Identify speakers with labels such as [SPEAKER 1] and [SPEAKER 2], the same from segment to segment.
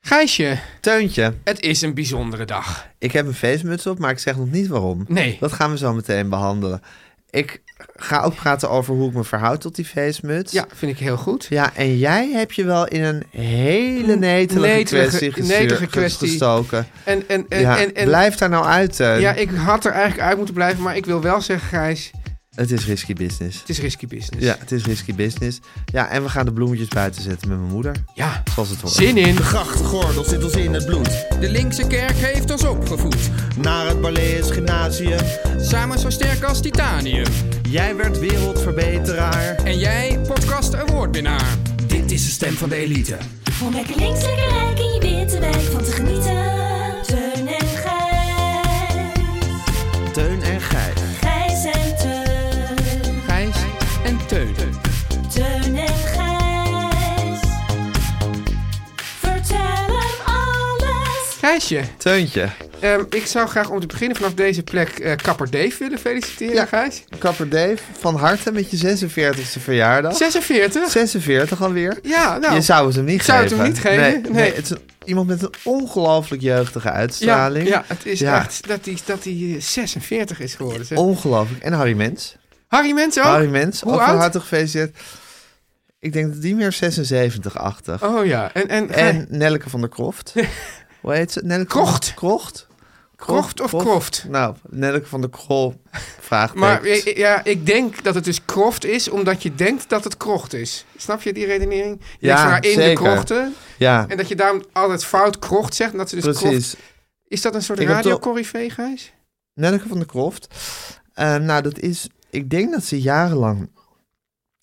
[SPEAKER 1] Gijsje,
[SPEAKER 2] Teuntje,
[SPEAKER 1] het is een bijzondere dag.
[SPEAKER 2] ik heb een feestmuts op, maar ik zeg nog niet waarom.
[SPEAKER 1] Nee.
[SPEAKER 2] Dat gaan we zo meteen behandelen. Ik ga ook praten over hoe ik me verhoud tot die feestmuts.
[SPEAKER 1] Ja, vind ik heel goed.
[SPEAKER 2] Ja, en jij hebt je wel in een hele netelige,
[SPEAKER 1] Netelige-
[SPEAKER 2] kwestie, gestuur-
[SPEAKER 1] netelige
[SPEAKER 2] ges-
[SPEAKER 1] kwestie.
[SPEAKER 2] gestoken.
[SPEAKER 1] En, en, en,
[SPEAKER 2] ja,
[SPEAKER 1] en, en-
[SPEAKER 2] blijf daar nou uit, Teun.
[SPEAKER 1] Ja, ik had er eigenlijk uit moeten blijven, maar ik wil wel zeggen, Gijs,
[SPEAKER 2] Het is risky business.
[SPEAKER 1] het is risky business.
[SPEAKER 2] Ja, het is risky business. Ja, en we gaan de bloemetjes buiten zetten met mijn moeder.
[SPEAKER 1] Ja.
[SPEAKER 2] Zoals het hoort.
[SPEAKER 1] Zin in.
[SPEAKER 3] Grachtgordel zit ons in het bloed.
[SPEAKER 4] De linkse kerk heeft ons opgevoed.
[SPEAKER 3] Naar het Barlees Gymnasium.
[SPEAKER 4] Samen zo sterk als titanium.
[SPEAKER 3] Jij werd wereldverbeteraar.
[SPEAKER 4] En jij, podcast awardwinnaar. Dit is de stem van de elite.
[SPEAKER 5] Om lekker links, lekker rijk in je witte wijk van te genieten. Teun en Gijs.
[SPEAKER 2] Teun en Gijs.
[SPEAKER 5] Gijs en Teun.
[SPEAKER 4] Gijs en Teun.
[SPEAKER 5] Teun en Gijs. Vertel hem alles.
[SPEAKER 1] Gijsje,
[SPEAKER 2] Teuntje.
[SPEAKER 1] ehm, ik zou graag om te beginnen vanaf deze plek eh, Kapper Dave willen feliciteren,
[SPEAKER 2] Ja.
[SPEAKER 1] Gijs.
[SPEAKER 2] Kapper Dave, van harte met je 46e verjaardag.
[SPEAKER 1] 46?
[SPEAKER 2] 46 alweer.
[SPEAKER 1] Ja, nou.
[SPEAKER 2] je zou het hem niet
[SPEAKER 1] zou het
[SPEAKER 2] geven.
[SPEAKER 1] hem niet geven?
[SPEAKER 2] Nee, nee.
[SPEAKER 1] Nee.
[SPEAKER 2] het is een- iemand met een ongelooflijk jeugdige
[SPEAKER 1] ja,
[SPEAKER 2] uitstraling.
[SPEAKER 1] ja, het is
[SPEAKER 2] Ja.
[SPEAKER 1] echt dat hij dat die, eh, 46 is geworden. zeg.
[SPEAKER 2] Ongelooflijk. En Harry Mens.
[SPEAKER 1] Harry Mensen ook?
[SPEAKER 2] Harry Mens,
[SPEAKER 1] Hoe
[SPEAKER 2] ook van
[SPEAKER 1] oud?
[SPEAKER 2] harte gefeliciteerd. Ik denk dat die meer 76-achtig.
[SPEAKER 1] Oh ja, en, en,
[SPEAKER 2] En Nelleke van der Kroft. Hoe heet ze? Nelleke van-
[SPEAKER 1] Krocht.
[SPEAKER 2] Krocht?
[SPEAKER 1] Krocht of Kroft?
[SPEAKER 2] Nou, Nelleke van der Krol vraagt.
[SPEAKER 1] Maar ja, ja, ik denk dat het dus kroft is, omdat je denkt dat het krocht is. Snap je die redenering? Je
[SPEAKER 2] Ja,
[SPEAKER 1] denkt van, nou, in
[SPEAKER 2] zeker.
[SPEAKER 1] de krochten.
[SPEAKER 2] ja,
[SPEAKER 1] En dat je daarom altijd fout krocht zegt. En dat ze dus krocht...
[SPEAKER 2] precies.
[SPEAKER 1] Is dat een soort
[SPEAKER 2] Ik heb wel-
[SPEAKER 1] radiocorrivee, Gijs?
[SPEAKER 2] Nelleke van der Kroft. Eh, nou, dat is... Ik denk dat ze jarenlang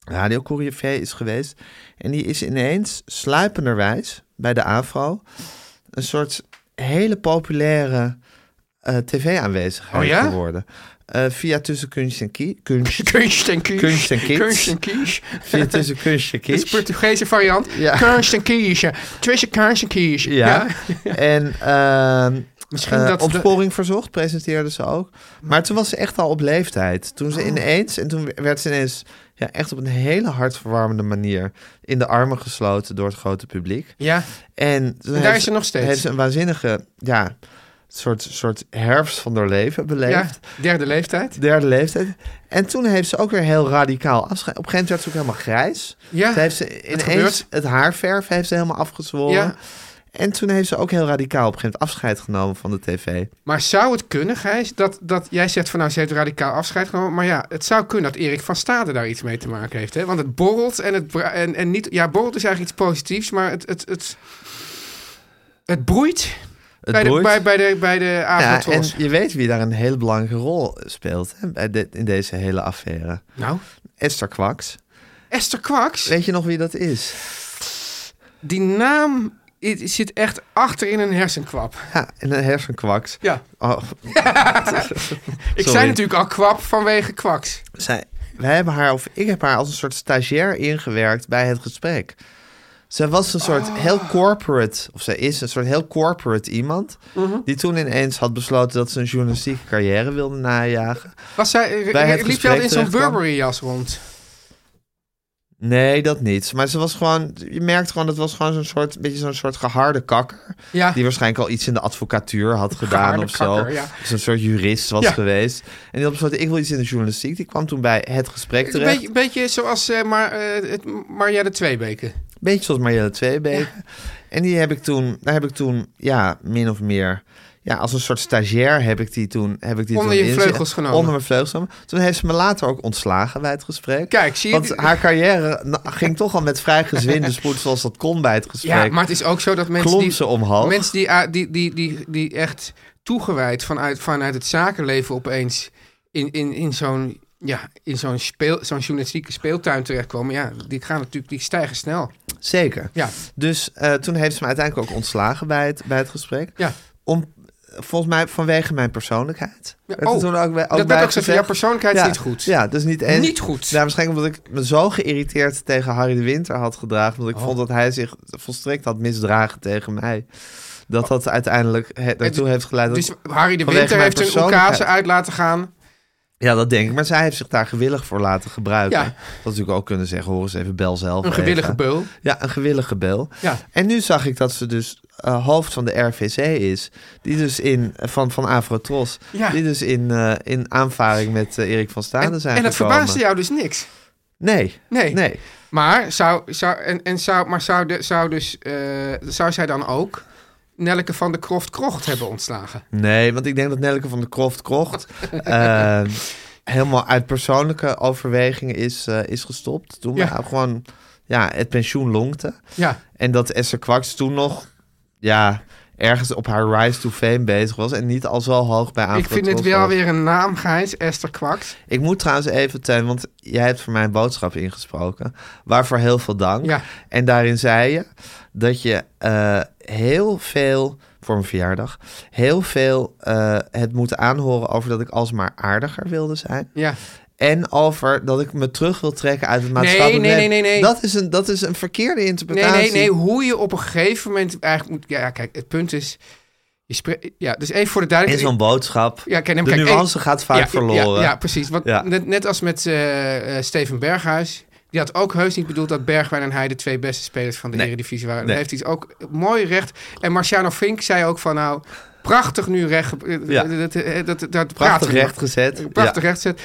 [SPEAKER 2] radiocorrivé is geweest. En die is ineens sluipenderwijs bij de AVRO... een soort hele populaire eh, tv-aanwezigheid
[SPEAKER 1] Oh ja?
[SPEAKER 2] geworden. Eh, via tussen kunst en kie... Kunst,
[SPEAKER 1] Kunst en kies.
[SPEAKER 2] Kunst en kies.
[SPEAKER 1] Kunst en kies.
[SPEAKER 2] via tussen kunst
[SPEAKER 1] Dat is
[SPEAKER 2] en
[SPEAKER 1] de
[SPEAKER 2] kies.
[SPEAKER 1] Portugese variant.
[SPEAKER 2] Ja.
[SPEAKER 1] Kunst en kies. Tussen kunst en kies.
[SPEAKER 2] Ja. En ehm
[SPEAKER 1] Misschien
[SPEAKER 2] eh,
[SPEAKER 1] dat...
[SPEAKER 2] Opsporing Verzocht presenteerde ze ook. Maar toen was ze echt al op leeftijd. Toen
[SPEAKER 1] Oh.
[SPEAKER 2] ze ineens, en toen werd ze ineens ja, echt op een hele hartverwarmende manier in de armen gesloten door het grote publiek.
[SPEAKER 1] Ja.
[SPEAKER 2] En, toen
[SPEAKER 1] daar
[SPEAKER 2] heeft
[SPEAKER 1] is ze nog steeds.
[SPEAKER 2] Heeft ze een waanzinnige, ja, soort, soort herfst van haar leven
[SPEAKER 1] ja,
[SPEAKER 2] beleefd.
[SPEAKER 1] derde leeftijd.
[SPEAKER 2] Derde leeftijd. En toen heeft ze ook weer heel radicaal afscheid. Op een gegeven moment werd ze ook helemaal grijs.
[SPEAKER 1] Ja.
[SPEAKER 2] Toen heeft ze
[SPEAKER 1] gebeurt.
[SPEAKER 2] ineens het haarverf heeft ze helemaal afgezwollen.
[SPEAKER 1] Ja.
[SPEAKER 2] En toen heeft ze ook heel radicaal op een gegeven moment afscheid genomen van de tv.
[SPEAKER 1] Maar zou het kunnen, Gijs, dat, dat jij zegt van nou, ze heeft radicaal afscheid genomen. Maar ja, het zou kunnen dat Erik van Stade daar iets mee te maken heeft. Hè? Want het borrelt en het bra- en, en niet. Ja, borrelt is eigenlijk iets positiefs, maar het, het, het, het broeit
[SPEAKER 2] Het
[SPEAKER 1] bij,
[SPEAKER 2] boeit.
[SPEAKER 1] De, bij, bij de, bij de
[SPEAKER 2] ja, en
[SPEAKER 1] Avatros.
[SPEAKER 2] je weet wie daar een hele belangrijke rol speelt hè, bij dit- in deze hele affaire.
[SPEAKER 1] Nou,
[SPEAKER 2] Esther Kwaks.
[SPEAKER 1] Esther Kwaks,
[SPEAKER 2] Weet je nog wie dat is?
[SPEAKER 1] die naam i- zit echt achter in een hersenkwap.
[SPEAKER 2] Ja, en een hersenkwaks.
[SPEAKER 1] Ja,
[SPEAKER 2] Oh,
[SPEAKER 1] ik
[SPEAKER 2] Sorry.
[SPEAKER 1] zei natuurlijk al kwap vanwege Kwaks.
[SPEAKER 2] zij, wij hebben haar, of ik heb haar als een soort stagiair ingewerkt bij het gesprek. Zij was een soort heel corporate, of zij is een soort heel corporate iemand. Die toen ineens had besloten dat ze een journalistieke carrière wilde najagen.
[SPEAKER 1] Was zij,
[SPEAKER 2] Bij het
[SPEAKER 1] liep je
[SPEAKER 2] gesprek
[SPEAKER 1] al in zo'n
[SPEAKER 2] terechtkwam.
[SPEAKER 1] Burberry-jas rond?
[SPEAKER 2] Nee, dat niet. Maar ze was gewoon, je merkt gewoon, dat was gewoon zo'n soort, beetje zo'n soort geharde kakker.
[SPEAKER 1] Ja.
[SPEAKER 2] Die waarschijnlijk al iets in de advocatuur had gedaan
[SPEAKER 1] Gehaarde
[SPEAKER 2] of zo.
[SPEAKER 1] kakker, ja.
[SPEAKER 2] Dus een soort jurist was
[SPEAKER 1] Ja.
[SPEAKER 2] geweest. En die had besloten, ik wil iets in de journalistiek. Die kwam toen bij het gesprek
[SPEAKER 1] Een
[SPEAKER 2] terecht.
[SPEAKER 1] beetje, beetje zoals eh maar, eh het Maria de Tweebeke.
[SPEAKER 2] Beetje zoals Marjelle Tweebeek. En die heb ik toen, daar heb ik toen, ja, min of meer... Ja, als een soort stagiair heb ik die toen heb ik die
[SPEAKER 1] Onder
[SPEAKER 2] toen
[SPEAKER 1] je
[SPEAKER 2] inzet-
[SPEAKER 1] vleugels genomen.
[SPEAKER 2] Onder mijn vleugels genomen. Toen heeft ze me later ook ontslagen bij het gesprek.
[SPEAKER 1] Kijk, zie je-
[SPEAKER 2] Want haar carrière na- ging toch al met vrij gezwinde spoed zoals dat kon bij het gesprek.
[SPEAKER 1] Ja, maar het is ook zo dat mensen
[SPEAKER 2] Klom
[SPEAKER 1] die,
[SPEAKER 2] ze omhoog.
[SPEAKER 1] mensen die, ah, die, die, die, die echt toegewijd vanuit, vanuit het zakenleven opeens in, in, in zo'n ja, in zo'n speel, zo'n journalistieke speeltuin terechtkomen, ja, die gaan natuurlijk, die stijgen snel.
[SPEAKER 2] Zeker.
[SPEAKER 1] Ja.
[SPEAKER 2] Dus eh, toen heeft ze me uiteindelijk ook ontslagen bij het, bij het gesprek.
[SPEAKER 1] Ja.
[SPEAKER 2] Om, volgens mij vanwege mijn persoonlijkheid.
[SPEAKER 1] Ja,
[SPEAKER 2] Werd er
[SPEAKER 1] oh,
[SPEAKER 2] toen ook bij- ook
[SPEAKER 1] dat werd
[SPEAKER 2] bij
[SPEAKER 1] ook gezegd,
[SPEAKER 2] gezegd.
[SPEAKER 1] ja, persoonlijkheid is
[SPEAKER 2] Ja,
[SPEAKER 1] niet goed.
[SPEAKER 2] Ja, dus niet eens.
[SPEAKER 1] Niet goed.
[SPEAKER 2] Ja, waarschijnlijk omdat ik me zo geïrriteerd tegen Harry de Winter had gedragen. Omdat ik
[SPEAKER 1] Oh.
[SPEAKER 2] vond dat hij zich volstrekt had misdragen tegen mij. Dat dat uiteindelijk he- daartoe heeft geleid. dat
[SPEAKER 1] Dus
[SPEAKER 2] ik-
[SPEAKER 1] Harry de
[SPEAKER 2] vanwege
[SPEAKER 1] Winter
[SPEAKER 2] mijn
[SPEAKER 1] heeft een
[SPEAKER 2] persoonlijkheid-
[SPEAKER 1] oekase uit laten gaan.
[SPEAKER 2] Ja, dat denk ik. Maar zij heeft zich daar gewillig voor laten gebruiken.
[SPEAKER 1] Ja.
[SPEAKER 2] Dat had natuurlijk ook kunnen zeggen, hoor eens even bel zelf.
[SPEAKER 1] Een gewillige
[SPEAKER 2] even.
[SPEAKER 1] beul.
[SPEAKER 2] Ja, een gewillige bel.
[SPEAKER 1] Ja.
[SPEAKER 2] En nu zag ik dat ze dus eh, hoofd van de RVC is. Die dus in, van, van Afrotros.
[SPEAKER 1] Ja.
[SPEAKER 2] Die dus in, eh, in aanvaring met eh, Erik van Staden
[SPEAKER 1] En,
[SPEAKER 2] zijn
[SPEAKER 1] en dat
[SPEAKER 2] gekomen.
[SPEAKER 1] verbaasde jou dus niks.
[SPEAKER 2] Nee.
[SPEAKER 1] Nee.
[SPEAKER 2] Nee.
[SPEAKER 1] Maar zou, zou, en, en zou, maar zou, de, zou, dus, eh, zou zij dan ook Nelke van de Kroft Krocht hebben ontslagen?
[SPEAKER 2] Nee, want ik denk dat Nelke van de Kroft Krocht... eh, helemaal uit persoonlijke overwegingen is, eh, is gestopt. Toen
[SPEAKER 1] Ja.
[SPEAKER 2] maar gewoon ja, het pensioen longte.
[SPEAKER 1] Ja.
[SPEAKER 2] En dat Esther Kwaks toen nog ja, ergens op haar rise to fame bezig was. En niet al zo hoog bij
[SPEAKER 1] Ik
[SPEAKER 2] Afrotros
[SPEAKER 1] vind het wel
[SPEAKER 2] was.
[SPEAKER 1] weer een naam, Gijs. Esther Kwaks.
[SPEAKER 2] Ik moet trouwens even, Teun, want jij hebt voor mij een boodschap ingesproken. Waarvoor heel veel dank.
[SPEAKER 1] Ja.
[SPEAKER 2] En daarin zei je dat je eh, heel veel, voor mijn verjaardag, heel veel eh, het moet aanhoren over dat ik alsmaar aardiger wilde zijn.
[SPEAKER 1] Ja.
[SPEAKER 2] En over dat ik me terug wil trekken uit het maatschappelijk
[SPEAKER 1] nee,
[SPEAKER 2] leven.
[SPEAKER 1] nee, nee, nee.
[SPEAKER 2] Dat is een, dat is een verkeerde
[SPEAKER 1] Nee,
[SPEAKER 2] interpretatie.
[SPEAKER 1] nee, nee. Hoe je op een gegeven moment eigenlijk moet... Ja, kijk, het punt is... Je spre- ja, dus even voor de
[SPEAKER 2] In
[SPEAKER 1] duidelijkheid...
[SPEAKER 2] zo'n boodschap.
[SPEAKER 1] Ja, kijk,
[SPEAKER 2] de
[SPEAKER 1] neem- kijk,
[SPEAKER 2] nuance
[SPEAKER 1] eh,
[SPEAKER 2] gaat vaak
[SPEAKER 1] ja, ja,
[SPEAKER 2] verloren.
[SPEAKER 1] Ja, precies. Want
[SPEAKER 2] Ja.
[SPEAKER 1] Net, net als met eh, eh, Steven Berghuis. Die had ook heus niet bedoeld dat Bergwijn en hij de twee beste spelers van de Eredivisie waren.
[SPEAKER 2] Nee.
[SPEAKER 1] Dat heeft hij ook mooi recht. En Marciano Fink zei ook van nou, prachtig nu recht. eh,
[SPEAKER 2] Ja.
[SPEAKER 1] Dat, dat, dat, dat praten
[SPEAKER 2] Prachtig
[SPEAKER 1] we nog.
[SPEAKER 2] recht gezet.
[SPEAKER 1] Prachtig recht zet.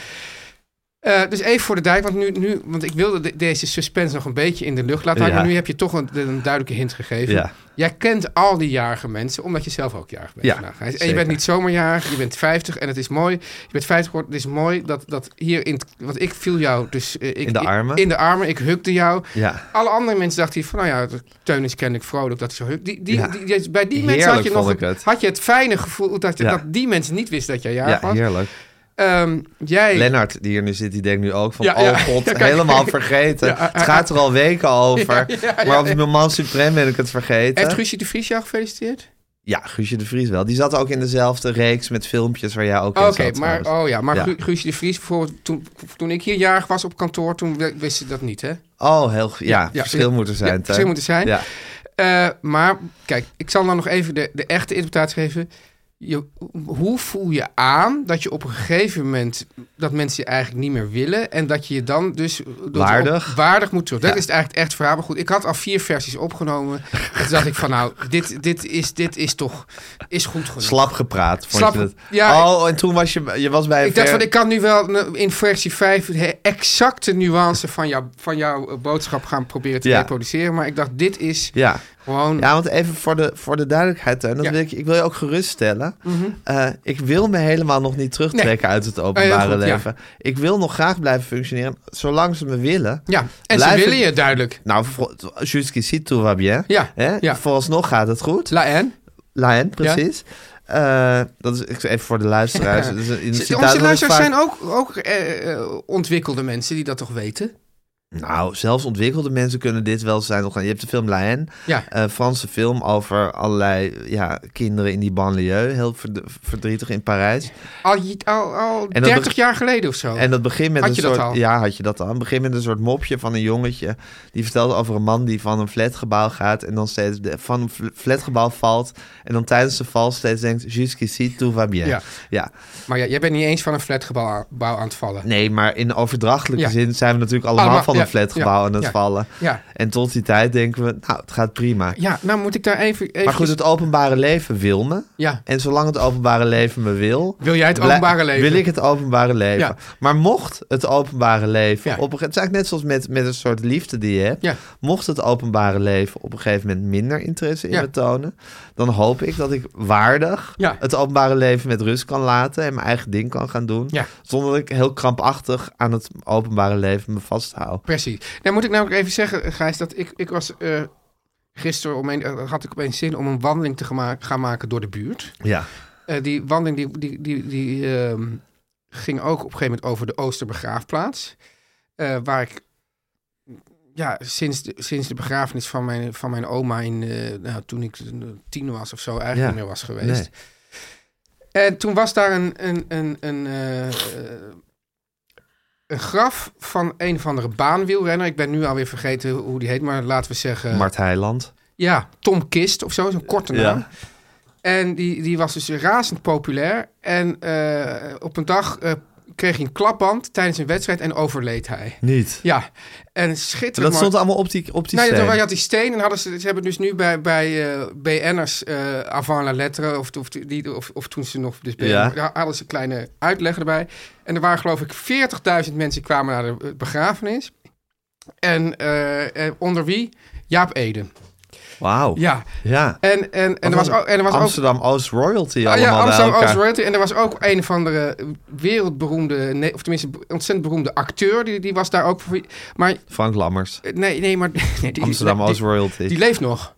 [SPEAKER 1] Eh, dus even voor de dijk, want nu, nu want ik wilde de- deze suspense nog een beetje in de lucht laten houden.
[SPEAKER 2] Ja.
[SPEAKER 1] Maar nu heb je toch een, een duidelijke hint gegeven.
[SPEAKER 2] Ja.
[SPEAKER 1] Jij kent al die jarige mensen, omdat je zelf ook jarig bent
[SPEAKER 2] Ja,
[SPEAKER 1] vandaag. Gijs. En je
[SPEAKER 2] zeker.
[SPEAKER 1] bent niet zomaar jarig, je bent 50 en het is mooi. Je bent 50 geworden, het is mooi dat, dat hier in... het- Want ik viel jou dus... eh, ik,
[SPEAKER 2] In de armen.
[SPEAKER 1] In de armen, ik hukte jou.
[SPEAKER 2] Ja.
[SPEAKER 1] Alle andere mensen dachten hier van, nou ja, Teun is kennelijk vrolijk dat hij zo hukt. Die, die,
[SPEAKER 2] Ja.
[SPEAKER 1] die- die- bij die mensen
[SPEAKER 2] Heerlijk
[SPEAKER 1] had je, nog,
[SPEAKER 2] vond ik
[SPEAKER 1] het-
[SPEAKER 2] het.
[SPEAKER 1] had je het fijne gevoel dat, je-
[SPEAKER 2] Ja.
[SPEAKER 1] dat die mensen niet wisten dat jij
[SPEAKER 2] Ja,
[SPEAKER 1] jarig
[SPEAKER 2] ja
[SPEAKER 1] was.
[SPEAKER 2] heerlijk.
[SPEAKER 1] Ehm, jij...
[SPEAKER 2] Lennart, die hier nu zit, die denkt nu ook van...
[SPEAKER 1] Ja,
[SPEAKER 2] oh
[SPEAKER 1] ja.
[SPEAKER 2] god,
[SPEAKER 1] Ja, kijk.
[SPEAKER 2] helemaal vergeten.
[SPEAKER 1] Ja,
[SPEAKER 2] het gaat er al weken over.
[SPEAKER 1] Ja, ja, ja,
[SPEAKER 2] maar op
[SPEAKER 1] ja.
[SPEAKER 2] het moment suprem ben ik het vergeten.
[SPEAKER 1] Heeft Guusje de Vries jou gefeliciteerd?
[SPEAKER 2] Ja, Guusje de Vries wel. Die zat ook in dezelfde reeks met filmpjes waar jij ook in
[SPEAKER 1] Oké,
[SPEAKER 2] zat.
[SPEAKER 1] maar,
[SPEAKER 2] trouwens.
[SPEAKER 1] oh ja, maar
[SPEAKER 2] Ja.
[SPEAKER 1] Gu- Guusje de Vries bijvoorbeeld, toen, toen ik hier jarig was op kantoor, toen we- wist ze dat niet, hè?
[SPEAKER 2] Oh, heel... goed. Ja,
[SPEAKER 1] ja,
[SPEAKER 2] verschil
[SPEAKER 1] ja.
[SPEAKER 2] moet er zijn.
[SPEAKER 1] Ja,
[SPEAKER 2] Teun.
[SPEAKER 1] verschil moet er zijn.
[SPEAKER 2] Ja.
[SPEAKER 1] Eh, maar kijk, ik zal dan nog even de, de echte interpretatie geven. Je, hoe voel je aan dat je op een gegeven moment dat mensen je eigenlijk niet meer willen en dat je je dan dus dat
[SPEAKER 2] Waardig.
[SPEAKER 1] op- waardig moet terug? Dat
[SPEAKER 2] Ja.
[SPEAKER 1] is het eigenlijk echt verhaal. Maar goed, ik had al vier versies opgenomen. En Toen dacht ik van nou, dit, dit, is, dit is toch is goed genoeg.
[SPEAKER 2] Slap gepraat, vond
[SPEAKER 1] Slap-
[SPEAKER 2] je het?
[SPEAKER 1] ja,
[SPEAKER 2] oh, en toen was je, je was bij...
[SPEAKER 1] Ik dacht
[SPEAKER 2] ver-
[SPEAKER 1] van, ik kan nu wel eh, in versie 5 de exacte nuance van, jou, van jouw eh, boodschap gaan proberen te
[SPEAKER 2] Ja.
[SPEAKER 1] reproduceren. Maar ik dacht, dit is
[SPEAKER 2] Ja.
[SPEAKER 1] gewoon...
[SPEAKER 2] Ja, want even voor de, voor de duidelijkheid, Teun.
[SPEAKER 1] Hm.
[SPEAKER 2] dat
[SPEAKER 1] Ja.
[SPEAKER 2] wil ik, ik wil je ook geruststellen. Eh, ik wil me helemaal nog niet terugtrekken uit het openbare
[SPEAKER 1] goed, Oh ja.
[SPEAKER 2] leven. Ik wil nog graag blijven functioneren, zolang ze me willen.
[SPEAKER 1] Ja, en ze
[SPEAKER 2] Blijf
[SPEAKER 1] willen
[SPEAKER 2] ik-
[SPEAKER 1] je duidelijk.
[SPEAKER 2] Nou, voor- jusqu'ici si tout va bien.
[SPEAKER 1] Ja,
[SPEAKER 2] Hè?
[SPEAKER 1] ja.
[SPEAKER 2] Vooralsnog gaat het goed.
[SPEAKER 1] La en?
[SPEAKER 2] Laen, precies. Eh, dat is ik- even voor de luisteraars. Dat is een- een
[SPEAKER 1] Onze
[SPEAKER 2] citaat dat ik
[SPEAKER 1] luisteraars
[SPEAKER 2] vaak-
[SPEAKER 1] zijn ook, ook eh, eh, ontwikkelde mensen die dat toch weten?
[SPEAKER 2] Nou, zelfs ontwikkelde mensen kunnen dit wel zijn. Je hebt de film Laen,
[SPEAKER 1] Ja.
[SPEAKER 2] eh, Franse film over allerlei ja, kinderen in die banlieue. Heel verd- verdrietig in Parijs.
[SPEAKER 1] Al, je- al, al
[SPEAKER 2] dat
[SPEAKER 1] 30
[SPEAKER 2] beg-
[SPEAKER 1] jaar geleden of zo.
[SPEAKER 2] En dat begint met
[SPEAKER 1] Oh. Had
[SPEAKER 2] een
[SPEAKER 1] je dat
[SPEAKER 2] soort.
[SPEAKER 1] al?
[SPEAKER 2] Ja, had je dat al? Het begint met een soort mopje van een jongetje. Die vertelt over een man die van een flatgebouw gaat. En dan steeds de- van een fl- flatgebouw valt. En dan tijdens de val steeds denkt: Jusqu'ici, tout va bien.
[SPEAKER 1] Ja.
[SPEAKER 2] Ja.
[SPEAKER 1] Maar ja, jij bent niet eens van een flatgebouw aan, bouw aan het vallen.
[SPEAKER 2] Nee, maar in overdrachtelijke
[SPEAKER 1] Ja.
[SPEAKER 2] zin zijn we natuurlijk allemaal
[SPEAKER 1] Allemaal-
[SPEAKER 2] van
[SPEAKER 1] ja, Ja,
[SPEAKER 2] flatgebouw
[SPEAKER 1] ja,
[SPEAKER 2] aan het
[SPEAKER 1] ja.
[SPEAKER 2] vallen.
[SPEAKER 1] Ja.
[SPEAKER 2] En tot die tijd denken we, nou, het gaat prima.
[SPEAKER 1] Ja, nou moet ik daar even... even
[SPEAKER 2] Maar goed, het openbare leven wil me.
[SPEAKER 1] Ja.
[SPEAKER 2] En zolang het openbare leven me wil...
[SPEAKER 1] Wil jij het
[SPEAKER 2] blij-
[SPEAKER 1] openbare leven?
[SPEAKER 2] Wil ik het openbare leven.
[SPEAKER 1] Ja.
[SPEAKER 2] Maar mocht het openbare leven...
[SPEAKER 1] Ja.
[SPEAKER 2] Op een, ge- het is eigenlijk net zoals met, met een soort liefde die je hebt.
[SPEAKER 1] Ja.
[SPEAKER 2] Mocht het openbare leven op een gegeven moment minder interesse in
[SPEAKER 1] Ja.
[SPEAKER 2] me tonen... dan hoop ik dat ik waardig
[SPEAKER 1] Ja.
[SPEAKER 2] het openbare leven met rust kan laten... en mijn eigen ding kan gaan doen.
[SPEAKER 1] Ja.
[SPEAKER 2] Zonder dat ik heel krampachtig aan het openbare leven me vasthoud.
[SPEAKER 1] Precies. Nou moet ik nou ook even zeggen, Gijs, dat ik, ik was eh gisteren... Om een, eh, had ik opeens zin om een wandeling te gema- gaan maken door de buurt.
[SPEAKER 2] Ja.
[SPEAKER 1] Eh, die wandeling die, die, die, die, ehm, ging ook op een gegeven moment over de Oosterbegraafplaats. eh, waar ik ja, sinds, de, sinds de begrafenis van mijn, van mijn oma in, eh, nou, toen ik eh, tien was of zo eigenlijk
[SPEAKER 2] Ja.
[SPEAKER 1] niet meer was geweest. En toen was daar een, een, een, een, eh, eh, een graf van een of andere baanwielrenner. Ik ben nu alweer vergeten hoe die heet, maar laten we zeggen...
[SPEAKER 2] Mart Heiland.
[SPEAKER 1] Ja, Tom Kist of zo, zo'n korte naam.
[SPEAKER 2] Ja.
[SPEAKER 1] En die, die was dus razend populair. En eh, op een dag eh, kreeg hij een klapband tijdens een wedstrijd en overleed hij.
[SPEAKER 2] Niet.
[SPEAKER 1] Ja, en
[SPEAKER 2] Maar
[SPEAKER 1] schitterend.
[SPEAKER 2] dat
[SPEAKER 1] maar-
[SPEAKER 2] stond allemaal op die, op die
[SPEAKER 1] nou, ja,
[SPEAKER 2] steen.
[SPEAKER 1] toen had die steen en hadden ze, ze hebben dus nu bij, bij eh BN'ers eh, avant la lettre, of, of, die, of, of toen ze nog dus BN'er-
[SPEAKER 2] Ja.
[SPEAKER 1] daar hadden ze een kleine uitleg erbij. En er waren geloof ik 40.000 mensen die kwamen naar de eh, begrafenis. En eh, eh, onder wie? Jaap Eden.
[SPEAKER 2] Wauw.
[SPEAKER 1] Ja,
[SPEAKER 2] Ja.
[SPEAKER 1] en, en, en, er, was ook, en er was ook
[SPEAKER 2] Amsterdam Oost Royalty
[SPEAKER 1] Ah,
[SPEAKER 2] allemaal
[SPEAKER 1] ja, Amsterdam
[SPEAKER 2] bij elkaar.
[SPEAKER 1] Oost Royalty. En er was ook een van de wereldberoemde, nee, of tenminste ontzettend beroemde acteur, die, die was daar ook. voor- Maar
[SPEAKER 2] Frank Lammers.
[SPEAKER 1] nee, nee, maar. Nee, die,
[SPEAKER 2] Amsterdam
[SPEAKER 1] die,
[SPEAKER 2] Oost
[SPEAKER 1] die,
[SPEAKER 2] Royalty.
[SPEAKER 1] die leeft nog.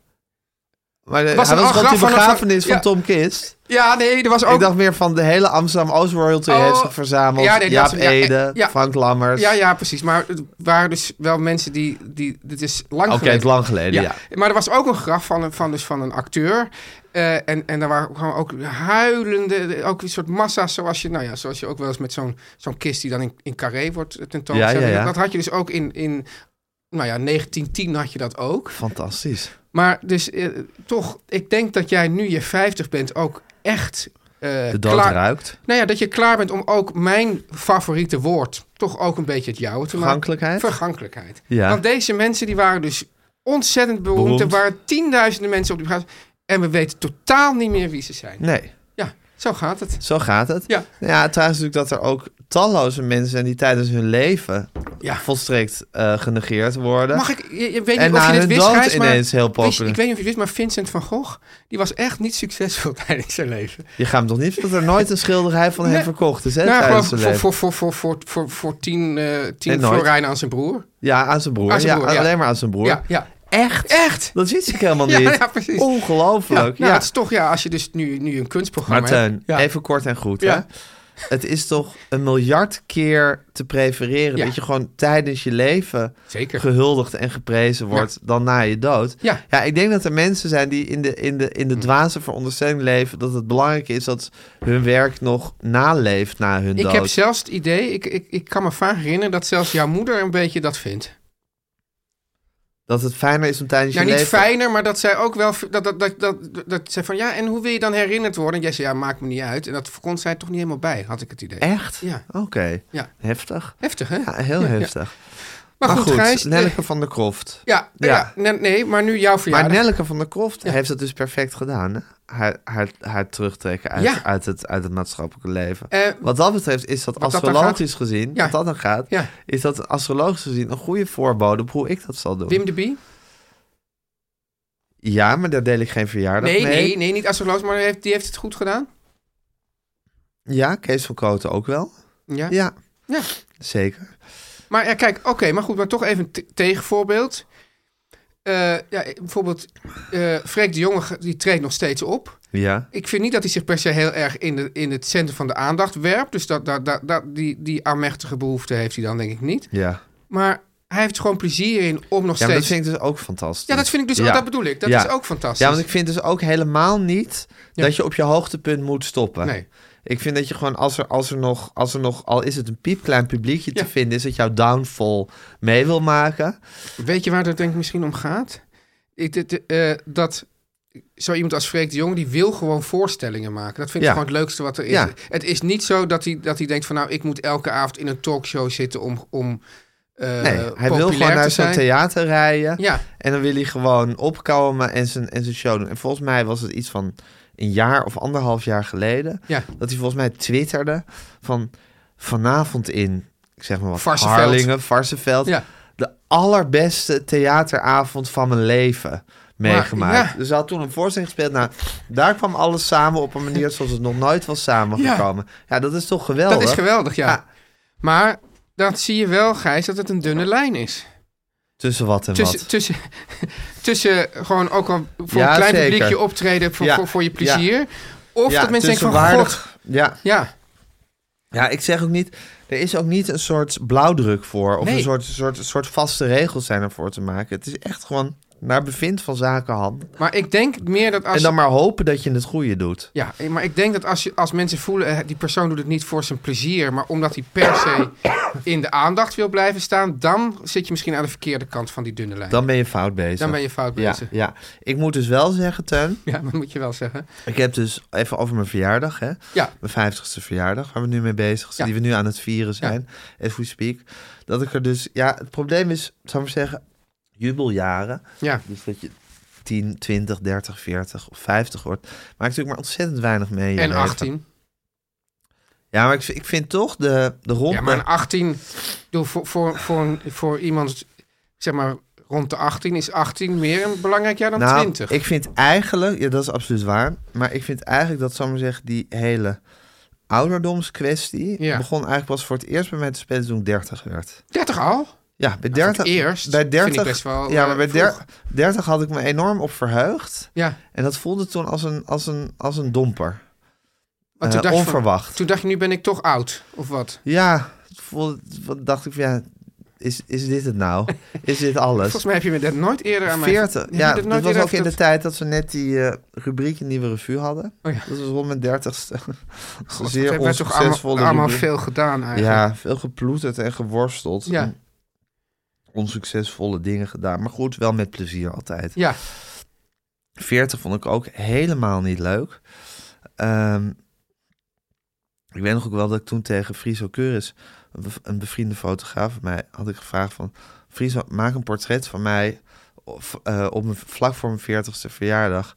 [SPEAKER 2] maar de,
[SPEAKER 1] was
[SPEAKER 2] was
[SPEAKER 1] er
[SPEAKER 2] hij
[SPEAKER 1] al
[SPEAKER 2] was gewoon
[SPEAKER 1] graf
[SPEAKER 2] op die
[SPEAKER 1] van een-
[SPEAKER 2] begrafenis van
[SPEAKER 1] ja.
[SPEAKER 2] Tom Kist.
[SPEAKER 1] Ja, nee, er was ook.
[SPEAKER 2] Ik dacht meer van de hele Amsterdam Oost Royalty
[SPEAKER 1] Oh.
[SPEAKER 2] heeft zich verzameld.
[SPEAKER 1] Ja, nee, dat
[SPEAKER 2] Jaap
[SPEAKER 1] is- ja,
[SPEAKER 2] Ede,
[SPEAKER 1] ja.
[SPEAKER 2] Frank Lammers.
[SPEAKER 1] ja, ja, precies. Maar het waren dus wel mensen die. die dit is lang
[SPEAKER 2] Oké, het
[SPEAKER 1] geleden.
[SPEAKER 2] is lang geleden, ja.
[SPEAKER 1] Ja. Maar er was ook een graf van, een- van, dus van een acteur. Eh, en, en daar waren gewoon ook huilende, ook een soort massa's zoals je, nou ja, zoals je ook wel eens met zo'n zo'n kist die dan in, in carré wordt tentoongesteld.
[SPEAKER 2] Ja, ja, ja.
[SPEAKER 1] Dat had je dus ook in, in, nou ja, 1910 had je dat ook.
[SPEAKER 2] Fantastisch.
[SPEAKER 1] Maar dus eh, toch, ik denk dat jij nu je 50 bent ook echt eh,
[SPEAKER 2] De dood
[SPEAKER 1] klaar.
[SPEAKER 2] ruikt.
[SPEAKER 1] Nou ja, dat je klaar bent om ook mijn favoriete woord, toch ook een beetje het jouwe te maken.
[SPEAKER 2] Vergankelijkheid.
[SPEAKER 1] Vergankelijkheid.
[SPEAKER 2] Ja.
[SPEAKER 1] Want deze mensen die waren dus ontzettend beroemd.
[SPEAKER 2] Beroemd.
[SPEAKER 1] Er waren tienduizenden mensen op die plaats. En we weten totaal niet meer wie ze zijn.
[SPEAKER 2] Nee,
[SPEAKER 1] Ja, zo gaat het.
[SPEAKER 2] zo gaat het.
[SPEAKER 1] Ja.
[SPEAKER 2] Nou ja, trouwens natuurlijk dat er ook talloze mensen zijn die tijdens hun leven
[SPEAKER 1] Ja.
[SPEAKER 2] volstrekt eh, genegeerd worden.
[SPEAKER 1] Mag ik, je, je weet
[SPEAKER 2] En
[SPEAKER 1] niet of
[SPEAKER 2] na
[SPEAKER 1] je dit
[SPEAKER 2] hun
[SPEAKER 1] wist,
[SPEAKER 2] dood
[SPEAKER 1] Gijs, maar,
[SPEAKER 2] ineens heel
[SPEAKER 1] wist-
[SPEAKER 2] populair.
[SPEAKER 1] ik weet niet of je het wist, maar Vincent van Gogh, die was echt niet succesvol tijdens zijn leven.
[SPEAKER 2] Je gaat me toch niet vertellen dat er nooit een schilderij van hem
[SPEAKER 1] Nee.
[SPEAKER 2] verkocht is, hè,
[SPEAKER 1] nou,
[SPEAKER 2] tijdens
[SPEAKER 1] gewoon
[SPEAKER 2] zijn
[SPEAKER 1] voor,
[SPEAKER 2] leven.
[SPEAKER 1] voor, voor, voor, voor, voor, voor tien, eh
[SPEAKER 2] Nee,
[SPEAKER 1] tien
[SPEAKER 2] nooit.
[SPEAKER 1] florijnen aan zijn broer.
[SPEAKER 2] Ja, aan zijn broer.
[SPEAKER 1] Aan zijn
[SPEAKER 2] Ja,
[SPEAKER 1] broer, ja.
[SPEAKER 2] alleen maar aan zijn broer.
[SPEAKER 1] Ja, ja.
[SPEAKER 2] Echt?
[SPEAKER 1] Echt?
[SPEAKER 2] Dat ziet ik helemaal
[SPEAKER 1] Ja,
[SPEAKER 2] niet.
[SPEAKER 1] ja, precies. Ja,
[SPEAKER 2] Ongelooflijk. Ja,
[SPEAKER 1] nou, het is toch, ja, als je dus nu, nu een kunstprogramma
[SPEAKER 2] Maar Teun,
[SPEAKER 1] hebt. Ja.
[SPEAKER 2] even kort en goed.
[SPEAKER 1] Ja.
[SPEAKER 2] Hè? Het is toch een miljard keer te prefereren
[SPEAKER 1] Ja.
[SPEAKER 2] dat je gewoon tijdens je leven
[SPEAKER 1] Zeker.
[SPEAKER 2] gehuldigd en geprezen wordt dan na je dood.
[SPEAKER 1] Ja.
[SPEAKER 2] ik denk dat er mensen zijn die in de, in de, in
[SPEAKER 1] Hm.
[SPEAKER 2] de dwaze veronderstelling leven dat het belangrijk is dat hun werk nog naleeft na hun
[SPEAKER 1] Ik
[SPEAKER 2] dood.
[SPEAKER 1] heb zelfs het idee, ik, ik, ik kan me vaak herinneren dat zelfs jouw moeder een beetje dat vindt.
[SPEAKER 2] Dat het fijner is om tijdens
[SPEAKER 1] Nou,
[SPEAKER 2] je
[SPEAKER 1] niet
[SPEAKER 2] leven...
[SPEAKER 1] fijner, maar dat zij ook wel. v- Dat, dat, dat, dat, dat zij van ja, en hoe wil je dan herinnerd worden? En jij zei ja, maakt me niet uit. En dat kon zij toch niet helemaal bij, had ik het idee.
[SPEAKER 2] Echt?
[SPEAKER 1] Ja.
[SPEAKER 2] Oké.
[SPEAKER 1] Ja.
[SPEAKER 2] Heftig.
[SPEAKER 1] Heftig, hè?
[SPEAKER 2] Ja, heel
[SPEAKER 1] Ja, ja.
[SPEAKER 2] heftig.
[SPEAKER 1] Maar, goed, Gijs. eh,
[SPEAKER 2] Nelleke van der Kroft.
[SPEAKER 1] ja,
[SPEAKER 2] Ja.
[SPEAKER 1] ja. nee, nee, maar nu jouw
[SPEAKER 2] maar
[SPEAKER 1] verjaardag.
[SPEAKER 2] Nelleke van der Kroft heeft dat dus perfect gedaan. Hè? Haar, haar, haar terugtrekken uit,
[SPEAKER 1] Ja.
[SPEAKER 2] uit, het, uit het maatschappelijke leven.
[SPEAKER 1] Eh,
[SPEAKER 2] wat dat betreft is dat
[SPEAKER 1] wat dat dan
[SPEAKER 2] astrologisch gezien,
[SPEAKER 1] Ja.
[SPEAKER 2] wat dat dan gaat,
[SPEAKER 1] Ja.
[SPEAKER 2] is dat astrologisch gezien een goede voorbode op hoe ik dat zal doen.
[SPEAKER 1] Wim de Bie?
[SPEAKER 2] Ja, maar daar deel ik geen verjaardag
[SPEAKER 1] Nee,
[SPEAKER 2] mee.
[SPEAKER 1] nee, nee, niet astroloog, maar die heeft, die heeft het goed gedaan.
[SPEAKER 2] Ja, Kees van Koten ook wel.
[SPEAKER 1] Ja.
[SPEAKER 2] Ja,
[SPEAKER 1] Ja.
[SPEAKER 2] zeker.
[SPEAKER 1] Maar ja, kijk, oké, maar goed, maar toch even een te- tegenvoorbeeld. Eh, ja, bijvoorbeeld, eh Freek de Jonge ge- die treedt nog steeds op.
[SPEAKER 2] Ja.
[SPEAKER 1] Ik vind niet dat hij zich per se heel erg in, de, in het centrum van de aandacht werpt. Dus dat, dat, dat, dat, die, die aanmächtige behoefte heeft hij dan denk ik niet.
[SPEAKER 2] Ja.
[SPEAKER 1] Maar hij heeft gewoon plezier in om nog
[SPEAKER 2] Ja, maar dat
[SPEAKER 1] steeds...
[SPEAKER 2] vind ik dus ook fantastisch.
[SPEAKER 1] Ja, dat vind ik dus ook- dat bedoel ik. Dat is ook fantastisch.
[SPEAKER 2] Ja, want ik vind dus ook helemaal niet
[SPEAKER 1] Ja.
[SPEAKER 2] dat je op je hoogtepunt moet stoppen.
[SPEAKER 1] Nee.
[SPEAKER 2] Ik vind dat je gewoon, als er, als er, nog, als er nog, al is het een piepklein publiekje te
[SPEAKER 1] Ja.
[SPEAKER 2] vinden, is dat jouw downfall mee wil maken.
[SPEAKER 1] Weet je waar dat denk ik misschien om gaat? Ik, dit- eh, dat zo iemand als Freek de Jong, die wil gewoon voorstellingen maken. Dat vind ik
[SPEAKER 2] Ja.
[SPEAKER 1] gewoon het leukste wat er is.
[SPEAKER 2] Ja.
[SPEAKER 1] Het is niet zo dat hij, dat hij denkt van... nou, ik moet elke avond in een talkshow zitten om, om eh,
[SPEAKER 2] Nee, hij wil
[SPEAKER 1] populair
[SPEAKER 2] gewoon
[SPEAKER 1] te
[SPEAKER 2] naar zo'n
[SPEAKER 1] zijn.
[SPEAKER 2] theater rijden.
[SPEAKER 1] Ja,
[SPEAKER 2] En dan wil hij gewoon opkomen en zijn, en zijn show doen. En volgens mij was het iets van een jaar of anderhalf jaar geleden.
[SPEAKER 1] Ja.
[SPEAKER 2] Dat hij volgens mij twitterde van vanavond in, ik zeg maar wat,
[SPEAKER 1] Varsseveld.
[SPEAKER 2] Harlingen, Varsseveld.
[SPEAKER 1] Ja.
[SPEAKER 2] De allerbeste theateravond van mijn leven meegemaakt.
[SPEAKER 1] ja.
[SPEAKER 2] Dus hij had toen een voorstelling gespeeld. Nou, daar kwam alles samen op een manier zoals het nog nooit was samengekomen. Ja, dat is toch geweldig?
[SPEAKER 1] dat is geweldig, ja.
[SPEAKER 2] Ja.
[SPEAKER 1] Maar dan zie je wel, Gijs, dat het een dunne lijn is.
[SPEAKER 2] Tussen wat en
[SPEAKER 1] Tussen,
[SPEAKER 2] wat.
[SPEAKER 1] tussen, tussen gewoon ook al voor
[SPEAKER 2] Ja,
[SPEAKER 1] een klein
[SPEAKER 2] zeker.
[SPEAKER 1] publiekje optreden voor,
[SPEAKER 2] Ja,
[SPEAKER 1] voor, voor je
[SPEAKER 2] ja.
[SPEAKER 1] plezier. Of
[SPEAKER 2] Ja,
[SPEAKER 1] dat mensen denken van,
[SPEAKER 2] tussenwaardig.
[SPEAKER 1] god,
[SPEAKER 2] Ja.
[SPEAKER 1] ja,
[SPEAKER 2] Ja, ik zeg ook niet, er is ook niet een soort blauwdruk voor. Of
[SPEAKER 1] Nee.
[SPEAKER 2] een soort, soort, soort vaste regels zijn ervoor te maken. Het is echt gewoon naar bevind van zaken handen.
[SPEAKER 1] maar ik denk meer dat als...
[SPEAKER 2] En dan maar hopen dat je het goede doet.
[SPEAKER 1] Ja, maar ik denk dat als, je, als mensen voelen, eh, die persoon doet het niet voor zijn plezier, maar omdat hij per se in de aandacht wil blijven staan, dan zit je misschien aan de verkeerde kant van die dunne lijn. Dan,
[SPEAKER 2] Dan ben je fout bezig.
[SPEAKER 1] ben je fout
[SPEAKER 2] ja,
[SPEAKER 1] bezig. Ja,
[SPEAKER 2] ja, ik moet dus wel zeggen, Teun.
[SPEAKER 1] dat moet je wel zeggen.
[SPEAKER 2] Ik heb dus even over mijn verjaardag, hè?
[SPEAKER 1] Ja.
[SPEAKER 2] Mijn 50ste verjaardag, waar we nu mee bezig zijn,
[SPEAKER 1] Ja.
[SPEAKER 2] die we nu aan het vieren zijn, as we speak. Dat ik er dus, ja, het probleem is, zou ik maar zeggen, jubeljaren.
[SPEAKER 1] Ja,
[SPEAKER 2] Dus dat je 10, 20, 30, 40 of 50 wordt. Maakt natuurlijk maar ontzettend weinig mee. in je
[SPEAKER 1] en
[SPEAKER 2] leven.
[SPEAKER 1] 18.
[SPEAKER 2] Ja, maar ik, vind- ik vind toch de, de ronde...
[SPEAKER 1] Ja, maar een 18, doe voor, voor, voor, een- voor iemand, zeg maar, rond de 18 is 18 meer een belangrijk jaar dan
[SPEAKER 2] nou,
[SPEAKER 1] 20.
[SPEAKER 2] ik vind eigenlijk... Ja, dat is absoluut waar. Maar ik vind eigenlijk dat, zal ik maar zeggen, die hele ouderdomskwestie...
[SPEAKER 1] Ja.
[SPEAKER 2] begon eigenlijk pas voor het eerst bij mij te spelen toen ik 30 werd.
[SPEAKER 1] 30 al?
[SPEAKER 2] Ja, bij
[SPEAKER 1] Nou, voor het
[SPEAKER 2] 30...
[SPEAKER 1] eerst
[SPEAKER 2] bij
[SPEAKER 1] vind
[SPEAKER 2] 30,
[SPEAKER 1] ik best wel,
[SPEAKER 2] Ja, maar
[SPEAKER 1] eh,
[SPEAKER 2] bij
[SPEAKER 1] vroeg.
[SPEAKER 2] 30, 30 had ik me enorm op verheugd.
[SPEAKER 1] Ja.
[SPEAKER 2] En dat voelde toen als een, als een, als een domper.
[SPEAKER 1] want
[SPEAKER 2] Eh,
[SPEAKER 1] Oh, dacht je van-
[SPEAKER 2] onverwacht.
[SPEAKER 1] toen dacht je, nu ben ik toch oud, of wat?
[SPEAKER 2] Ja, het voelde, wat dacht ik van ja, is, is dit het nou? Is dit alles?
[SPEAKER 1] Volgens mij heb je me dat nooit eerder aan mij...
[SPEAKER 2] 40.
[SPEAKER 1] heb je
[SPEAKER 2] Ja,
[SPEAKER 1] dat
[SPEAKER 2] dat,
[SPEAKER 1] nooit
[SPEAKER 2] was
[SPEAKER 1] eerder
[SPEAKER 2] ook in de
[SPEAKER 1] verteld?
[SPEAKER 2] tijd dat ze net die eh rubriek in Nieuwe Revue hadden.
[SPEAKER 1] Oh ja.
[SPEAKER 2] Dat was rond mijn dertigste.
[SPEAKER 1] God, we
[SPEAKER 2] Zeer
[SPEAKER 1] hebben toch allemaal,
[SPEAKER 2] onsuccesvolle
[SPEAKER 1] allemaal
[SPEAKER 2] rubriek.
[SPEAKER 1] veel gedaan eigenlijk.
[SPEAKER 2] Ja, veel geploeterd en geworsteld.
[SPEAKER 1] Ja.
[SPEAKER 2] En Onsuccesvolle dingen gedaan. Maar goed, wel met plezier altijd.
[SPEAKER 1] Ja,
[SPEAKER 2] 40 vond ik ook helemaal niet leuk. Ehm, ik weet nog ook wel dat ik toen tegen Friso Keuris, een bev- een bevriende fotograaf van mij, had ik gevraagd van... Friso, maak een portret van mij of, eh, op mijn, vlak voor mijn 40ste verjaardag.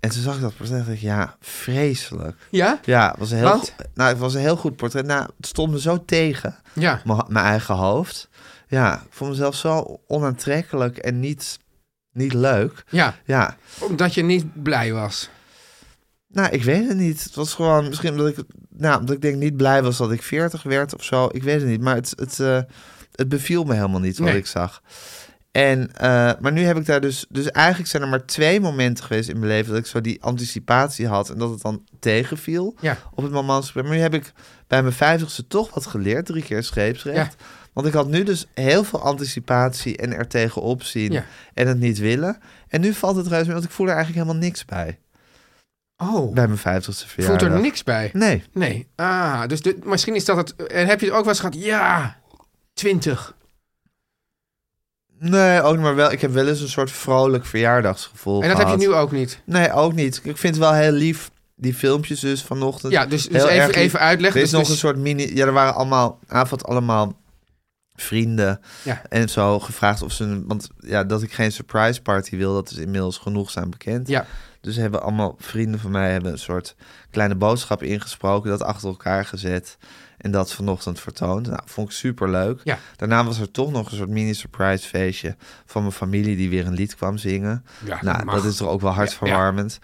[SPEAKER 2] En toen zag ik dat portret en dacht ik, ja, vreselijk.
[SPEAKER 1] ja,
[SPEAKER 2] Ja, het was een heel,
[SPEAKER 1] Want?
[SPEAKER 2] go- nou, het was een heel goed portret. Nou, het stond me zo tegen,
[SPEAKER 1] ja.
[SPEAKER 2] mijn mijn eigen hoofd. Ja, ik vond mezelf zo onaantrekkelijk en niet, niet leuk.
[SPEAKER 1] ja.
[SPEAKER 2] Ja,
[SPEAKER 1] Omdat je niet blij was.
[SPEAKER 2] Nou, ik weet het niet. Het was gewoon misschien omdat ik, nou, omdat ik denk niet blij was dat ik 40 werd of zo. Ik weet het niet. Maar het, het, eh, het beviel me helemaal niet wat
[SPEAKER 1] Nee.
[SPEAKER 2] ik zag. En, eh, maar nu heb ik daar dus, dus eigenlijk zijn er maar twee momenten geweest in mijn leven dat ik zo die anticipatie had en dat het dan tegenviel
[SPEAKER 1] Ja.
[SPEAKER 2] op het moment. Maar nu heb ik bij mijn vijftigste toch wat geleerd, drie keer scheepsrecht. Want ik had nu dus heel veel anticipatie en er tegenop zien
[SPEAKER 1] Ja.
[SPEAKER 2] en het niet willen. En nu valt het reuze mee, want ik voel er eigenlijk helemaal niks bij.
[SPEAKER 1] Oh.
[SPEAKER 2] Bij mijn vijftigste verjaardag.
[SPEAKER 1] Voelt er niks bij?
[SPEAKER 2] Nee.
[SPEAKER 1] Nee. Ah, dus de- misschien is dat het... En heb je het ook wel eens gehad? Ja, 20.
[SPEAKER 2] Nee, ook niet, maar wel. Ik heb wel eens een soort vrolijk verjaardagsgevoel.
[SPEAKER 1] En dat heb
[SPEAKER 2] gehad.
[SPEAKER 1] je nu ook niet.
[SPEAKER 2] Nee, ook niet. Ik vind het wel heel lief. Die filmpjes dus vanochtend.
[SPEAKER 1] Ja, dus, dus
[SPEAKER 2] Heel
[SPEAKER 1] even,
[SPEAKER 2] erg lief.
[SPEAKER 1] even uitleggen.
[SPEAKER 2] Er is
[SPEAKER 1] Dus-
[SPEAKER 2] nog
[SPEAKER 1] dus-
[SPEAKER 2] een soort mini. Ja, er waren allemaal avond allemaal vrienden
[SPEAKER 1] Ja.
[SPEAKER 2] en zo gevraagd of ze. een- Want ja, dat ik geen surprise party wil, dat is inmiddels genoegzaam bekend.
[SPEAKER 1] Ja.
[SPEAKER 2] Dus hebben allemaal vrienden van mij hebben een soort kleine boodschap ingesproken, dat achter elkaar gezet en dat vanochtend vertoond. Nou, vond ik super leuk.
[SPEAKER 1] Ja.
[SPEAKER 2] Daarna was er toch nog een soort mini surprise feestje van mijn familie die weer een lied kwam zingen.
[SPEAKER 1] Ja,
[SPEAKER 2] nou,
[SPEAKER 1] mag.
[SPEAKER 2] dat is toch ook wel hartverwarmend.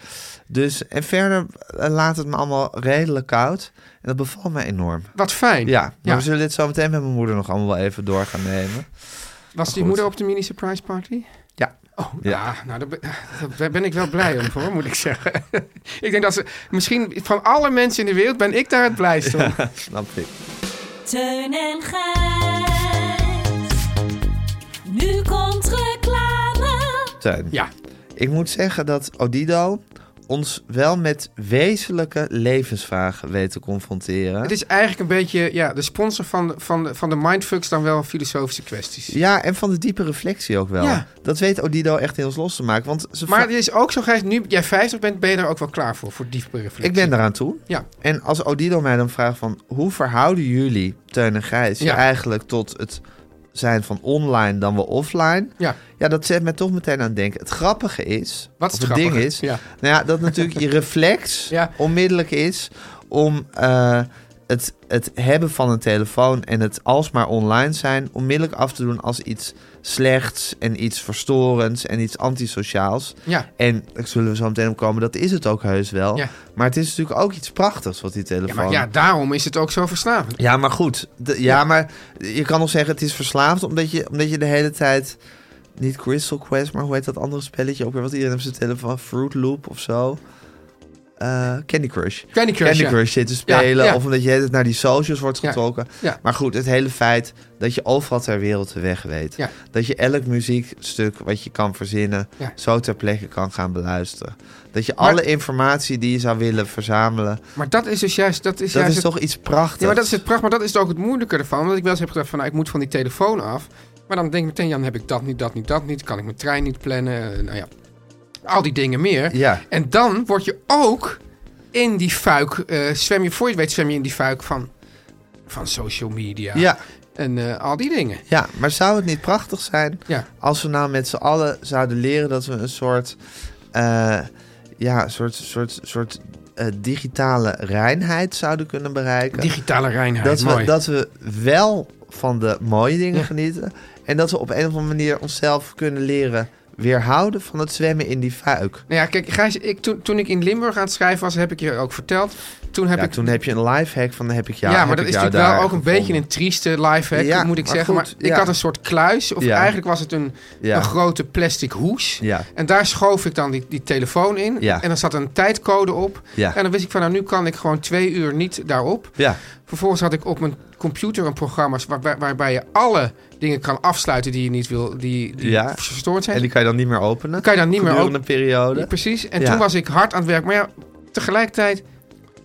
[SPEAKER 2] Dus en verder eh, laat het me allemaal redelijk koud en dat bevalt mij enorm.
[SPEAKER 1] Wat fijn.
[SPEAKER 2] Ja, maar
[SPEAKER 1] Ja.
[SPEAKER 2] we zullen dit zo meteen met mijn moeder nog allemaal wel even door gaan nemen.
[SPEAKER 1] Was die
[SPEAKER 2] Oh, goed.
[SPEAKER 1] moeder op de mini surprise party?
[SPEAKER 2] Ja.
[SPEAKER 1] Oh,
[SPEAKER 2] Ja.
[SPEAKER 1] ja. nou, daar ben, daar ben ik wel blij om, hoor, moet ik zeggen. ik denk dat ze... Misschien van alle mensen in de wereld ben ik daar het blijst om.
[SPEAKER 2] Snap ik.
[SPEAKER 5] Teun en Gijs. Nu komt reclame.
[SPEAKER 2] Teun,
[SPEAKER 1] Ja.
[SPEAKER 2] ik moet zeggen dat Odido ons wel met wezenlijke levensvragen weet te confronteren.
[SPEAKER 1] Het is eigenlijk een beetje ja, de sponsor van, de- van, de- van de mindfucks dan wel filosofische kwesties.
[SPEAKER 2] Ja, en van de diepe reflectie ook wel.
[SPEAKER 1] Ja.
[SPEAKER 2] Dat weet Odido echt in ons los te maken. Want ze
[SPEAKER 1] Maar
[SPEAKER 2] vra-
[SPEAKER 1] het is ook zo, Gijs, nu jij 50 bent, ben je daar ook wel klaar voor, voor diepe reflectie.
[SPEAKER 2] ik ben daaraan toe.
[SPEAKER 1] Ja,
[SPEAKER 2] En als Odido mij dan vraagt van... hoe verhouden jullie, Teun en Gijs... je
[SPEAKER 1] Ja.
[SPEAKER 2] eigenlijk tot het zijn van online dan wel offline.
[SPEAKER 1] Ja.
[SPEAKER 2] Ja, dat zet me toch meteen aan het denken. Het grappige is,
[SPEAKER 1] Wat is
[SPEAKER 2] of
[SPEAKER 1] het
[SPEAKER 2] ding
[SPEAKER 1] grappige?
[SPEAKER 2] is,
[SPEAKER 1] Ja.
[SPEAKER 2] nou ja, dat natuurlijk je reflex
[SPEAKER 1] Ja.
[SPEAKER 2] onmiddellijk is om eh, het, het hebben van een telefoon en het alsmaar online zijn onmiddellijk af te doen als iets slechts en iets verstorends en iets antisociaals.
[SPEAKER 1] Ja.
[SPEAKER 2] En daar zullen we zo meteen op komen, dat is het ook heus wel.
[SPEAKER 1] Ja.
[SPEAKER 2] Maar het is natuurlijk ook iets prachtigs wat die telefoon...
[SPEAKER 1] Ja, maar ja, daarom is het ook zo verslavend.
[SPEAKER 2] Ja, maar goed. De- ja, maar je kan nog zeggen het is verslaafd omdat je, omdat je de hele tijd... Niet Crystal Quest, maar hoe heet dat andere spelletje ook weer? Wat iedereen op zijn telefoon... Fruit Loop of zo. Eh, Candy Crush.
[SPEAKER 1] Candy Crush,
[SPEAKER 2] Candy
[SPEAKER 1] ja.
[SPEAKER 2] Crush zit te spelen.
[SPEAKER 1] Ja, ja.
[SPEAKER 2] Of omdat je de hele tijd naar die socials wordt
[SPEAKER 1] Ja,
[SPEAKER 2] getrokken.
[SPEAKER 1] ja.
[SPEAKER 2] Maar goed, het hele feit dat je overal ter wereld de weg weet.
[SPEAKER 1] Ja.
[SPEAKER 2] Dat je elk muziekstuk wat je kan verzinnen...
[SPEAKER 1] Ja.
[SPEAKER 2] zo ter plekke kan gaan beluisteren. Dat je
[SPEAKER 1] Maar-
[SPEAKER 2] alle informatie die je zou willen verzamelen...
[SPEAKER 1] Maar dat is dus juist... Dat is,
[SPEAKER 2] dat
[SPEAKER 1] juist
[SPEAKER 2] is
[SPEAKER 1] het-
[SPEAKER 2] toch iets prachtigs.
[SPEAKER 1] Ja, maar dat is het pracht, maar dat is ook het moeilijke ervan. Want ik wel eens heb gedacht van, nou, ik moet van die telefoon af. Maar dan denk ik meteen, ja, dan heb ik dat niet, dat niet, dat niet. Kan ik mijn trein niet plannen, eh, nou ja. Al die dingen meer.
[SPEAKER 2] Ja.
[SPEAKER 1] En dan word je ook in die fuik, eh, zwem je, voor je het weet zwem je in die fuik van, van social media.
[SPEAKER 2] Ja.
[SPEAKER 1] En eh, al die dingen.
[SPEAKER 2] Ja, maar zou het niet prachtig zijn
[SPEAKER 1] Ja.
[SPEAKER 2] als we nou met z'n allen zouden leren dat we een soort, eh, ja, soort, soort, soort eh, digitale reinheid zouden kunnen bereiken?
[SPEAKER 1] Digitale reinheid,
[SPEAKER 2] dat,
[SPEAKER 1] mooi.
[SPEAKER 2] we, dat we wel van de mooie dingen genieten en dat we op een of andere manier onszelf kunnen leren weerhouden van het zwemmen in die fuik.
[SPEAKER 1] Nou ja, kijk, Gijs, ik, toen, toen ik in Limburg aan het schrijven was, heb ik je ook verteld. Toen heb
[SPEAKER 2] ja,
[SPEAKER 1] ik...
[SPEAKER 2] toen heb je een lifehack van heb ik jou.
[SPEAKER 1] Ja, maar
[SPEAKER 2] heb
[SPEAKER 1] dat
[SPEAKER 2] ik
[SPEAKER 1] is
[SPEAKER 2] jou
[SPEAKER 1] natuurlijk wel ook
[SPEAKER 2] daar
[SPEAKER 1] een beetje
[SPEAKER 2] gevonden.
[SPEAKER 1] een trieste lifehack,
[SPEAKER 2] Ja,
[SPEAKER 1] moet ik
[SPEAKER 2] maar
[SPEAKER 1] zeggen.
[SPEAKER 2] goed,
[SPEAKER 1] maar ik
[SPEAKER 2] ja.
[SPEAKER 1] had een soort kluis, of
[SPEAKER 2] Ja.
[SPEAKER 1] eigenlijk was het een,
[SPEAKER 2] Ja.
[SPEAKER 1] een grote plastic hoes.
[SPEAKER 2] Ja.
[SPEAKER 1] En daar schoof ik dan die, die telefoon in.
[SPEAKER 2] Ja.
[SPEAKER 1] En dan zat een tijdcode op.
[SPEAKER 2] Ja.
[SPEAKER 1] En dan wist ik van, nou nu kan ik gewoon twee uur niet daarop.
[SPEAKER 2] Ja,
[SPEAKER 1] Vervolgens had ik op mijn computer een programma waarbij, waarbij je alle dingen kan afsluiten die je niet wil, die, die
[SPEAKER 2] Ja.
[SPEAKER 1] verstoord zijn.
[SPEAKER 2] en die kan je dan niet meer openen.
[SPEAKER 1] kan je dan niet meer
[SPEAKER 2] Gedurende een periode.
[SPEAKER 1] Ja, precies. En
[SPEAKER 2] Ja.
[SPEAKER 1] toen was ik hard aan het werk. Maar ja, tegelijkertijd,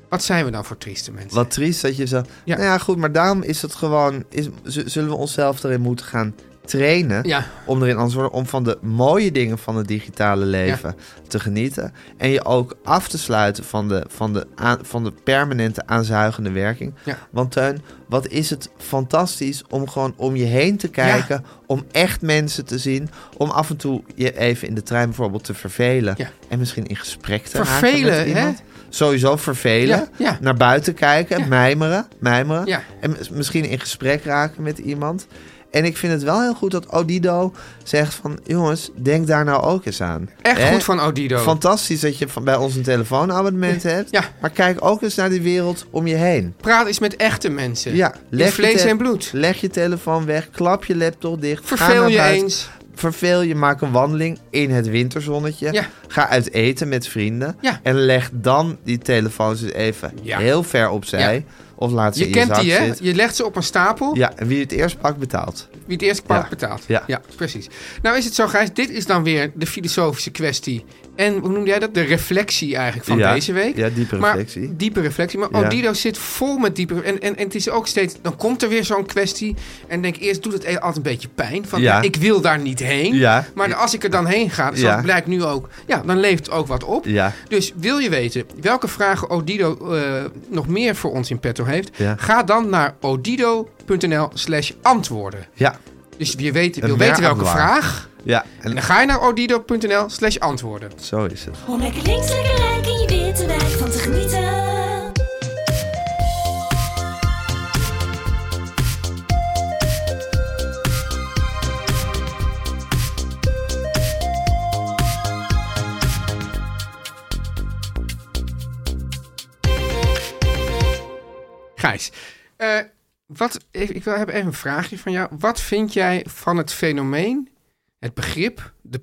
[SPEAKER 1] wat zijn we dan voor trieste mensen?
[SPEAKER 2] Wat triest dat je zo...
[SPEAKER 1] Ja.
[SPEAKER 2] Nou ja, goed, maar daarom is het gewoon... Is, z- zullen we onszelf erin moeten gaan trainen...
[SPEAKER 1] Ja.
[SPEAKER 2] om erin anders te worden... om van de mooie dingen van het digitale leven te genieten... en je ook af te sluiten van de, van de, aan- van de permanente aanzuigende werking.
[SPEAKER 1] Ja.
[SPEAKER 2] Want Teun, wat is het fantastisch om gewoon om je heen te kijken... om echt mensen te zien... om af en toe je even in de trein bijvoorbeeld te vervelen...
[SPEAKER 1] Ja.
[SPEAKER 2] en misschien in gesprek te
[SPEAKER 1] Vervelen,
[SPEAKER 2] raken met
[SPEAKER 1] hè?
[SPEAKER 2] iemand. Sowieso vervelen,
[SPEAKER 1] Ja, ja.
[SPEAKER 2] naar buiten kijken, mijmeren, mijmeren.
[SPEAKER 1] Ja.
[SPEAKER 2] En mis- misschien in gesprek raken met iemand. En ik vind het wel heel goed dat Odido zegt van... jongens, denk daar nou ook eens aan.
[SPEAKER 1] Echt
[SPEAKER 2] Hè?
[SPEAKER 1] goed van Odido.
[SPEAKER 2] Fantastisch dat je van, bij ons een telefoonabonnement hebt.
[SPEAKER 1] ja.
[SPEAKER 2] Maar kijk ook eens naar die wereld om je heen.
[SPEAKER 1] Praat eens met echte mensen.
[SPEAKER 2] Ja,
[SPEAKER 1] In
[SPEAKER 2] je
[SPEAKER 1] vlees
[SPEAKER 2] te-
[SPEAKER 1] en bloed.
[SPEAKER 2] Leg je telefoon weg, klap je laptop dicht. ga
[SPEAKER 1] Verveel
[SPEAKER 2] naar
[SPEAKER 1] je
[SPEAKER 2] buiten.
[SPEAKER 1] eens.
[SPEAKER 2] Verveel je, maak een wandeling in het winterzonnetje.
[SPEAKER 1] Ja.
[SPEAKER 2] Ga uit eten met vrienden.
[SPEAKER 1] Ja.
[SPEAKER 2] En leg dan die telefoons eens even
[SPEAKER 1] Ja.
[SPEAKER 2] heel ver opzij.
[SPEAKER 1] Ja.
[SPEAKER 2] Of laat ze
[SPEAKER 1] Je
[SPEAKER 2] in
[SPEAKER 1] kent
[SPEAKER 2] zak
[SPEAKER 1] die, hè?
[SPEAKER 2] zitten.
[SPEAKER 1] Je legt ze op een stapel.
[SPEAKER 2] Ja, en wie het eerst pakt betaalt.
[SPEAKER 1] Wie het eerst kwart
[SPEAKER 2] Ja.
[SPEAKER 1] betaalt.
[SPEAKER 2] Ja.
[SPEAKER 1] precies. Nou is het zo, Gijs. Dit is dan weer de filosofische kwestie. En hoe noemde jij dat? De reflectie eigenlijk van
[SPEAKER 2] Ja.
[SPEAKER 1] deze week.
[SPEAKER 2] Ja, diepe
[SPEAKER 1] Maar-
[SPEAKER 2] reflectie.
[SPEAKER 1] diepe reflectie. Maar
[SPEAKER 2] Ja.
[SPEAKER 1] Odido zit vol met diepe... En, en, en het is ook steeds... Dan komt er weer zo'n kwestie. En denk eerst doet het e- altijd een beetje pijn. Van,
[SPEAKER 2] Ja.
[SPEAKER 1] ja, ik wil daar niet heen.
[SPEAKER 2] Ja.
[SPEAKER 1] Maar als ik er dan heen ga, zoals
[SPEAKER 2] Ja.
[SPEAKER 1] blijkt nu ook... Ja, dan leeft ook wat op.
[SPEAKER 2] Ja.
[SPEAKER 1] Dus wil je weten welke vragen Odido eh, nog meer voor ons in petto heeft...
[SPEAKER 2] Ja.
[SPEAKER 1] Ga dan naar odido.nl slash antwoorden.
[SPEAKER 2] Ja,
[SPEAKER 1] Dus je weet, wil
[SPEAKER 2] Een
[SPEAKER 1] weten welke
[SPEAKER 2] waar-
[SPEAKER 1] vraag.
[SPEAKER 2] ja.
[SPEAKER 1] En
[SPEAKER 2] En
[SPEAKER 1] dan ga je naar odido.nl slash antwoorden.
[SPEAKER 2] zo is het.
[SPEAKER 5] Om lekker links, lekker rijk in je witte wijk van te genieten.
[SPEAKER 1] Gijs, eh, wat, ik, ik wil, heb even een vraagje van jou. Wat vind jij van het fenomeen, het begrip, de,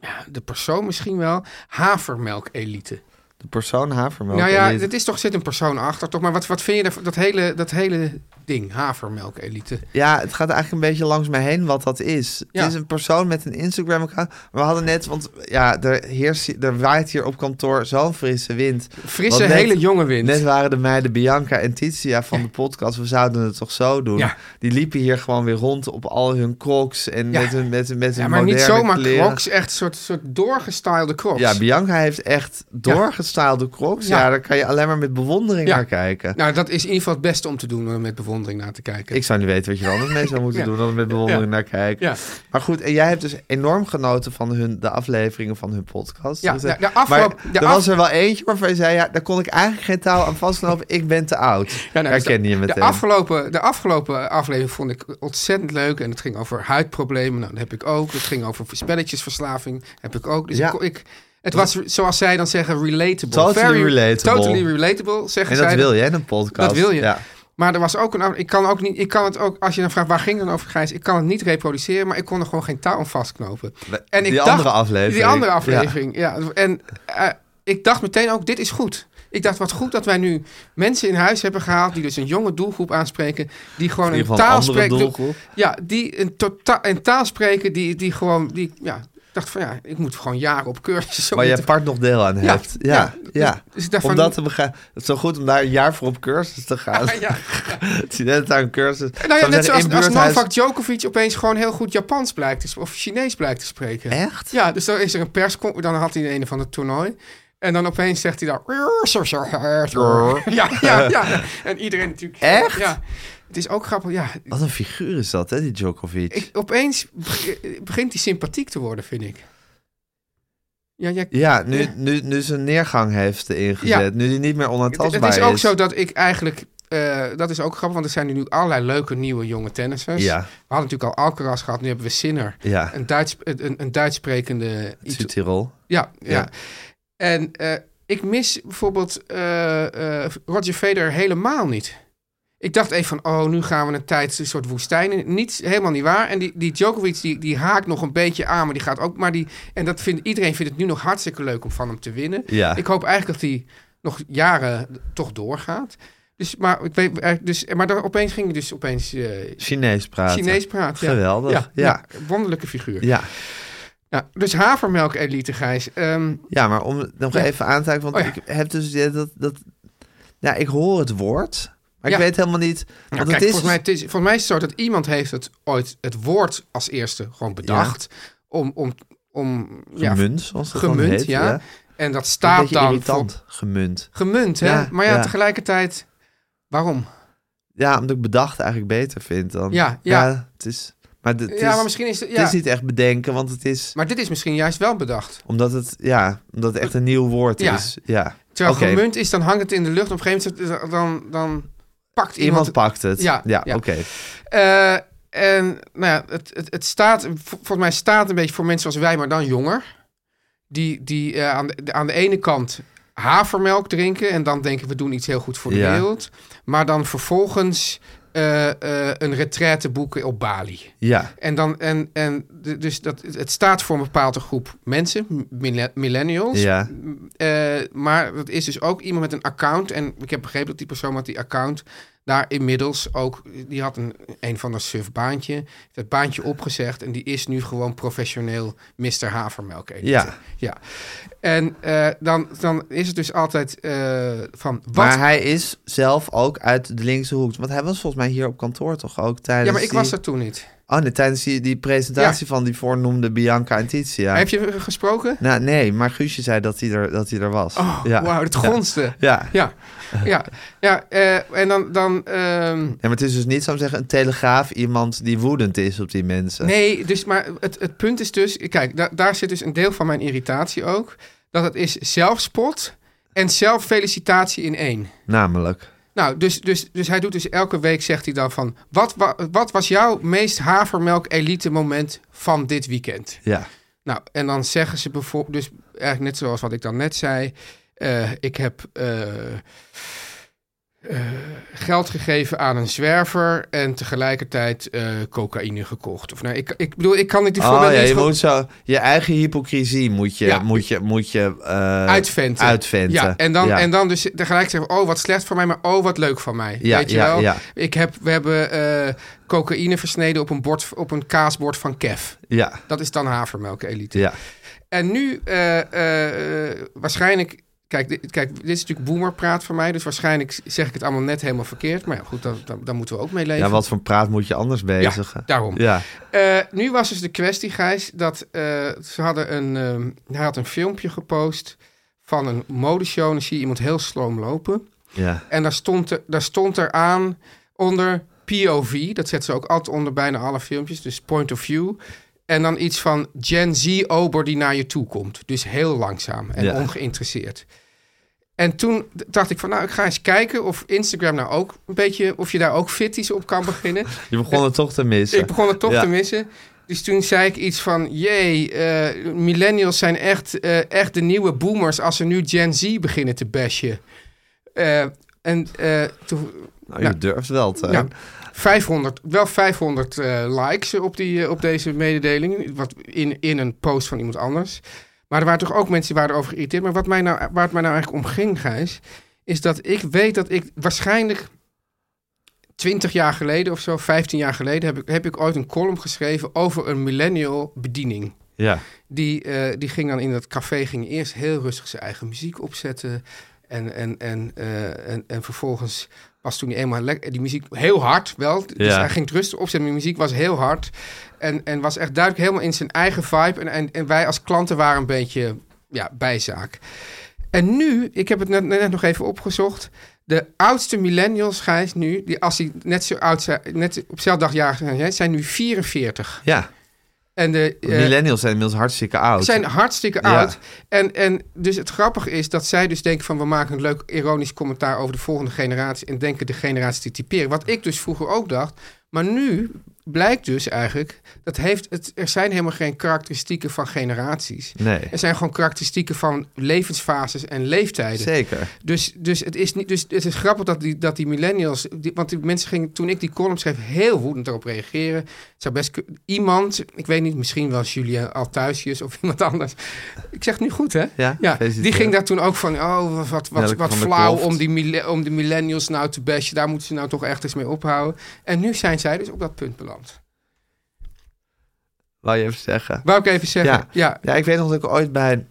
[SPEAKER 1] ja, de persoon misschien wel, havermelk-elite?
[SPEAKER 2] De persoon havermelk.
[SPEAKER 1] Nou ja,
[SPEAKER 2] elite.
[SPEAKER 1] het is toch, zit een persoon achter, toch? Maar wat, wat vind je daarvan- dat hele, dat hele ding, havermelk-elite?
[SPEAKER 2] ja, het gaat eigenlijk een beetje langs mij heen wat dat is.
[SPEAKER 1] Ja.
[SPEAKER 2] Het is een persoon met een Instagram-account. We hadden net, want ja, er, heerst, er waait hier op kantoor zo'n frisse wind.
[SPEAKER 1] Frisse,
[SPEAKER 2] Want net-
[SPEAKER 1] hele jonge wind.
[SPEAKER 2] Net waren de meiden Bianca en Titia van
[SPEAKER 1] Ja.
[SPEAKER 2] de podcast. We zouden het toch zo doen?
[SPEAKER 1] Ja.
[SPEAKER 2] Die liepen hier gewoon weer rond op al hun crocs en
[SPEAKER 1] Ja.
[SPEAKER 2] met hun, met, hun- met hun
[SPEAKER 1] ja, maar niet
[SPEAKER 2] moderne
[SPEAKER 1] zomaar
[SPEAKER 2] kleren.
[SPEAKER 1] crocs, echt een soort, soort doorgestylede crocs.
[SPEAKER 2] Ja, Bianca heeft echt doorgestylede uitgestaalde crocs, ja.
[SPEAKER 1] Ja.
[SPEAKER 2] daar kan je alleen maar met bewondering
[SPEAKER 1] Ja.
[SPEAKER 2] naar kijken.
[SPEAKER 1] Nou, dat is in ieder geval het beste om te doen om met bewondering naar te kijken.
[SPEAKER 2] Ik zou niet weten wat je er anders mee zou moeten
[SPEAKER 1] Ja.
[SPEAKER 2] doen dan met bewondering
[SPEAKER 1] Ja.
[SPEAKER 2] naar kijken.
[SPEAKER 1] Ja.
[SPEAKER 2] Maar goed, en jij hebt dus enorm genoten van hun, de afleveringen van hun podcast.
[SPEAKER 1] Ja,
[SPEAKER 2] Dus, eh,
[SPEAKER 1] ja, de afgelopen-
[SPEAKER 2] maar
[SPEAKER 1] de
[SPEAKER 2] er
[SPEAKER 1] af-
[SPEAKER 2] was er wel eentje waarvan je zei, ja, daar kon ik eigenlijk geen touw aan vastknopen. ik ben te oud.
[SPEAKER 1] Ja, nou, dus
[SPEAKER 2] Herkende
[SPEAKER 1] de-
[SPEAKER 2] je meteen.
[SPEAKER 1] De afgelopen, de afgelopen aflevering vond ik ontzettend leuk. En het ging over huidproblemen. Nou, dat heb ik ook. Het ging over spelletjesverslaving. Heb ik ook. Dus
[SPEAKER 2] Ja.
[SPEAKER 1] ik, kon- ik, het was, zoals zij dan zeggen, relatable.
[SPEAKER 2] Totally relatable.
[SPEAKER 1] Totally relatable, zeggen
[SPEAKER 2] en
[SPEAKER 1] zij.
[SPEAKER 2] dat wil je, hè, een podcast.
[SPEAKER 1] Dat wil je.
[SPEAKER 2] Ja.
[SPEAKER 1] Maar er was ook een... af- Ik kan, ook niet, ik kan het ook... Als je dan vraagt, waar ging het dan over, Gijs? Ik kan het niet reproduceren, maar ik kon er gewoon geen touw aan vastknopen.
[SPEAKER 2] We-
[SPEAKER 1] En ik
[SPEAKER 2] die
[SPEAKER 1] dacht-
[SPEAKER 2] andere aflevering.
[SPEAKER 1] Die andere
[SPEAKER 2] Ja.
[SPEAKER 1] aflevering, ja. En eh, ik dacht meteen ook, dit is goed. Ik dacht, wat goed dat wij nu mensen in huis hebben gehaald... die dus een jonge doelgroep aanspreken... die gewoon
[SPEAKER 2] In ieder
[SPEAKER 1] een
[SPEAKER 2] geval een
[SPEAKER 1] taal
[SPEAKER 2] andere
[SPEAKER 1] spreken...
[SPEAKER 2] doelgroep.
[SPEAKER 1] Ja, die een, tota- een taal spreken die, die gewoon... Die, ja, ik dacht van, ja, ik moet gewoon jaren op cursus. om
[SPEAKER 2] Waar
[SPEAKER 1] dit
[SPEAKER 2] je
[SPEAKER 1] te-
[SPEAKER 2] part nog deel aan
[SPEAKER 1] Ja,
[SPEAKER 2] hebt. Ja, ja.
[SPEAKER 1] ja. Dus- dus ik dacht
[SPEAKER 2] Om
[SPEAKER 1] van-
[SPEAKER 2] dat te begrijpen. Het is zo goed om daar een jaar voor op cursus te gaan.
[SPEAKER 1] Ja, ja.
[SPEAKER 2] Het is net aan een cursus.
[SPEAKER 1] Nou ja,
[SPEAKER 2] Zou ik
[SPEAKER 1] net
[SPEAKER 2] zeggen, in
[SPEAKER 1] zoals als
[SPEAKER 2] buurthuis-
[SPEAKER 1] Novak Djokovic opeens gewoon heel goed Japans blijkt te sp- of Chinees blijkt te spreken.
[SPEAKER 2] Echt?
[SPEAKER 1] Ja, dus dan is er een pers, dan had hij een van het toernooi. En dan opeens zegt hij daar. Ja, ja, ja. En iedereen natuurlijk.
[SPEAKER 2] Echt?
[SPEAKER 1] Ja. Het is ook grappig. Ja,
[SPEAKER 2] Wat een figuur is dat, hè, die Djokovic.
[SPEAKER 1] ik, opeens be- begint hij sympathiek te worden, vind ik. Ja, jij,
[SPEAKER 2] Ja, nu, Nu, nu ze een neergang heeft ingezet.
[SPEAKER 1] Ja.
[SPEAKER 2] Nu die niet meer
[SPEAKER 1] het,
[SPEAKER 2] onaantastbaar
[SPEAKER 1] het
[SPEAKER 2] is.
[SPEAKER 1] is ook zo dat ik eigenlijk. eh, dat is ook grappig, want er zijn nu allerlei leuke nieuwe jonge tennissers.
[SPEAKER 2] Ja.
[SPEAKER 1] We hadden natuurlijk al Alcaraz gehad, nu hebben we Sinner.
[SPEAKER 2] Ja.
[SPEAKER 1] Een, Duits, een, een Duits sprekende... Ito-
[SPEAKER 2] Zuid-Tirol.
[SPEAKER 1] ja, ja.
[SPEAKER 2] Ja.
[SPEAKER 1] En eh, ik mis bijvoorbeeld eh, eh, Roger Federer helemaal niet. Ik dacht even van, oh, nu gaan we een tijd een soort woestijn in. Niet, helemaal niet waar. En die, die Djokovic, die, die haakt nog een beetje aan, maar die gaat ook... Maar die, en dat vindt, iedereen vindt het nu nog hartstikke leuk om van hem te winnen.
[SPEAKER 2] Ja.
[SPEAKER 1] Ik hoop eigenlijk dat hij nog jaren toch doorgaat. Dus, maar, ik weet, eigenlijk- dus, maar daar opeens ging hij dus opeens eh,
[SPEAKER 2] Chinees praten.
[SPEAKER 1] Chinees praten. ja.
[SPEAKER 2] Geweldig,
[SPEAKER 1] Ja,
[SPEAKER 2] ja.
[SPEAKER 1] ja. wonderlijke figuur.
[SPEAKER 2] Ja.
[SPEAKER 1] Nou, dus havermelk elite, Gijs. Ehm,
[SPEAKER 2] ja, maar om nog
[SPEAKER 1] Ja.
[SPEAKER 2] even aan te haken. Want
[SPEAKER 1] Oh ja.
[SPEAKER 2] ik heb dus het idee dat, dat... Ja, ik hoor het woord. Maar ik
[SPEAKER 1] Ja.
[SPEAKER 2] weet helemaal niet... Want
[SPEAKER 1] Nou, kijk,
[SPEAKER 2] het is... dus-
[SPEAKER 1] volgens, mij, het is, volgens mij is het zo dat iemand heeft het ooit het woord als eerste gewoon bedacht. Om, om, om, ja,
[SPEAKER 2] Gemunt, zoals dat dan
[SPEAKER 1] gemunt,
[SPEAKER 2] heet,
[SPEAKER 1] ja.
[SPEAKER 2] ja.
[SPEAKER 1] En dat
[SPEAKER 2] een
[SPEAKER 1] staat
[SPEAKER 2] beetje
[SPEAKER 1] dan
[SPEAKER 2] irritant.
[SPEAKER 1] voor
[SPEAKER 2] Gemunt.
[SPEAKER 1] gemunt, hè?
[SPEAKER 2] Ja,
[SPEAKER 1] maar ja,
[SPEAKER 2] ja.
[SPEAKER 1] tegelijkertijd, waarom?
[SPEAKER 2] Ja, omdat ik bedacht eigenlijk beter vind dan...
[SPEAKER 1] Ja, ja.
[SPEAKER 2] het is... Maar, het is,
[SPEAKER 1] ja, maar misschien is het...
[SPEAKER 2] het
[SPEAKER 1] Ja.
[SPEAKER 2] is niet echt bedenken, want het is...
[SPEAKER 1] Maar dit is misschien juist wel bedacht.
[SPEAKER 2] Omdat het, ja, omdat het echt een nieuw woord
[SPEAKER 1] Ja.
[SPEAKER 2] is. Ja.
[SPEAKER 1] Terwijl
[SPEAKER 2] Oké.
[SPEAKER 1] gemunt is, dan hangt het in de lucht. Op een gegeven moment dan, dan pakt iemand...
[SPEAKER 2] Iemand pakt het. Ja,
[SPEAKER 1] Ja,
[SPEAKER 2] ja,
[SPEAKER 1] ja.
[SPEAKER 2] oké.
[SPEAKER 1] Eh, en nou ja, het, het, het staat, vol- volgens mij staat een beetje voor mensen als wij, maar dan jonger. Die, die eh, aan, de, aan de ene kant havermelk drinken en dan denken we doen iets heel goed voor de
[SPEAKER 2] Ja.
[SPEAKER 1] wereld. Maar dan vervolgens eh, eh, een retraite boeken op Bali.
[SPEAKER 2] Ja.
[SPEAKER 1] En dan, en, en d- dus dat, het staat voor een bepaalde groep mensen, mille- millennials.
[SPEAKER 2] Ja.
[SPEAKER 1] Eh, maar dat is dus ook iemand met een account. En ik heb begrepen dat die persoon met die account daar inmiddels ook... Die had een, een van een surfbaantje. heeft Dat baantje opgezegd. En die is nu gewoon professioneel Mr. Havermelk. editor.
[SPEAKER 2] Ja.
[SPEAKER 1] ja. En eh, dan, dan is het dus altijd eh, van... Wat?
[SPEAKER 2] Maar hij is zelf ook uit de linkse hoek. Want hij was volgens mij hier op kantoor toch ook tijdens
[SPEAKER 1] ja, maar ik
[SPEAKER 2] die...
[SPEAKER 1] was er toen niet.
[SPEAKER 2] Oh nee, tijdens die, die presentatie van die voornoemde Bianca en Titia.
[SPEAKER 1] Heb je hem gesproken?
[SPEAKER 2] Nou, nee, maar Guusje zei dat hij er, dat hij er was.
[SPEAKER 1] Oh, wauw, dat gonste.
[SPEAKER 2] Ja.
[SPEAKER 1] Ja, ja, ja. eh, en dan... dan ehm,
[SPEAKER 2] Ja, maar het is dus niet, zou ik zeggen, een telegraaf iemand die woedend is op die mensen.
[SPEAKER 1] Nee, dus, maar het, het punt is dus... Kijk, da- daar zit dus een deel van mijn irritatie ook. Dat het is zelfspot en zelffelicitatie in één.
[SPEAKER 2] Namelijk.
[SPEAKER 1] Nou, dus, dus, dus hij doet dus elke week, zegt hij dan van... Wat, wa- wat was jouw meest havermelk-elite moment van dit weekend?
[SPEAKER 2] Ja.
[SPEAKER 1] Nou, en dan zeggen ze bijvoorbeeld, dus eigenlijk net zoals wat ik dan net zei, eh, ik heb eh, eh, geld gegeven aan een zwerver en tegelijkertijd eh, cocaïne gekocht. Of nou, ik, ik bedoel, ik kan het die
[SPEAKER 2] Oh
[SPEAKER 1] voorbeeld
[SPEAKER 2] ja,
[SPEAKER 1] niet
[SPEAKER 2] je
[SPEAKER 1] van-
[SPEAKER 2] moet zo... Je eigen hypocrisie moet je...
[SPEAKER 1] Ja.
[SPEAKER 2] Moet je, moet je eh,
[SPEAKER 1] uitventen.
[SPEAKER 2] uitventen.
[SPEAKER 1] Ja, en dan,
[SPEAKER 2] Ja.
[SPEAKER 1] En dan dus tegelijk zeggen, oh wat slecht van mij, maar oh wat leuk van mij.
[SPEAKER 2] Ja,
[SPEAKER 1] Weet je
[SPEAKER 2] ja,
[SPEAKER 1] wel?
[SPEAKER 2] ja.
[SPEAKER 1] Ik heb, we hebben eh, cocaïne versneden op een, bord, op een kaasbord van Kev.
[SPEAKER 2] Ja.
[SPEAKER 1] Dat is dan havermelk elite.
[SPEAKER 2] Ja.
[SPEAKER 1] En nu eh, eh, eh, waarschijnlijk. Kijk, dit, kijk, dit is natuurlijk boomerpraat van mij. Dus waarschijnlijk zeg ik het allemaal net helemaal verkeerd. Maar ja, goed, daar dan, dan moeten we ook mee leven.
[SPEAKER 2] Ja, wat voor praat moet je anders bezigen?
[SPEAKER 1] daarom.
[SPEAKER 2] Ja,
[SPEAKER 1] Eh, nu was dus de kwestie, Gijs, dat eh, ze hadden een, ehm, hij had een filmpje gepost van een modeshow. En dan zie je iemand heel sloom lopen.
[SPEAKER 2] Ja.
[SPEAKER 1] En daar stond, er- daar stond er aan onder POV. Dat zetten ze ook altijd onder bijna alle filmpjes. Dus point of view. En dan iets van Gen Z ober die naar je toe komt. Dus heel langzaam en
[SPEAKER 2] Ja.
[SPEAKER 1] ongeïnteresseerd. En toen d- dacht ik van, nou, ik ga eens kijken of Instagram nou ook een beetje... of je daar ook fitties op kan beginnen.
[SPEAKER 2] Je begon het toch te missen.
[SPEAKER 1] Ik begon het toch
[SPEAKER 2] Ja.
[SPEAKER 1] te missen. Dus toen zei ik iets van, jee, eh, millennials zijn echt, eh, echt de nieuwe boomers als ze nu Gen Z beginnen te bashen. Eh, en eh, toen,
[SPEAKER 2] Nou, je
[SPEAKER 1] Nou,
[SPEAKER 2] durft wel te.
[SPEAKER 1] ja, 500, wel 500 eh, likes op, die, eh, op deze mededeling, wat in, in een post van iemand anders. Maar er waren toch ook mensen die waren over geïrriteerd. Maar wat mij nou, waar het mij nou eigenlijk om ging, Gijs, is dat ik weet dat ik waarschijnlijk 20 jaar geleden of zo, 15 jaar geleden, heb ik, heb ik ooit een column geschreven over een millennial bediening.
[SPEAKER 2] Ja.
[SPEAKER 1] Die, eh, die ging dan in dat café, ging eerst heel rustig zijn eigen muziek opzetten. En, en, en, eh, en, en vervolgens was toen hij eenmaal lekker... Die muziek heel hard wel. Dus
[SPEAKER 2] Ja.
[SPEAKER 1] hij ging het rustig opzetten, maar die muziek was heel hard. En, en was echt duidelijk helemaal in zijn eigen vibe. En, en, en wij als klanten waren een beetje ja, bijzaak. En nu, ik heb het net, net nog even opgezocht. De oudste millennials, Gijs, nu... Die, als die net zo oud zijn, net op dezelfde dag jarig zijn, hè, zijn nu 44.
[SPEAKER 2] ja.
[SPEAKER 1] En de... eh,
[SPEAKER 2] Millennials zijn inmiddels hartstikke oud.
[SPEAKER 1] zijn hartstikke
[SPEAKER 2] Ja.
[SPEAKER 1] oud. En, en dus het grappige is dat zij dus denken van... we maken een leuk ironisch commentaar over de volgende generatie... en denken de generatie te typeren. Wat ik dus vroeger ook dacht. Maar nu blijkt dus eigenlijk... Dat heeft het, er zijn helemaal geen karakteristieken van generaties.
[SPEAKER 2] Nee.
[SPEAKER 1] Er zijn gewoon karakteristieken van levensfases en leeftijden.
[SPEAKER 2] Zeker.
[SPEAKER 1] Dus, dus, het is niet, dus het is grappig dat die, dat die millennials... Die, want die mensen gingen, toen ik die column schreef, heel woedend erop reageren. Het zou best kun- iemand, ik weet niet, misschien wel Julien Althuisius of iemand anders. Ik zeg het nu goed, hè?
[SPEAKER 2] Ja,
[SPEAKER 1] die
[SPEAKER 2] gefeliciteerd.
[SPEAKER 1] ging daar toen ook van, oh, wat, wat, wat,
[SPEAKER 2] Nelke
[SPEAKER 1] wat
[SPEAKER 2] van der
[SPEAKER 1] flauw
[SPEAKER 2] Kloft.
[SPEAKER 1] om, die, mille- om de millennials nou te bashen. Daar moeten ze nou toch echt eens mee ophouden. En nu zijn zij dus op dat punt beland.
[SPEAKER 2] Wou je even zeggen.
[SPEAKER 1] Wou ik even zeggen, ja.
[SPEAKER 2] Ja. Ja, ik weet nog dat ik ooit bij...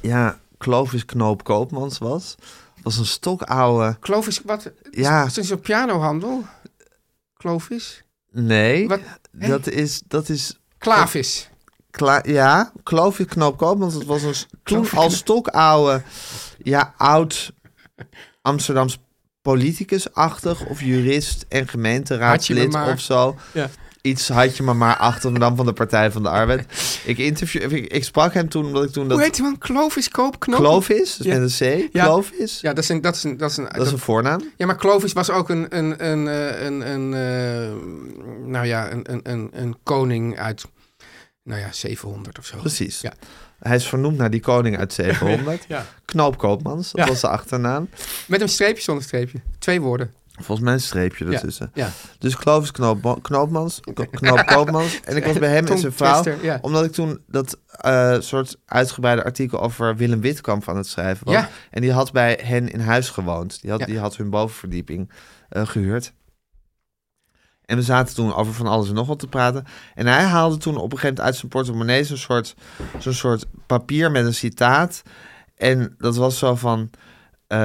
[SPEAKER 2] Ja, Clovis Knoop Koopmans was. Dat was een stokoude...
[SPEAKER 1] Clovis, wat?
[SPEAKER 2] Ja.
[SPEAKER 1] Is het zo'n pianohandel? Clovis?
[SPEAKER 2] Nee,
[SPEAKER 1] Wat? Hey.
[SPEAKER 2] dat is... Dat is
[SPEAKER 1] Klavis.
[SPEAKER 2] klaar, ja, Clovis Knoop Koopmans. Dat was een, s- toen
[SPEAKER 1] Clovis
[SPEAKER 2] al stokoude... Ja, oud Amsterdams politicus-achtig... of jurist en
[SPEAKER 1] Had je
[SPEAKER 2] gemeenteraadslid
[SPEAKER 1] me maar.
[SPEAKER 2] of zo...
[SPEAKER 1] Ja.
[SPEAKER 2] Iets had je me maar achter me dan van de Partij van de Arbeid. Ik, interview, ik, ik sprak hem toen omdat ik toen dat
[SPEAKER 1] Hoe heet die man? Clovis Koopknop?
[SPEAKER 2] Clovis, dus
[SPEAKER 1] Ja.
[SPEAKER 2] met een C.
[SPEAKER 1] Ja.
[SPEAKER 2] Clovis.
[SPEAKER 1] Ja, dat is een. Dat is een, dat is een,
[SPEAKER 2] Dat is een
[SPEAKER 1] dat-
[SPEAKER 2] voornaam.
[SPEAKER 1] Ja, maar Clovis was ook een. een, een, eh, een, een eh, nou ja, een, een, een, een koning uit. Nou ja, 700 of zo.
[SPEAKER 2] Precies.
[SPEAKER 1] Ja.
[SPEAKER 2] Hij is vernoemd naar die koning uit 700.
[SPEAKER 1] Ja.
[SPEAKER 2] Knoop Koopmans, dat
[SPEAKER 1] Ja.
[SPEAKER 2] was de achternaam.
[SPEAKER 1] Met een streepje zonder streepje. Twee woorden.
[SPEAKER 2] Volgens mij een streepje ertussen.
[SPEAKER 1] Ja.
[SPEAKER 2] Dus Clovis Knoop, Knoopmans, Ko- Knoop Koopmans. En ik was bij hem en
[SPEAKER 1] Tong
[SPEAKER 2] zijn vrouw.
[SPEAKER 1] twister, ja.
[SPEAKER 2] Omdat ik toen dat eh, soort uitgebreide artikel over Willem Witkamp aan het schrijven was.
[SPEAKER 1] Ja.
[SPEAKER 2] En die had bij hen in huis gewoond. Die had,
[SPEAKER 1] Ja.
[SPEAKER 2] die had hun bovenverdieping eh, gehuurd. En we zaten toen over van alles en nog wat te praten. En hij haalde toen op een gegeven moment uit zijn portemonnee zo'n soort, zo'n soort papier met een citaat. En dat was zo van eh,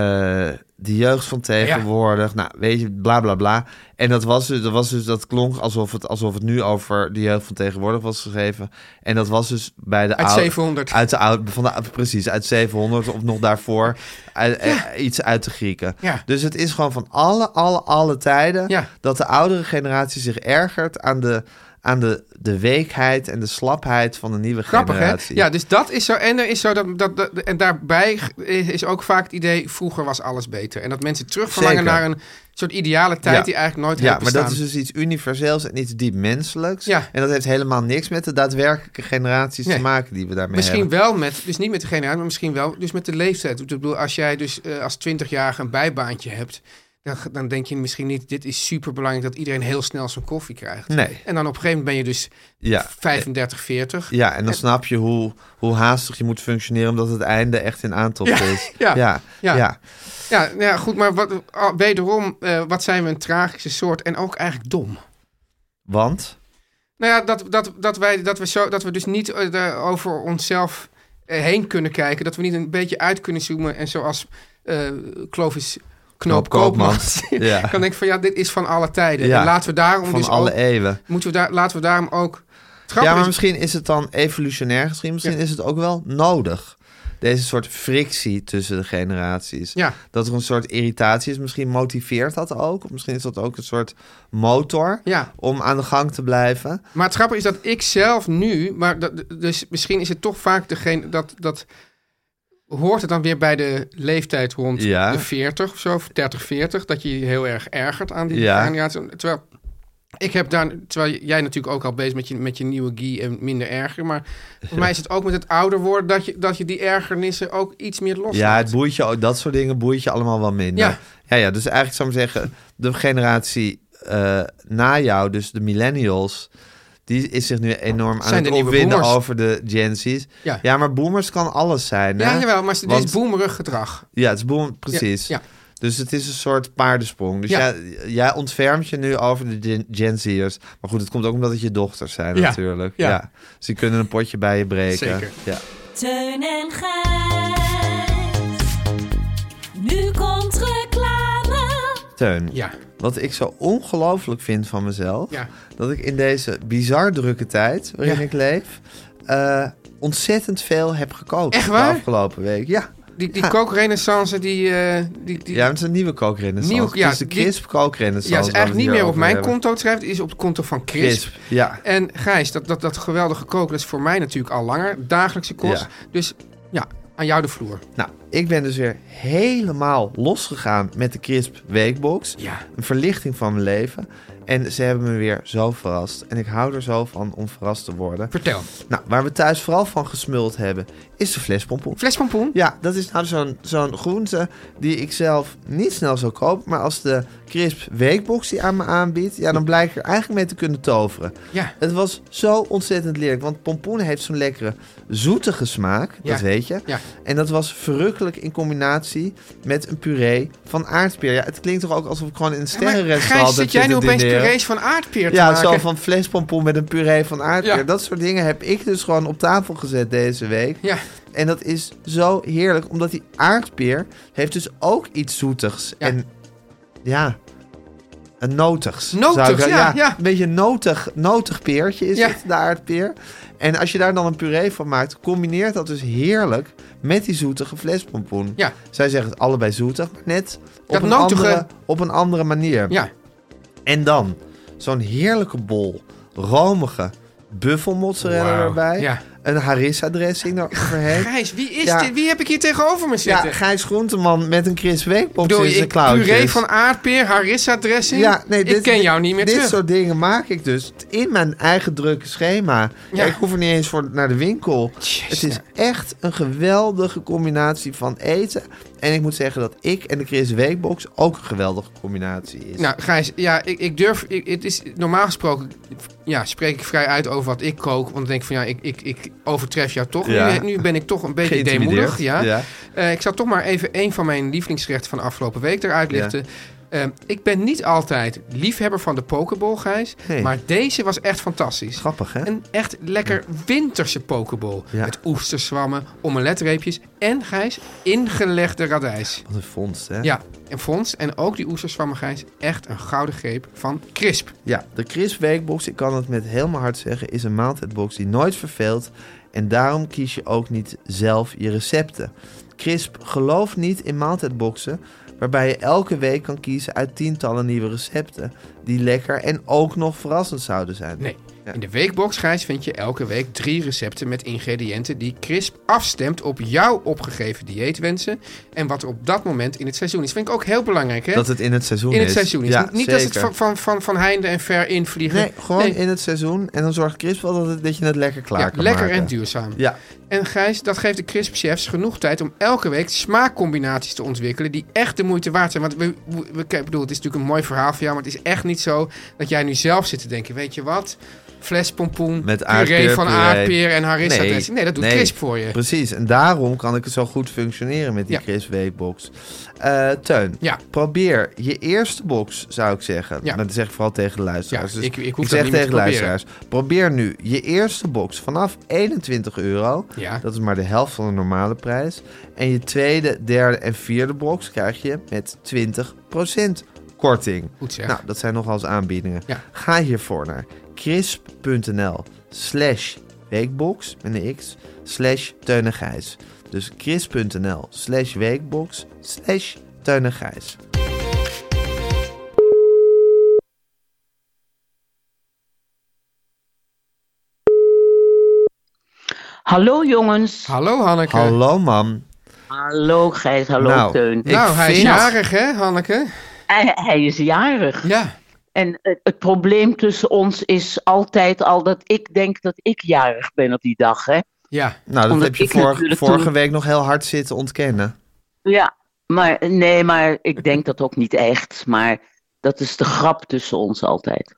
[SPEAKER 2] de jeugd van tegenwoordig. Nou, weet je, bla bla bla. En dat was dus, dat, was dus, dat klonk alsof het, alsof het nu over de jeugd van tegenwoordig was geschreven. En dat was dus bij de
[SPEAKER 1] Uit
[SPEAKER 2] oude-
[SPEAKER 1] 700.
[SPEAKER 2] Uit de oude, van de, precies, uit 700 of nog daarvoor. Uit- eh, Iets uit de Grieken.
[SPEAKER 1] Ja.
[SPEAKER 2] Dus het is gewoon van alle, alle, alle tijden
[SPEAKER 1] Ja.
[SPEAKER 2] dat de oudere generatie zich ergert aan de, aan de, de weekheid en de slapheid van de nieuwe
[SPEAKER 1] Grappig,
[SPEAKER 2] generatie.
[SPEAKER 1] hè? Ja, dus dat is zo. En er is zo dat, dat, dat- en daarbij is ook vaak het idee: vroeger was alles beter. En dat mensen terugverlangen
[SPEAKER 2] Zeker.
[SPEAKER 1] naar een soort ideale tijd
[SPEAKER 2] Ja.
[SPEAKER 1] die eigenlijk nooit
[SPEAKER 2] Ja,
[SPEAKER 1] heeft
[SPEAKER 2] maar
[SPEAKER 1] bestaan.
[SPEAKER 2] dat is dus iets universeels en iets diep menselijks.
[SPEAKER 1] Ja.
[SPEAKER 2] En dat heeft helemaal niks met de daadwerkelijke generaties
[SPEAKER 1] Nee.
[SPEAKER 2] te maken die we daarmee
[SPEAKER 1] Misschien
[SPEAKER 2] hebben.
[SPEAKER 1] wel met, dus niet met de generatie, maar misschien wel dus met de leeftijd. Ik bedoel, als jij dus eh, als 20-jarige een bijbaantje hebt, dan, dan denk je misschien niet, dit is superbelangrijk dat iedereen heel snel zijn koffie krijgt.
[SPEAKER 2] Nee.
[SPEAKER 1] En dan op een gegeven moment ben je dus
[SPEAKER 2] Ja.
[SPEAKER 1] 35, 40.
[SPEAKER 2] Ja, en dan snap je hoe, hoe haastig je moet functioneren omdat het einde echt in aantocht is.
[SPEAKER 1] ja,
[SPEAKER 2] ja,
[SPEAKER 1] ja.
[SPEAKER 2] ja.
[SPEAKER 1] Ja, nou ja goed, maar wat, ah, wederom, eh, wat zijn we een tragische soort en ook eigenlijk dom.
[SPEAKER 2] Want,
[SPEAKER 1] Nou ja, dat, dat, dat, wij, dat, we, zo, dat we dus niet eh, de- over onszelf eh, heen kunnen kijken. Dat we niet een beetje uit kunnen zoomen. En zoals eh Clovis Knoop
[SPEAKER 2] Knoop Koopmans.
[SPEAKER 1] Koopmans
[SPEAKER 2] Ja.
[SPEAKER 1] kan denken van ja, dit is van alle tijden.
[SPEAKER 2] Ja,
[SPEAKER 1] En laten we daarom
[SPEAKER 2] van
[SPEAKER 1] dus
[SPEAKER 2] alle
[SPEAKER 1] ook,
[SPEAKER 2] eeuwen.
[SPEAKER 1] moeten we daar, laten we daarom ook...
[SPEAKER 2] Ja,
[SPEAKER 1] Grappig
[SPEAKER 2] maar
[SPEAKER 1] is-
[SPEAKER 2] misschien is het dan evolutionair gezien. Misschien
[SPEAKER 1] Ja.
[SPEAKER 2] is het ook wel nodig. deze soort frictie tussen de generaties.
[SPEAKER 1] Ja.
[SPEAKER 2] Dat er een soort irritatie is. Misschien motiveert dat ook. Of misschien is dat ook een soort motor
[SPEAKER 1] Ja.
[SPEAKER 2] om aan de gang te blijven.
[SPEAKER 1] Maar het grappige is dat ik zelf nu, maar dat, dus misschien is het toch vaak degene dat, dat hoort het dan weer bij de leeftijd rond
[SPEAKER 2] Ja.
[SPEAKER 1] de 40 of zo, of 30, 40, dat je je heel erg ergert aan die
[SPEAKER 2] Ja.
[SPEAKER 1] generatie. Terwijl ik heb daar, terwijl jij natuurlijk ook al bezig met je, met je nieuwe guy en minder erger, maar voor mij is het ook met het ouder worden dat je, dat je die ergernissen ook iets meer loslaat.
[SPEAKER 2] Ja, het boeit je, ook- dat soort dingen boeit je allemaal wel minder.
[SPEAKER 1] Ja.
[SPEAKER 2] ja, ja, dus eigenlijk zou ik zeggen, de generatie eh, na jou, dus de millennials, die is zich nu enorm aan
[SPEAKER 1] Zijn de
[SPEAKER 2] het
[SPEAKER 1] nieuwe
[SPEAKER 2] opwinden
[SPEAKER 1] boomers.
[SPEAKER 2] over de Gen Z's.
[SPEAKER 1] Ja.
[SPEAKER 2] maar boomers kan alles zijn.
[SPEAKER 1] ja,
[SPEAKER 2] hè?
[SPEAKER 1] jawel, maar dit
[SPEAKER 2] Want-
[SPEAKER 1] is boemerig gedrag.
[SPEAKER 2] Ja, het is boom, precies.
[SPEAKER 1] Ja, ja.
[SPEAKER 2] Dus het is een soort paardensprong. Dus
[SPEAKER 1] Ja.
[SPEAKER 2] jij, jij ontfermt je nu over de Gen, Gen Z'ers. Maar goed, het komt ook omdat het je dochters zijn
[SPEAKER 1] Ja,
[SPEAKER 2] natuurlijk.
[SPEAKER 1] ja.
[SPEAKER 2] Ja. Dus die kunnen een potje bij je breken.
[SPEAKER 1] Zeker.
[SPEAKER 2] Ja.
[SPEAKER 5] Teun en Gijs. Nu komt reclame.
[SPEAKER 2] Teun,
[SPEAKER 1] Ja.
[SPEAKER 2] wat ik zo ongelooflijk vind van mezelf...
[SPEAKER 1] Ja.
[SPEAKER 2] dat ik in deze bizar drukke tijd waarin
[SPEAKER 1] Ja.
[SPEAKER 2] ik leef... eh, ontzettend veel heb gekookt
[SPEAKER 1] Echt waar?
[SPEAKER 2] de afgelopen week. Ja.
[SPEAKER 1] Die, die
[SPEAKER 2] Ja.
[SPEAKER 1] kookrenaissance, die, eh, die, die,
[SPEAKER 2] Ja, het is een nieuwe kookrenaissance.
[SPEAKER 1] Nieuw- ja,
[SPEAKER 2] het is de
[SPEAKER 1] die-
[SPEAKER 2] crisp kookrenaissance.
[SPEAKER 1] Ja, het is
[SPEAKER 2] waar we
[SPEAKER 1] eigenlijk
[SPEAKER 2] het
[SPEAKER 1] niet
[SPEAKER 2] hier
[SPEAKER 1] meer op
[SPEAKER 2] over
[SPEAKER 1] mijn
[SPEAKER 2] hebben.
[SPEAKER 1] konto het schrijft, het is op het konto van Chris.
[SPEAKER 2] Crisp, ja.
[SPEAKER 1] En Gijs, dat, dat, dat geweldige koken dat is voor mij natuurlijk al langer, dagelijkse kost.
[SPEAKER 2] Ja.
[SPEAKER 1] Dus ja, aan jou de vloer.
[SPEAKER 2] Nou, ik ben dus weer helemaal losgegaan met de Crisp Weekbox.
[SPEAKER 1] Ja.
[SPEAKER 2] Een verlichting van mijn leven. En ze hebben me weer zo verrast. En ik hou er zo van om verrast te worden.
[SPEAKER 1] Vertel.
[SPEAKER 2] Nou, waar we thuis vooral van gesmuld hebben, is de flespompoen.
[SPEAKER 1] Fles pompoen?
[SPEAKER 2] Ja, dat is nou zo'n zo'n groente die ik zelf niet snel zou kopen. Maar als de Crisp Weekbox die aan me aanbiedt, ja, dan blijk ik er eigenlijk mee te kunnen toveren.
[SPEAKER 1] Ja.
[SPEAKER 2] Het was zo ontzettend leerlijk, want pompoen heeft zo'n lekkere zoetige smaak,
[SPEAKER 1] Ja.
[SPEAKER 2] dat weet je.
[SPEAKER 1] Ja.
[SPEAKER 2] En dat was verrukkelijk in combinatie met een puree van aardpeer. Ja, het klinkt toch ook alsof ik gewoon in een
[SPEAKER 1] Ja, maar
[SPEAKER 2] sterrenrestaurant
[SPEAKER 1] Gijs,
[SPEAKER 2] zit
[SPEAKER 1] zit jij nu opeens
[SPEAKER 2] dineren?
[SPEAKER 1] purees van aardpeer te
[SPEAKER 2] Ja,
[SPEAKER 1] maken?
[SPEAKER 2] zo van flespompoen met een puree van aardpeer.
[SPEAKER 1] Ja.
[SPEAKER 2] Dat soort dingen heb ik dus gewoon op tafel gezet deze week.
[SPEAKER 1] Ja.
[SPEAKER 2] En dat is zo heerlijk, omdat die aardpeer heeft dus ook iets zoetigs.
[SPEAKER 1] Ja.
[SPEAKER 2] En ja, een notigs.
[SPEAKER 1] Notigs,
[SPEAKER 2] zou ik-
[SPEAKER 1] ja, ja.
[SPEAKER 2] Een beetje een notig, notig peertje is
[SPEAKER 1] Ja.
[SPEAKER 2] het, de aardpeer. En als je daar dan een puree van maakt, combineert dat dus heerlijk met die zoetige flespompoen.
[SPEAKER 1] Ja.
[SPEAKER 2] Zij zeggen het allebei zoetig, maar net op een,
[SPEAKER 1] notige-
[SPEAKER 2] andere, op een andere manier.
[SPEAKER 1] Ja,
[SPEAKER 2] En dan zo'n heerlijke bol romige buffelmozzarella
[SPEAKER 1] Wauw,
[SPEAKER 2] erbij.
[SPEAKER 1] ja.
[SPEAKER 2] Een harissa dressing eroverheen.
[SPEAKER 1] Gijs, wie is
[SPEAKER 2] Ja.
[SPEAKER 1] dit? Wie heb ik hier tegenover me
[SPEAKER 2] Ja,
[SPEAKER 1] zitten?
[SPEAKER 2] Gijs Groenteman met een Chris Weekbox
[SPEAKER 1] Bedoel
[SPEAKER 2] in
[SPEAKER 1] je,
[SPEAKER 2] zijn
[SPEAKER 1] ik
[SPEAKER 2] klauwtjes.
[SPEAKER 1] puree van aardpeer, harissa dressing?
[SPEAKER 2] Ja, nee, dit,
[SPEAKER 1] ik ken jou niet meer
[SPEAKER 2] Dit
[SPEAKER 1] terug.
[SPEAKER 2] soort dingen maak ik dus in mijn eigen drukke schema.
[SPEAKER 1] Ja.
[SPEAKER 2] Ik hoef er niet eens voor naar de winkel. Het is echt een geweldige combinatie van eten. En ik moet zeggen dat ik en de Chris Weekbox ook een geweldige combinatie is.
[SPEAKER 1] Nou, Gijs, ja, ik, ik durf. Ik, het is, normaal gesproken ja, spreek ik vrij uit over wat ik kook. Want dan denk ik van ja, ik, ik, ik overtref jou toch.
[SPEAKER 2] Ja.
[SPEAKER 1] Nu, nu ben ik toch een beetje
[SPEAKER 2] Geïntimideerd,
[SPEAKER 1] deemoedig. Ja.
[SPEAKER 2] ja.
[SPEAKER 1] Eh, ik zal toch maar even een van mijn lievelingsgerechten van de afgelopen week eruit
[SPEAKER 2] Ja.
[SPEAKER 1] lichten. Eh, ik ben niet altijd liefhebber van de pokeball, Gijs.
[SPEAKER 2] Nee.
[SPEAKER 1] Maar deze was echt fantastisch.
[SPEAKER 2] Grappig, hè?
[SPEAKER 1] Een echt lekker winterse pokeball.
[SPEAKER 2] Ja.
[SPEAKER 1] Met oesterzwammen, omeletreepjes en, Gijs, ingelegde radijs.
[SPEAKER 2] Wat een vondst, hè?
[SPEAKER 1] Ja, en Fons en ook die oesterzwammen, Gijs, echt een gouden greep van Crisp.
[SPEAKER 2] Ja, de Crisp Weekbox, ik kan het met heel mijn hart zeggen, is een maaltijdbox die nooit verveelt. En daarom kies je ook niet zelf je recepten. Crisp gelooft niet in maaltijdboxen, waarbij je elke week kan kiezen uit tientallen nieuwe recepten. Die lekker en ook nog verrassend zouden zijn.
[SPEAKER 1] Nee,
[SPEAKER 2] Ja.
[SPEAKER 1] in de weekbox, Gijs, vind je elke week drie recepten met ingrediënten die Crisp afstemt op jouw opgegeven dieetwensen en wat er op dat moment in het seizoen is. Vind ik ook heel belangrijk, hè?
[SPEAKER 2] Dat het in het seizoen
[SPEAKER 1] in
[SPEAKER 2] is.
[SPEAKER 1] het seizoen is.
[SPEAKER 2] Ja,
[SPEAKER 1] niet niet dat
[SPEAKER 2] zeker.
[SPEAKER 1] ze het van, van, van, van heinde en ver invliegen.
[SPEAKER 2] Nee, gewoon
[SPEAKER 1] Nee.
[SPEAKER 2] in het seizoen. En dan zorgt Crisp wel dat, het- dat je het lekker klaar
[SPEAKER 1] ja,
[SPEAKER 2] kan
[SPEAKER 1] lekker
[SPEAKER 2] maken.
[SPEAKER 1] en duurzaam.
[SPEAKER 2] Ja,
[SPEAKER 1] En Gijs, dat geeft de crisp chefs genoeg tijd om elke week smaakcombinaties te ontwikkelen die echt de moeite waard zijn. Want we, we, we- ik bedoel, het is natuurlijk een mooi verhaal voor jou, maar het is echt niet zo dat jij nu zelf zit te denken, weet je wat? Fles pompoen,
[SPEAKER 2] Met
[SPEAKER 1] puree van
[SPEAKER 2] aardpeerpuree.
[SPEAKER 1] aardpeer en harissa nee, Nee, dat doet
[SPEAKER 2] nee,
[SPEAKER 1] crisp voor je.
[SPEAKER 2] Precies, en daarom kan ik het zo goed functioneren met die
[SPEAKER 1] Ja.
[SPEAKER 2] crisp weekbox. Eh Teun,
[SPEAKER 1] Ja.
[SPEAKER 2] probeer je eerste box, zou ik zeggen.
[SPEAKER 1] Ja.
[SPEAKER 2] Maar dat zeg ik vooral tegen de luisteraars. Dus
[SPEAKER 1] Ja, ik- ik hoef dat
[SPEAKER 2] zeg
[SPEAKER 1] niet meer
[SPEAKER 2] tegen
[SPEAKER 1] te proberen.
[SPEAKER 2] luisteraars, probeer nu je eerste box vanaf 21 euro.
[SPEAKER 1] Ja.
[SPEAKER 2] Dat is maar de helft van de normale prijs. En je tweede, derde en vierde box krijg je met 20% korting.
[SPEAKER 1] Goed zeg.
[SPEAKER 2] Nou, dat zijn nogal eens aanbiedingen.
[SPEAKER 1] Ja.
[SPEAKER 2] Ga hiervoor naar crisp.nl slash weekbox met een x slash Teun en Gijs. Dus chris.nl slash weekbox slash Teun en Gijs.
[SPEAKER 6] Hallo jongens.
[SPEAKER 1] Hallo Hanneke.
[SPEAKER 2] Hallo mam.
[SPEAKER 6] Hallo Gijs, hallo
[SPEAKER 2] Nou,
[SPEAKER 6] Teun.
[SPEAKER 2] ik-
[SPEAKER 1] nou, hij is
[SPEAKER 2] vind-
[SPEAKER 1] jarig, hè, Hanneke?
[SPEAKER 6] Hij, hij is jarig.
[SPEAKER 1] Ja.
[SPEAKER 6] En het, het probleem tussen ons is altijd al dat ik denk dat ik jarig ben op die dag. Hè?
[SPEAKER 1] Ja.
[SPEAKER 2] Nou, dat
[SPEAKER 6] Omdat
[SPEAKER 2] heb je
[SPEAKER 6] ik
[SPEAKER 2] vor-
[SPEAKER 6] natuurlijk
[SPEAKER 2] vorige
[SPEAKER 6] toen-
[SPEAKER 2] week nog heel hard zitten ontkennen.
[SPEAKER 6] Ja, maar nee, maar ik denk dat ook niet echt. Maar dat is de grap tussen ons altijd.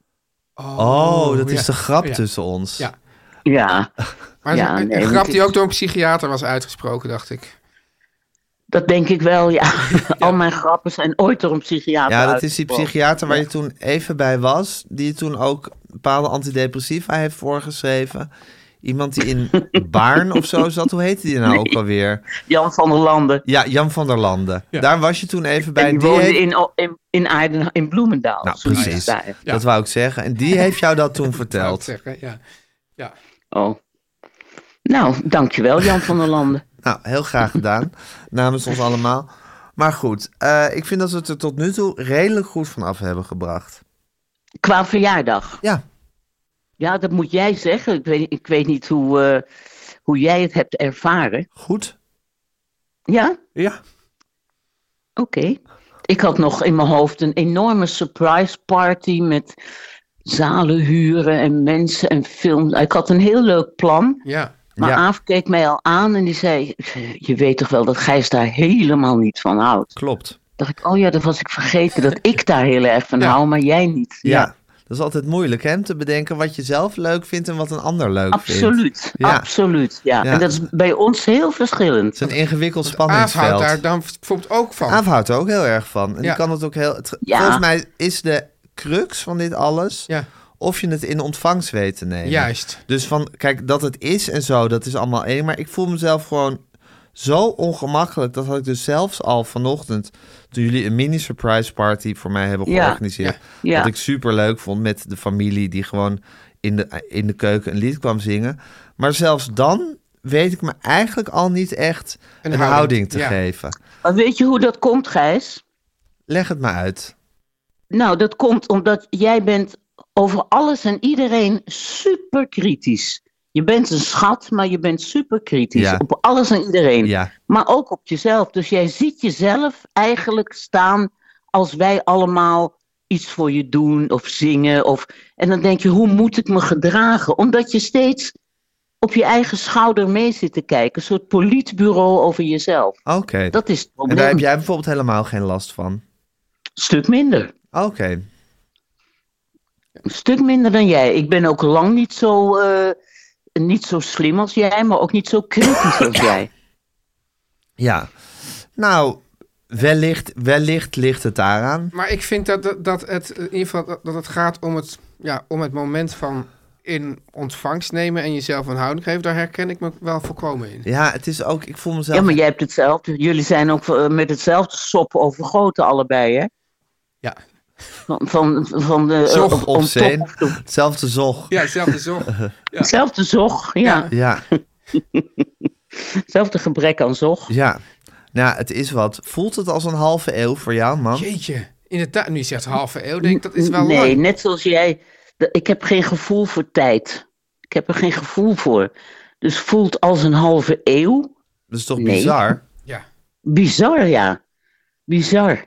[SPEAKER 2] Oh, dat is
[SPEAKER 1] ja.
[SPEAKER 2] de grap
[SPEAKER 1] Ja.
[SPEAKER 2] tussen ons.
[SPEAKER 1] Ja.
[SPEAKER 6] Ja,
[SPEAKER 1] Maar het is
[SPEAKER 6] Ja,
[SPEAKER 1] een,
[SPEAKER 6] nee,
[SPEAKER 1] een
[SPEAKER 6] want
[SPEAKER 1] grap
[SPEAKER 6] ik-
[SPEAKER 1] die ook door een psychiater was uitgesproken, dacht ik.
[SPEAKER 6] dat denk ik wel. Ja. Al mijn grappen zijn ooit door een psychiater.
[SPEAKER 2] Ja, dat is die
[SPEAKER 6] uitgesproken.
[SPEAKER 2] psychiater waar je toen even bij was. Die je toen ook bepaalde antidepressiva heeft voorgeschreven. Iemand die in Baarn of zo zat. Hoe heette die nou ook alweer?
[SPEAKER 6] Jan van der Landen.
[SPEAKER 2] Ja, Jan van der Landen.
[SPEAKER 1] Ja.
[SPEAKER 2] Daar was je toen even bij.
[SPEAKER 6] En die
[SPEAKER 2] Die
[SPEAKER 6] woonde
[SPEAKER 2] heeft-
[SPEAKER 6] in, in, in, Aarden, in Bloemendaal.
[SPEAKER 2] Nou,
[SPEAKER 6] zoiets
[SPEAKER 2] precies.
[SPEAKER 6] daar.
[SPEAKER 1] Ja.
[SPEAKER 2] Dat wou ik zeggen. En die heeft jou dat toen
[SPEAKER 1] Zou ik
[SPEAKER 2] verteld.
[SPEAKER 1] zeggen, ja. Ja.
[SPEAKER 6] Oh. Nou, dankjewel Jan van der Landen.
[SPEAKER 2] Nou, heel graag gedaan. Namens ons allemaal. Maar goed, eh, ik vind dat we het er tot nu toe redelijk goed van af hebben gebracht.
[SPEAKER 6] Qua verjaardag.
[SPEAKER 2] Ja,
[SPEAKER 6] Ja, dat moet jij zeggen. Ik weet, ik weet niet hoe, eh, hoe jij het hebt ervaren.
[SPEAKER 2] goed.
[SPEAKER 6] Ja?
[SPEAKER 2] Ja.
[SPEAKER 6] Oké. Ik had nog in mijn hoofd een enorme surprise party met zalen huren en mensen en films. Ik had een heel leuk plan.
[SPEAKER 1] Ja.
[SPEAKER 6] Maar
[SPEAKER 2] Ja.
[SPEAKER 6] Aaf keek mij al aan en die zei: Je weet toch wel dat Gijs daar helemaal niet van houdt?
[SPEAKER 2] Klopt.
[SPEAKER 6] Dacht ik: Oh ja, dat was ik vergeten dat ik daar heel erg van
[SPEAKER 1] Ja.
[SPEAKER 6] hou, maar jij niet.
[SPEAKER 2] Ja. Dat is altijd moeilijk, hè? om Te bedenken wat je zelf leuk vindt en wat een ander leuk vindt.
[SPEAKER 6] Absoluut,
[SPEAKER 2] Ja.
[SPEAKER 6] absoluut. Ja.
[SPEAKER 2] Ja.
[SPEAKER 6] En dat is bij ons heel verschillend.
[SPEAKER 2] Het is een ingewikkeld
[SPEAKER 1] Aaf houdt daar
[SPEAKER 2] spanningsveld.
[SPEAKER 1] dan bijvoorbeeld ook van.
[SPEAKER 2] Aaf houdt er ook heel erg van.
[SPEAKER 1] Ja.
[SPEAKER 2] En die kan het ook heel... het-
[SPEAKER 6] Ja.
[SPEAKER 2] Volgens mij is de crux van dit alles...
[SPEAKER 1] Ja.
[SPEAKER 2] of je het in ontvangst weet te nemen.
[SPEAKER 1] Juist.
[SPEAKER 2] Dus van, kijk, dat het is en zo, dat is allemaal één. Maar ik voel mezelf gewoon zo ongemakkelijk. Dat had ik dus zelfs al vanochtend, toen jullie een mini surprise party voor mij hebben
[SPEAKER 6] Ja.
[SPEAKER 2] georganiseerd.
[SPEAKER 6] Ja.
[SPEAKER 2] Wat
[SPEAKER 6] Ja.
[SPEAKER 2] ik super leuk vond met de familie die gewoon in de, in de keuken een lied kwam zingen. Maar zelfs dan weet ik me eigenlijk al niet echt een, houding.
[SPEAKER 1] houding.
[SPEAKER 2] te
[SPEAKER 1] Ja.
[SPEAKER 2] geven.
[SPEAKER 6] Maar weet je hoe dat komt, Gijs?
[SPEAKER 2] Leg het maar uit.
[SPEAKER 6] Nou, dat komt omdat jij bent over alles en iedereen super kritisch. Je bent een schat, maar je bent super kritisch.
[SPEAKER 2] Ja.
[SPEAKER 6] Op alles en iedereen.
[SPEAKER 2] Ja.
[SPEAKER 6] Maar ook op jezelf. Dus jij ziet jezelf eigenlijk staan als wij allemaal iets voor je doen of zingen. Of... En dan denk je, hoe moet ik me gedragen? Omdat je steeds op je eigen schouder mee zit te kijken. Een soort politbureau over jezelf.
[SPEAKER 2] Oké.
[SPEAKER 6] Dat is het
[SPEAKER 2] En
[SPEAKER 6] probleem.
[SPEAKER 2] daar heb jij bijvoorbeeld helemaal geen last van.
[SPEAKER 6] Stuk minder.
[SPEAKER 2] Oké.
[SPEAKER 6] Een stuk minder dan jij. Ik ben ook lang niet zo, eh, niet zo slim als jij, maar ook niet zo kritisch als jij.
[SPEAKER 2] Ja. Nou, wellicht, wellicht ligt het daaraan.
[SPEAKER 1] Maar ik vind dat, dat, dat het eh, in ieder geval dat, dat het gaat om het, ja, om het moment van in ontvangst nemen en jezelf een houding geven. Daar herken ik me wel volkomen in.
[SPEAKER 2] Ja, het is ook, ik voel mezelf.
[SPEAKER 6] Ja, maar jij hebt hetzelfde. Jullie zijn ook eh, met hetzelfde sop overgoten, allebei, hè?
[SPEAKER 1] Ja.
[SPEAKER 6] Van, van, van de. eh,
[SPEAKER 2] zog
[SPEAKER 6] om-
[SPEAKER 2] of,
[SPEAKER 6] om
[SPEAKER 2] zeen.
[SPEAKER 6] top of toe.
[SPEAKER 2] Hetzelfde zog.
[SPEAKER 1] Ja, hetzelfde zorg.
[SPEAKER 2] Uh-huh.
[SPEAKER 1] Ja.
[SPEAKER 6] Hetzelfde zog, ja.
[SPEAKER 1] Ja.
[SPEAKER 2] Ja,
[SPEAKER 6] Hetzelfde gebrek aan zog.
[SPEAKER 2] ja. Nou, het is wat. Voelt het als een halve eeuw voor jou, man?
[SPEAKER 1] Jeetje. Inderdaad, nu je zegt halve eeuw, denk ik, dat is wel
[SPEAKER 6] nee,
[SPEAKER 1] lang.
[SPEAKER 6] net zoals jij. de- Ik heb geen gevoel voor tijd. Ik heb er geen gevoel voor. Dus voelt als een halve eeuw.
[SPEAKER 2] Dat is toch
[SPEAKER 6] Nee.
[SPEAKER 2] bizar?
[SPEAKER 1] Ja,
[SPEAKER 6] Bizar, ja. Bizar.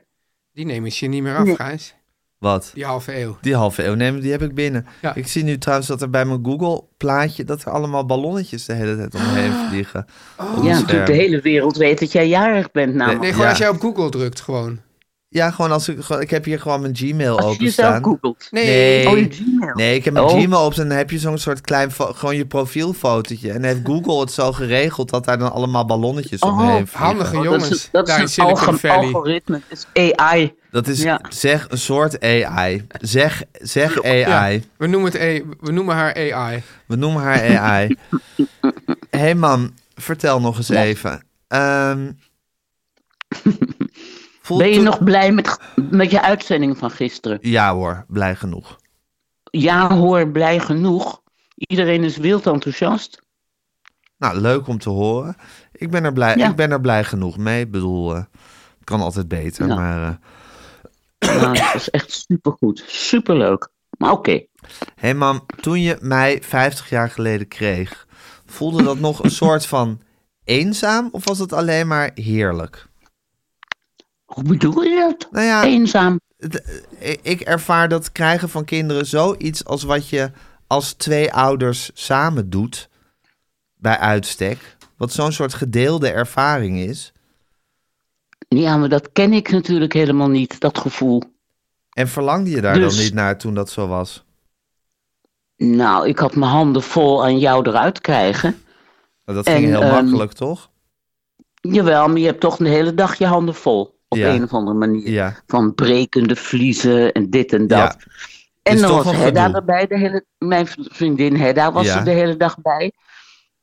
[SPEAKER 1] die nemen ze je niet meer af, Gijs.
[SPEAKER 2] Wat?
[SPEAKER 1] Die halve eeuw.
[SPEAKER 2] Die halve eeuw nemen, die heb ik binnen.
[SPEAKER 1] Ja.
[SPEAKER 2] Ik zie nu trouwens dat er bij mijn Google-plaatje... dat er allemaal ballonnetjes de hele tijd omheen vliegen. Op
[SPEAKER 6] Ah. Oh. ja,
[SPEAKER 2] mijn
[SPEAKER 6] natuurlijk, de
[SPEAKER 2] scherm.
[SPEAKER 6] hele wereld weet dat jij jarig bent namelijk.
[SPEAKER 1] Nee, gewoon
[SPEAKER 2] Ja.
[SPEAKER 1] als jij op Google drukt, gewoon.
[SPEAKER 2] Ja, gewoon als ik... gewoon- ik heb hier gewoon mijn Gmail
[SPEAKER 6] Als je
[SPEAKER 2] openstaan.
[SPEAKER 6] jezelf googelt.
[SPEAKER 1] Nee.
[SPEAKER 2] Nee.
[SPEAKER 6] Oh, je Gmail.
[SPEAKER 2] Nee, ik heb mijn
[SPEAKER 6] Oh.
[SPEAKER 2] Gmail op en dan heb je zo'n soort klein, fo- gewoon je profielfotootje. En heeft Google het zo geregeld dat daar dan allemaal ballonnetjes
[SPEAKER 6] Oh,
[SPEAKER 2] omheen vliegen.
[SPEAKER 1] Handige
[SPEAKER 6] Oh,
[SPEAKER 1] jongens,
[SPEAKER 6] dat is, dat
[SPEAKER 1] daar in
[SPEAKER 6] is een
[SPEAKER 1] Silicon
[SPEAKER 6] alge-
[SPEAKER 1] Valley.
[SPEAKER 6] algoritme. Het is AI.
[SPEAKER 2] Dat is
[SPEAKER 6] Ja.
[SPEAKER 2] zeg een soort AI. Zeg, zeg
[SPEAKER 1] Ja,
[SPEAKER 2] AI.
[SPEAKER 1] we, noemen het A- we noemen haar AI.
[SPEAKER 2] We noemen haar AI. Hé hey man, vertel nog eens even. Ehm, voelt
[SPEAKER 6] Ben je
[SPEAKER 2] het-
[SPEAKER 6] nog blij met, met je uitzending van gisteren?
[SPEAKER 2] Ja hoor, blij genoeg.
[SPEAKER 6] Ja hoor, blij genoeg. Iedereen is wild enthousiast.
[SPEAKER 2] Nou, leuk om te horen. Ik ben er blij,
[SPEAKER 6] Ja.
[SPEAKER 2] ik ben er blij genoeg mee. Ik bedoel, eh, het kan altijd beter.
[SPEAKER 6] Ja.
[SPEAKER 2] Maar, eh,
[SPEAKER 6] Nou, dat is echt supergoed. Superleuk. Maar oké.
[SPEAKER 2] Hé hey mam, toen je mij 50 jaar geleden kreeg, voelde dat nog een soort van eenzaam of was het alleen maar heerlijk?
[SPEAKER 6] Hoe bedoel je dat?
[SPEAKER 2] Nou ja,
[SPEAKER 6] Eenzaam.
[SPEAKER 2] d- eh, ik ervaar dat krijgen van kinderen zoiets als wat je als twee ouders samen doet bij uitstek. Wat zo'n soort gedeelde ervaring is.
[SPEAKER 6] Ja, maar dat ken ik natuurlijk helemaal niet, dat gevoel.
[SPEAKER 2] En verlangde je daar
[SPEAKER 6] Dus-
[SPEAKER 2] dan niet naar toen dat zo was?
[SPEAKER 6] Nou, ik had mijn handen vol aan jou eruit krijgen.
[SPEAKER 2] Nou, dat
[SPEAKER 6] En,
[SPEAKER 2] ging heel
[SPEAKER 6] ehm,
[SPEAKER 2] makkelijk, toch?
[SPEAKER 6] Jawel, maar je hebt toch een hele dag je handen vol. Op
[SPEAKER 2] Ja.
[SPEAKER 6] een of andere manier.
[SPEAKER 2] Ja.
[SPEAKER 6] Van brekende vliezen en dit en dat.
[SPEAKER 2] Ja.
[SPEAKER 6] En
[SPEAKER 2] Is
[SPEAKER 6] dan
[SPEAKER 2] toch
[SPEAKER 6] was
[SPEAKER 2] een
[SPEAKER 6] Hedda
[SPEAKER 2] gedoe.
[SPEAKER 6] erbij, de hele, mijn vriendin Hedda was
[SPEAKER 2] Ja.
[SPEAKER 6] er de hele dag bij.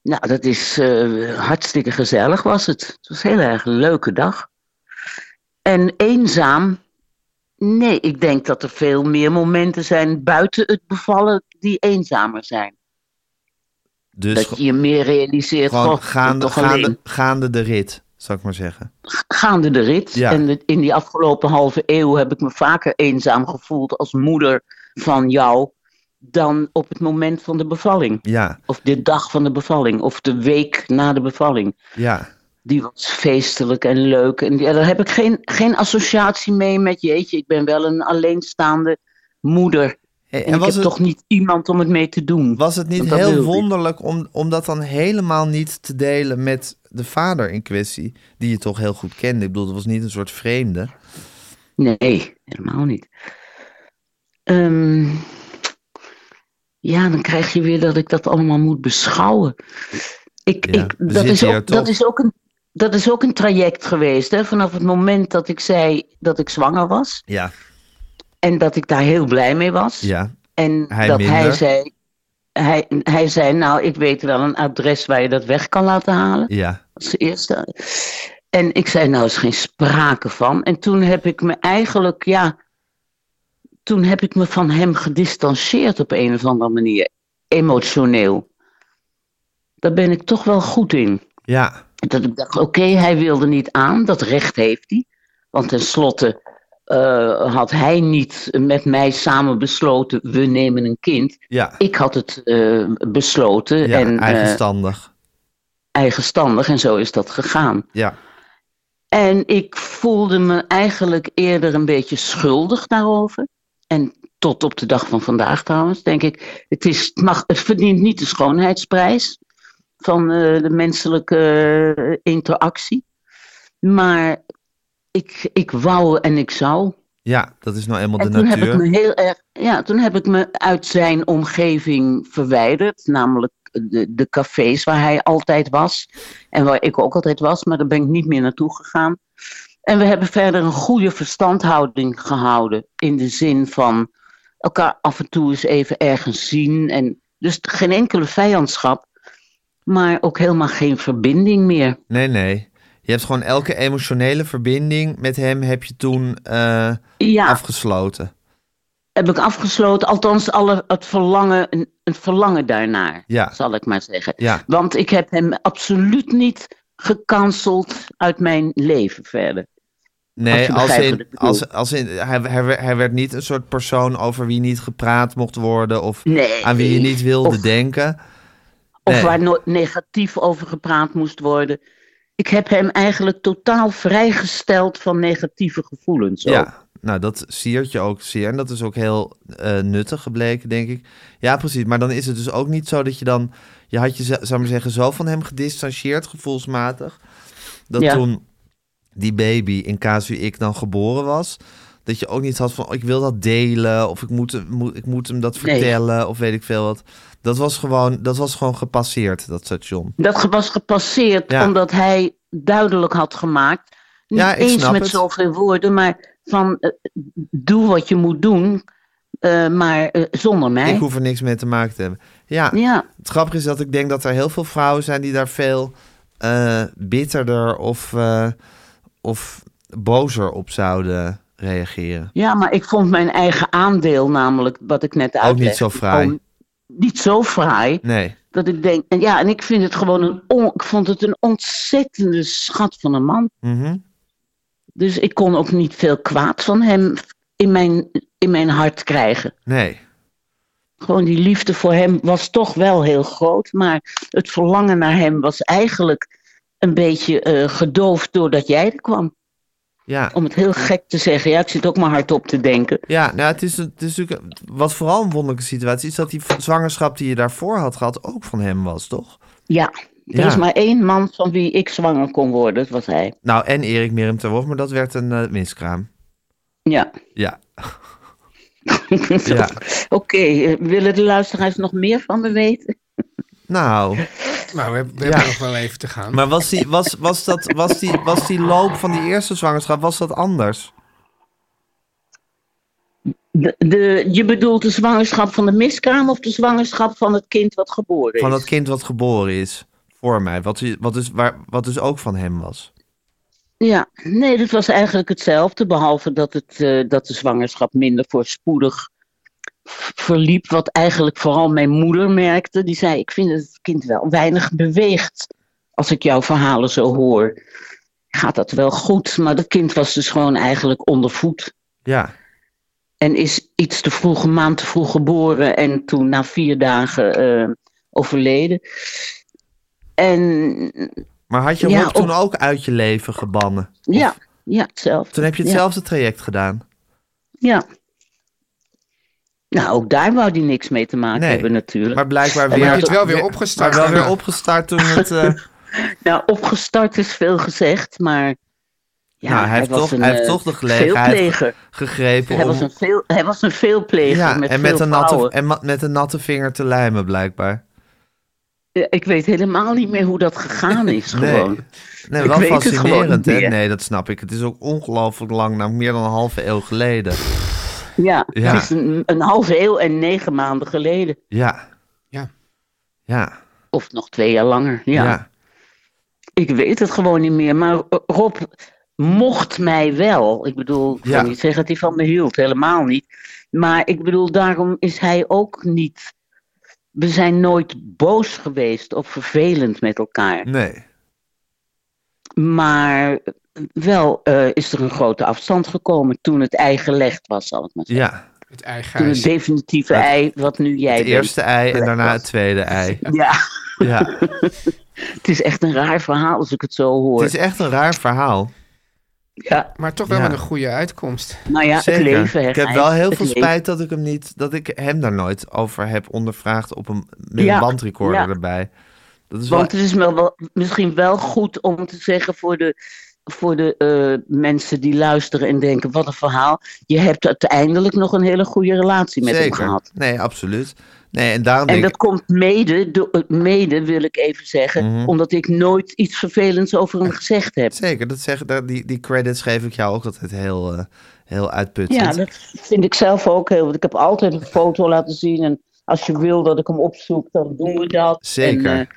[SPEAKER 6] Nou, dat is eh, hartstikke gezellig was het. Het was een heel erg leuke dag. En eenzaam, nee, ik denk dat er veel meer momenten zijn buiten het bevallen die eenzamer zijn.
[SPEAKER 2] Dus
[SPEAKER 6] dat je je meer realiseert,
[SPEAKER 2] gewoon
[SPEAKER 6] goh, ik ben
[SPEAKER 2] gaande,
[SPEAKER 6] toch
[SPEAKER 2] gaande,
[SPEAKER 6] alleen.
[SPEAKER 2] gaande de rit, zou ik maar zeggen.
[SPEAKER 6] gaande de rit.
[SPEAKER 2] Ja.
[SPEAKER 6] En de- in die afgelopen halve eeuw heb ik me vaker eenzaam gevoeld als moeder van jou dan op het moment van de bevalling.
[SPEAKER 2] Ja,
[SPEAKER 6] Of de dag van de bevalling, of de week na de bevalling.
[SPEAKER 2] ja.
[SPEAKER 6] Die was feestelijk en leuk. En ja, daar heb ik geen, geen associatie mee met, jeetje, ik ben wel een alleenstaande moeder.
[SPEAKER 2] Hey,
[SPEAKER 6] En, ik heb toch niet iemand om het mee te doen.
[SPEAKER 2] Was het niet
[SPEAKER 6] Want dat wil
[SPEAKER 2] heel
[SPEAKER 6] ik.
[SPEAKER 2] wonderlijk om, om dat dan helemaal niet te delen met de vader in kwestie, die je toch heel goed kende? Ik bedoel, dat was niet een soort vreemde.
[SPEAKER 6] Nee, helemaal niet. Ehm, ja, dan krijg je weer dat ik dat allemaal moet beschouwen. Ik,
[SPEAKER 2] Ja,
[SPEAKER 6] ik,
[SPEAKER 2] we
[SPEAKER 6] dat, is
[SPEAKER 2] zitten hier
[SPEAKER 6] ook, dat,
[SPEAKER 2] toch.
[SPEAKER 6] is ook een, dat is ook een traject geweest. Hè? Vanaf het moment dat ik zei dat ik zwanger was.
[SPEAKER 2] Ja,
[SPEAKER 6] En dat ik daar heel blij mee was.
[SPEAKER 2] ja,
[SPEAKER 6] En
[SPEAKER 2] Hij
[SPEAKER 6] dat hij
[SPEAKER 2] minder.
[SPEAKER 6] zei, hij, hij zei, nou, ik weet wel een adres waar je dat weg kan laten halen.
[SPEAKER 2] ja.
[SPEAKER 6] Als eerste. En ik zei, nou is geen sprake van. En toen heb ik me eigenlijk, ja, toen heb ik me van hem gedistanceerd op een of andere manier. Emotioneel. Daar ben ik toch wel goed in.
[SPEAKER 2] Ja,
[SPEAKER 6] Dat ik dacht, oké, hij wilde niet aan, dat recht heeft hij. Want tenslotte eh, had hij niet met mij samen besloten, we nemen een kind.
[SPEAKER 2] ja.
[SPEAKER 6] Ik had het eh, besloten
[SPEAKER 2] ja
[SPEAKER 6] en eh,
[SPEAKER 2] eigenstandig.
[SPEAKER 6] eigenstandig en zo is dat gegaan.
[SPEAKER 2] Ja,
[SPEAKER 6] En ik voelde me eigenlijk eerder een beetje schuldig daarover. En tot op de dag van vandaag trouwens, denk ik. Het, is, het mag, het verdient niet de schoonheidsprijs van eh, de menselijke eh, interactie. Maar ik, ik wou en ik zou.
[SPEAKER 2] ja, dat is nou eenmaal
[SPEAKER 6] En
[SPEAKER 2] de
[SPEAKER 6] toen heb ik
[SPEAKER 2] natuur.
[SPEAKER 6] me heel erg. Ja, toen heb ik me uit zijn omgeving verwijderd. Namelijk de, de cafés waar hij altijd was. En waar ik ook altijd was, maar daar ben ik niet meer naartoe gegaan. En we hebben verder een goede verstandhouding gehouden. In de zin van elkaar af en toe eens even ergens zien. En dus geen enkele vijandschap. Maar ook helemaal geen verbinding meer.
[SPEAKER 2] Nee, nee. Je hebt gewoon elke emotionele verbinding met hem heb je toen
[SPEAKER 6] Ah.
[SPEAKER 2] eh,
[SPEAKER 6] Ja,
[SPEAKER 2] afgesloten.
[SPEAKER 6] heb ik afgesloten. Althans, alle, het, verlangen, een, een verlangen daarnaar,
[SPEAKER 2] Ja.
[SPEAKER 6] zal ik maar zeggen.
[SPEAKER 2] Ja.
[SPEAKER 6] Want ik heb hem absoluut niet gecanceld uit mijn leven verder. Als
[SPEAKER 2] Nee,
[SPEAKER 6] je
[SPEAKER 2] als
[SPEAKER 6] begrijpt
[SPEAKER 2] in,
[SPEAKER 6] wat ik bedoel.
[SPEAKER 2] als, als in hij, hij, werd- hij werd niet een soort persoon over wie niet gepraat mocht worden of
[SPEAKER 6] Nee.
[SPEAKER 2] aan wie je niet wilde
[SPEAKER 6] Of-
[SPEAKER 2] denken.
[SPEAKER 6] Of
[SPEAKER 2] Nee.
[SPEAKER 6] waar no- negatief over gepraat moest worden. Ik heb hem eigenlijk totaal vrijgesteld van negatieve gevoelens. ook.
[SPEAKER 2] Ja, nou dat siert je ook zeer. En dat is ook heel eh, nuttig gebleken, denk ik. Ja, precies. Maar dan is het dus ook niet zo dat je dan... Je had je, zou ik maar zeggen, zo van hem gedistanceerd gevoelsmatig... dat
[SPEAKER 6] Ja.
[SPEAKER 2] toen die baby, in casu ik, dan geboren was... dat je ook niet had van, oh, ik wil dat delen... of ik moet, moet- ik moet hem dat
[SPEAKER 6] Nee.
[SPEAKER 2] vertellen, of weet ik veel wat. Dat was gewoon, dat was gewoon gepasseerd, dat station.
[SPEAKER 6] Dat ge- was gepasseerd
[SPEAKER 2] Ja.
[SPEAKER 6] omdat hij duidelijk had gemaakt. Niet
[SPEAKER 2] Ja, ik
[SPEAKER 6] eens
[SPEAKER 2] snap
[SPEAKER 6] met
[SPEAKER 2] het.
[SPEAKER 6] zoveel woorden, maar van eh, doe wat je moet doen, eh, maar eh, zonder mij.
[SPEAKER 2] Ik hoef er niks mee te maken te hebben. Ja,
[SPEAKER 6] Ja,
[SPEAKER 2] Het grappige is dat ik denk dat er heel veel vrouwen zijn die daar veel eh, bitterder of, eh, of bozer op zouden reageren.
[SPEAKER 6] Ja, maar ik vond mijn eigen aandeel namelijk, wat ik net uitlegde.
[SPEAKER 2] niet zo fraai.
[SPEAKER 6] gewoon niet zo fraai.
[SPEAKER 2] Nee.
[SPEAKER 6] Dat ik denk, en ja, en ik vind het gewoon een, on- ik vond het een ontzettende schat van een man.
[SPEAKER 2] Mhm.
[SPEAKER 6] Dus ik kon ook niet veel kwaad van hem in mijn, in mijn hart krijgen.
[SPEAKER 2] Nee.
[SPEAKER 6] Gewoon die liefde voor hem was toch wel heel groot, maar het verlangen naar hem was eigenlijk een beetje eh, gedoofd doordat jij er kwam.
[SPEAKER 2] Ja.
[SPEAKER 6] Om het heel gek te zeggen, ja, ik zit ook maar hardop te denken.
[SPEAKER 2] Ja, nou, het is, het is natuurlijk. Wat vooral een wonderlijke situatie is dat die v- zwangerschap die je daarvoor had gehad ook van hem was, toch?
[SPEAKER 6] Ja, er
[SPEAKER 2] Ja.
[SPEAKER 6] is maar één man van wie ik zwanger kon worden, dat was hij.
[SPEAKER 2] Nou, en Erik Miriam ter Wolf, maar dat werd een eh, miskraam.
[SPEAKER 6] Ja.
[SPEAKER 2] Ja.
[SPEAKER 6] Oké,
[SPEAKER 2] ja.
[SPEAKER 6] eh, willen de luisteraars nog meer van me weten?
[SPEAKER 2] Nou.
[SPEAKER 1] Nou, we, hebben- we
[SPEAKER 2] Ja.
[SPEAKER 1] hebben nog wel even te gaan.
[SPEAKER 2] Maar was die, was, was, dat, was, die, was die loop van die eerste zwangerschap, was dat anders?
[SPEAKER 6] De, de, je bedoelt de zwangerschap van de miskraam of de zwangerschap van het kind wat geboren is?
[SPEAKER 2] Van dat kind wat geboren is voor mij, wat, is- wat, is, waar, wat dus ook van hem was.
[SPEAKER 6] Ja, nee, dat was eigenlijk hetzelfde, behalve dat, het, eh, dat de zwangerschap minder voorspoedig v- verliep. Wat eigenlijk vooral mijn moeder merkte. Die zei, ik vind dat het kind wel weinig beweegt als ik jouw verhalen zo hoor. Gaat dat wel goed, maar dat kind was dus gewoon eigenlijk ondervoed.
[SPEAKER 2] Ja,
[SPEAKER 6] En is iets te vroeg, een maand te vroeg geboren en toen na vier dagen eh, overleden. En
[SPEAKER 2] maar had je
[SPEAKER 6] Ja,
[SPEAKER 2] Rob toen
[SPEAKER 6] op-
[SPEAKER 2] ook uit je leven gebannen?
[SPEAKER 6] ja, ja hetzelfde.
[SPEAKER 2] Toen heb je
[SPEAKER 6] Ja.
[SPEAKER 2] hetzelfde traject gedaan.
[SPEAKER 6] Ja. Nou, ook daar wou hij niks mee te maken
[SPEAKER 2] Nee.
[SPEAKER 6] hebben natuurlijk.
[SPEAKER 2] Maar blijkbaar
[SPEAKER 6] En
[SPEAKER 2] weer,
[SPEAKER 6] hij
[SPEAKER 1] het
[SPEAKER 6] had-
[SPEAKER 1] wel weer opgestart.
[SPEAKER 2] Maar wel weer
[SPEAKER 1] daarna.
[SPEAKER 2] opgestart toen het... eh,
[SPEAKER 6] Nou, opgestart is veel gezegd, maar... Ja,
[SPEAKER 2] nou, hij heeft,
[SPEAKER 6] was
[SPEAKER 2] toch,
[SPEAKER 6] een,
[SPEAKER 2] hij heeft
[SPEAKER 6] eh,
[SPEAKER 2] toch de gelegenheid
[SPEAKER 6] veelpleger.
[SPEAKER 2] gegrepen
[SPEAKER 6] Hij
[SPEAKER 2] om...
[SPEAKER 6] was, een veel, hij was een veelpleger
[SPEAKER 2] ja,
[SPEAKER 6] met
[SPEAKER 2] en
[SPEAKER 6] veel
[SPEAKER 2] met een, natte,
[SPEAKER 6] vrouwen.
[SPEAKER 2] en ma- met een natte vinger te lijmen, blijkbaar.
[SPEAKER 6] Ja, Ik weet helemaal niet meer hoe dat gegaan is gewoon.
[SPEAKER 2] Nee,
[SPEAKER 6] Ik
[SPEAKER 2] wel
[SPEAKER 6] weet het gewoon
[SPEAKER 2] fascinerend, hè?
[SPEAKER 6] niet.
[SPEAKER 2] Nee, dat snap ik. Het is ook ongelooflijk lang, nou, meer dan een halve eeuw geleden.
[SPEAKER 6] Ja,
[SPEAKER 2] Ja.
[SPEAKER 6] het is een, een halve eeuw en negen maanden geleden.
[SPEAKER 2] Ja,
[SPEAKER 1] Ja.
[SPEAKER 2] ja,
[SPEAKER 6] Of nog twee jaar langer,
[SPEAKER 2] ja.
[SPEAKER 6] ja. Ik weet het gewoon niet meer. Maar eh, Rob mocht mij wel. Ik bedoel, ik wil
[SPEAKER 2] Ja.
[SPEAKER 6] niet zeggen dat hij van me hield. Helemaal niet. Maar ik bedoel, daarom is hij ook niet... We zijn nooit boos geweest of vervelend met elkaar.
[SPEAKER 2] Nee, Hm.
[SPEAKER 6] Maar wel eh, is er een grote afstand gekomen toen het ei gelegd was, zal ik maar zeggen.
[SPEAKER 2] ja.
[SPEAKER 1] Het eigen
[SPEAKER 6] Toen het
[SPEAKER 1] huis.
[SPEAKER 6] definitieve ei, wat nu jij
[SPEAKER 2] Het
[SPEAKER 6] bent.
[SPEAKER 2] eerste ei en
[SPEAKER 6] gelegd
[SPEAKER 2] daarna
[SPEAKER 6] was.
[SPEAKER 2] het tweede ei.
[SPEAKER 6] Ja,
[SPEAKER 2] Ja.
[SPEAKER 6] het is echt een raar verhaal als ik het zo hoor.
[SPEAKER 2] Het is echt een raar verhaal.
[SPEAKER 6] Ja,
[SPEAKER 1] Maar toch wel
[SPEAKER 2] Ja.
[SPEAKER 1] met een goede uitkomst.
[SPEAKER 6] nou ja,
[SPEAKER 2] Zeker.
[SPEAKER 6] het leven. hè,
[SPEAKER 2] ik heb
[SPEAKER 6] Gijs,
[SPEAKER 2] wel heel
[SPEAKER 6] het
[SPEAKER 2] veel
[SPEAKER 6] leven.
[SPEAKER 2] spijt dat ik hem niet, dat ik hem daar nooit over heb ondervraagd op een, met een
[SPEAKER 6] Ja,
[SPEAKER 2] bandrecorder
[SPEAKER 6] ja.
[SPEAKER 2] erbij. Dat is wel,
[SPEAKER 6] Want het is wel, wel- misschien wel goed om te zeggen voor de, voor de eh, mensen die luisteren en denken: wat een verhaal. Je hebt uiteindelijk nog een hele goede relatie met hem
[SPEAKER 2] zeker.
[SPEAKER 6] gehad.
[SPEAKER 2] Nee, absoluut. Nee, en daarom
[SPEAKER 6] En
[SPEAKER 2] denk
[SPEAKER 6] dat
[SPEAKER 2] ik,
[SPEAKER 6] komt mede, door- mede wil ik even zeggen, omdat ik nooit iets vervelends over hem gezegd heb.
[SPEAKER 2] zeker, dat zeg, daar- die, die credits geef ik jou ook altijd heel, eh, heel uitputtend.
[SPEAKER 6] Ja, dat vind ik zelf ook heel. Want ik heb altijd een foto laten zien. En als je wil dat ik hem opzoek, dan doen we dat.
[SPEAKER 2] Zeker.
[SPEAKER 6] En, eh,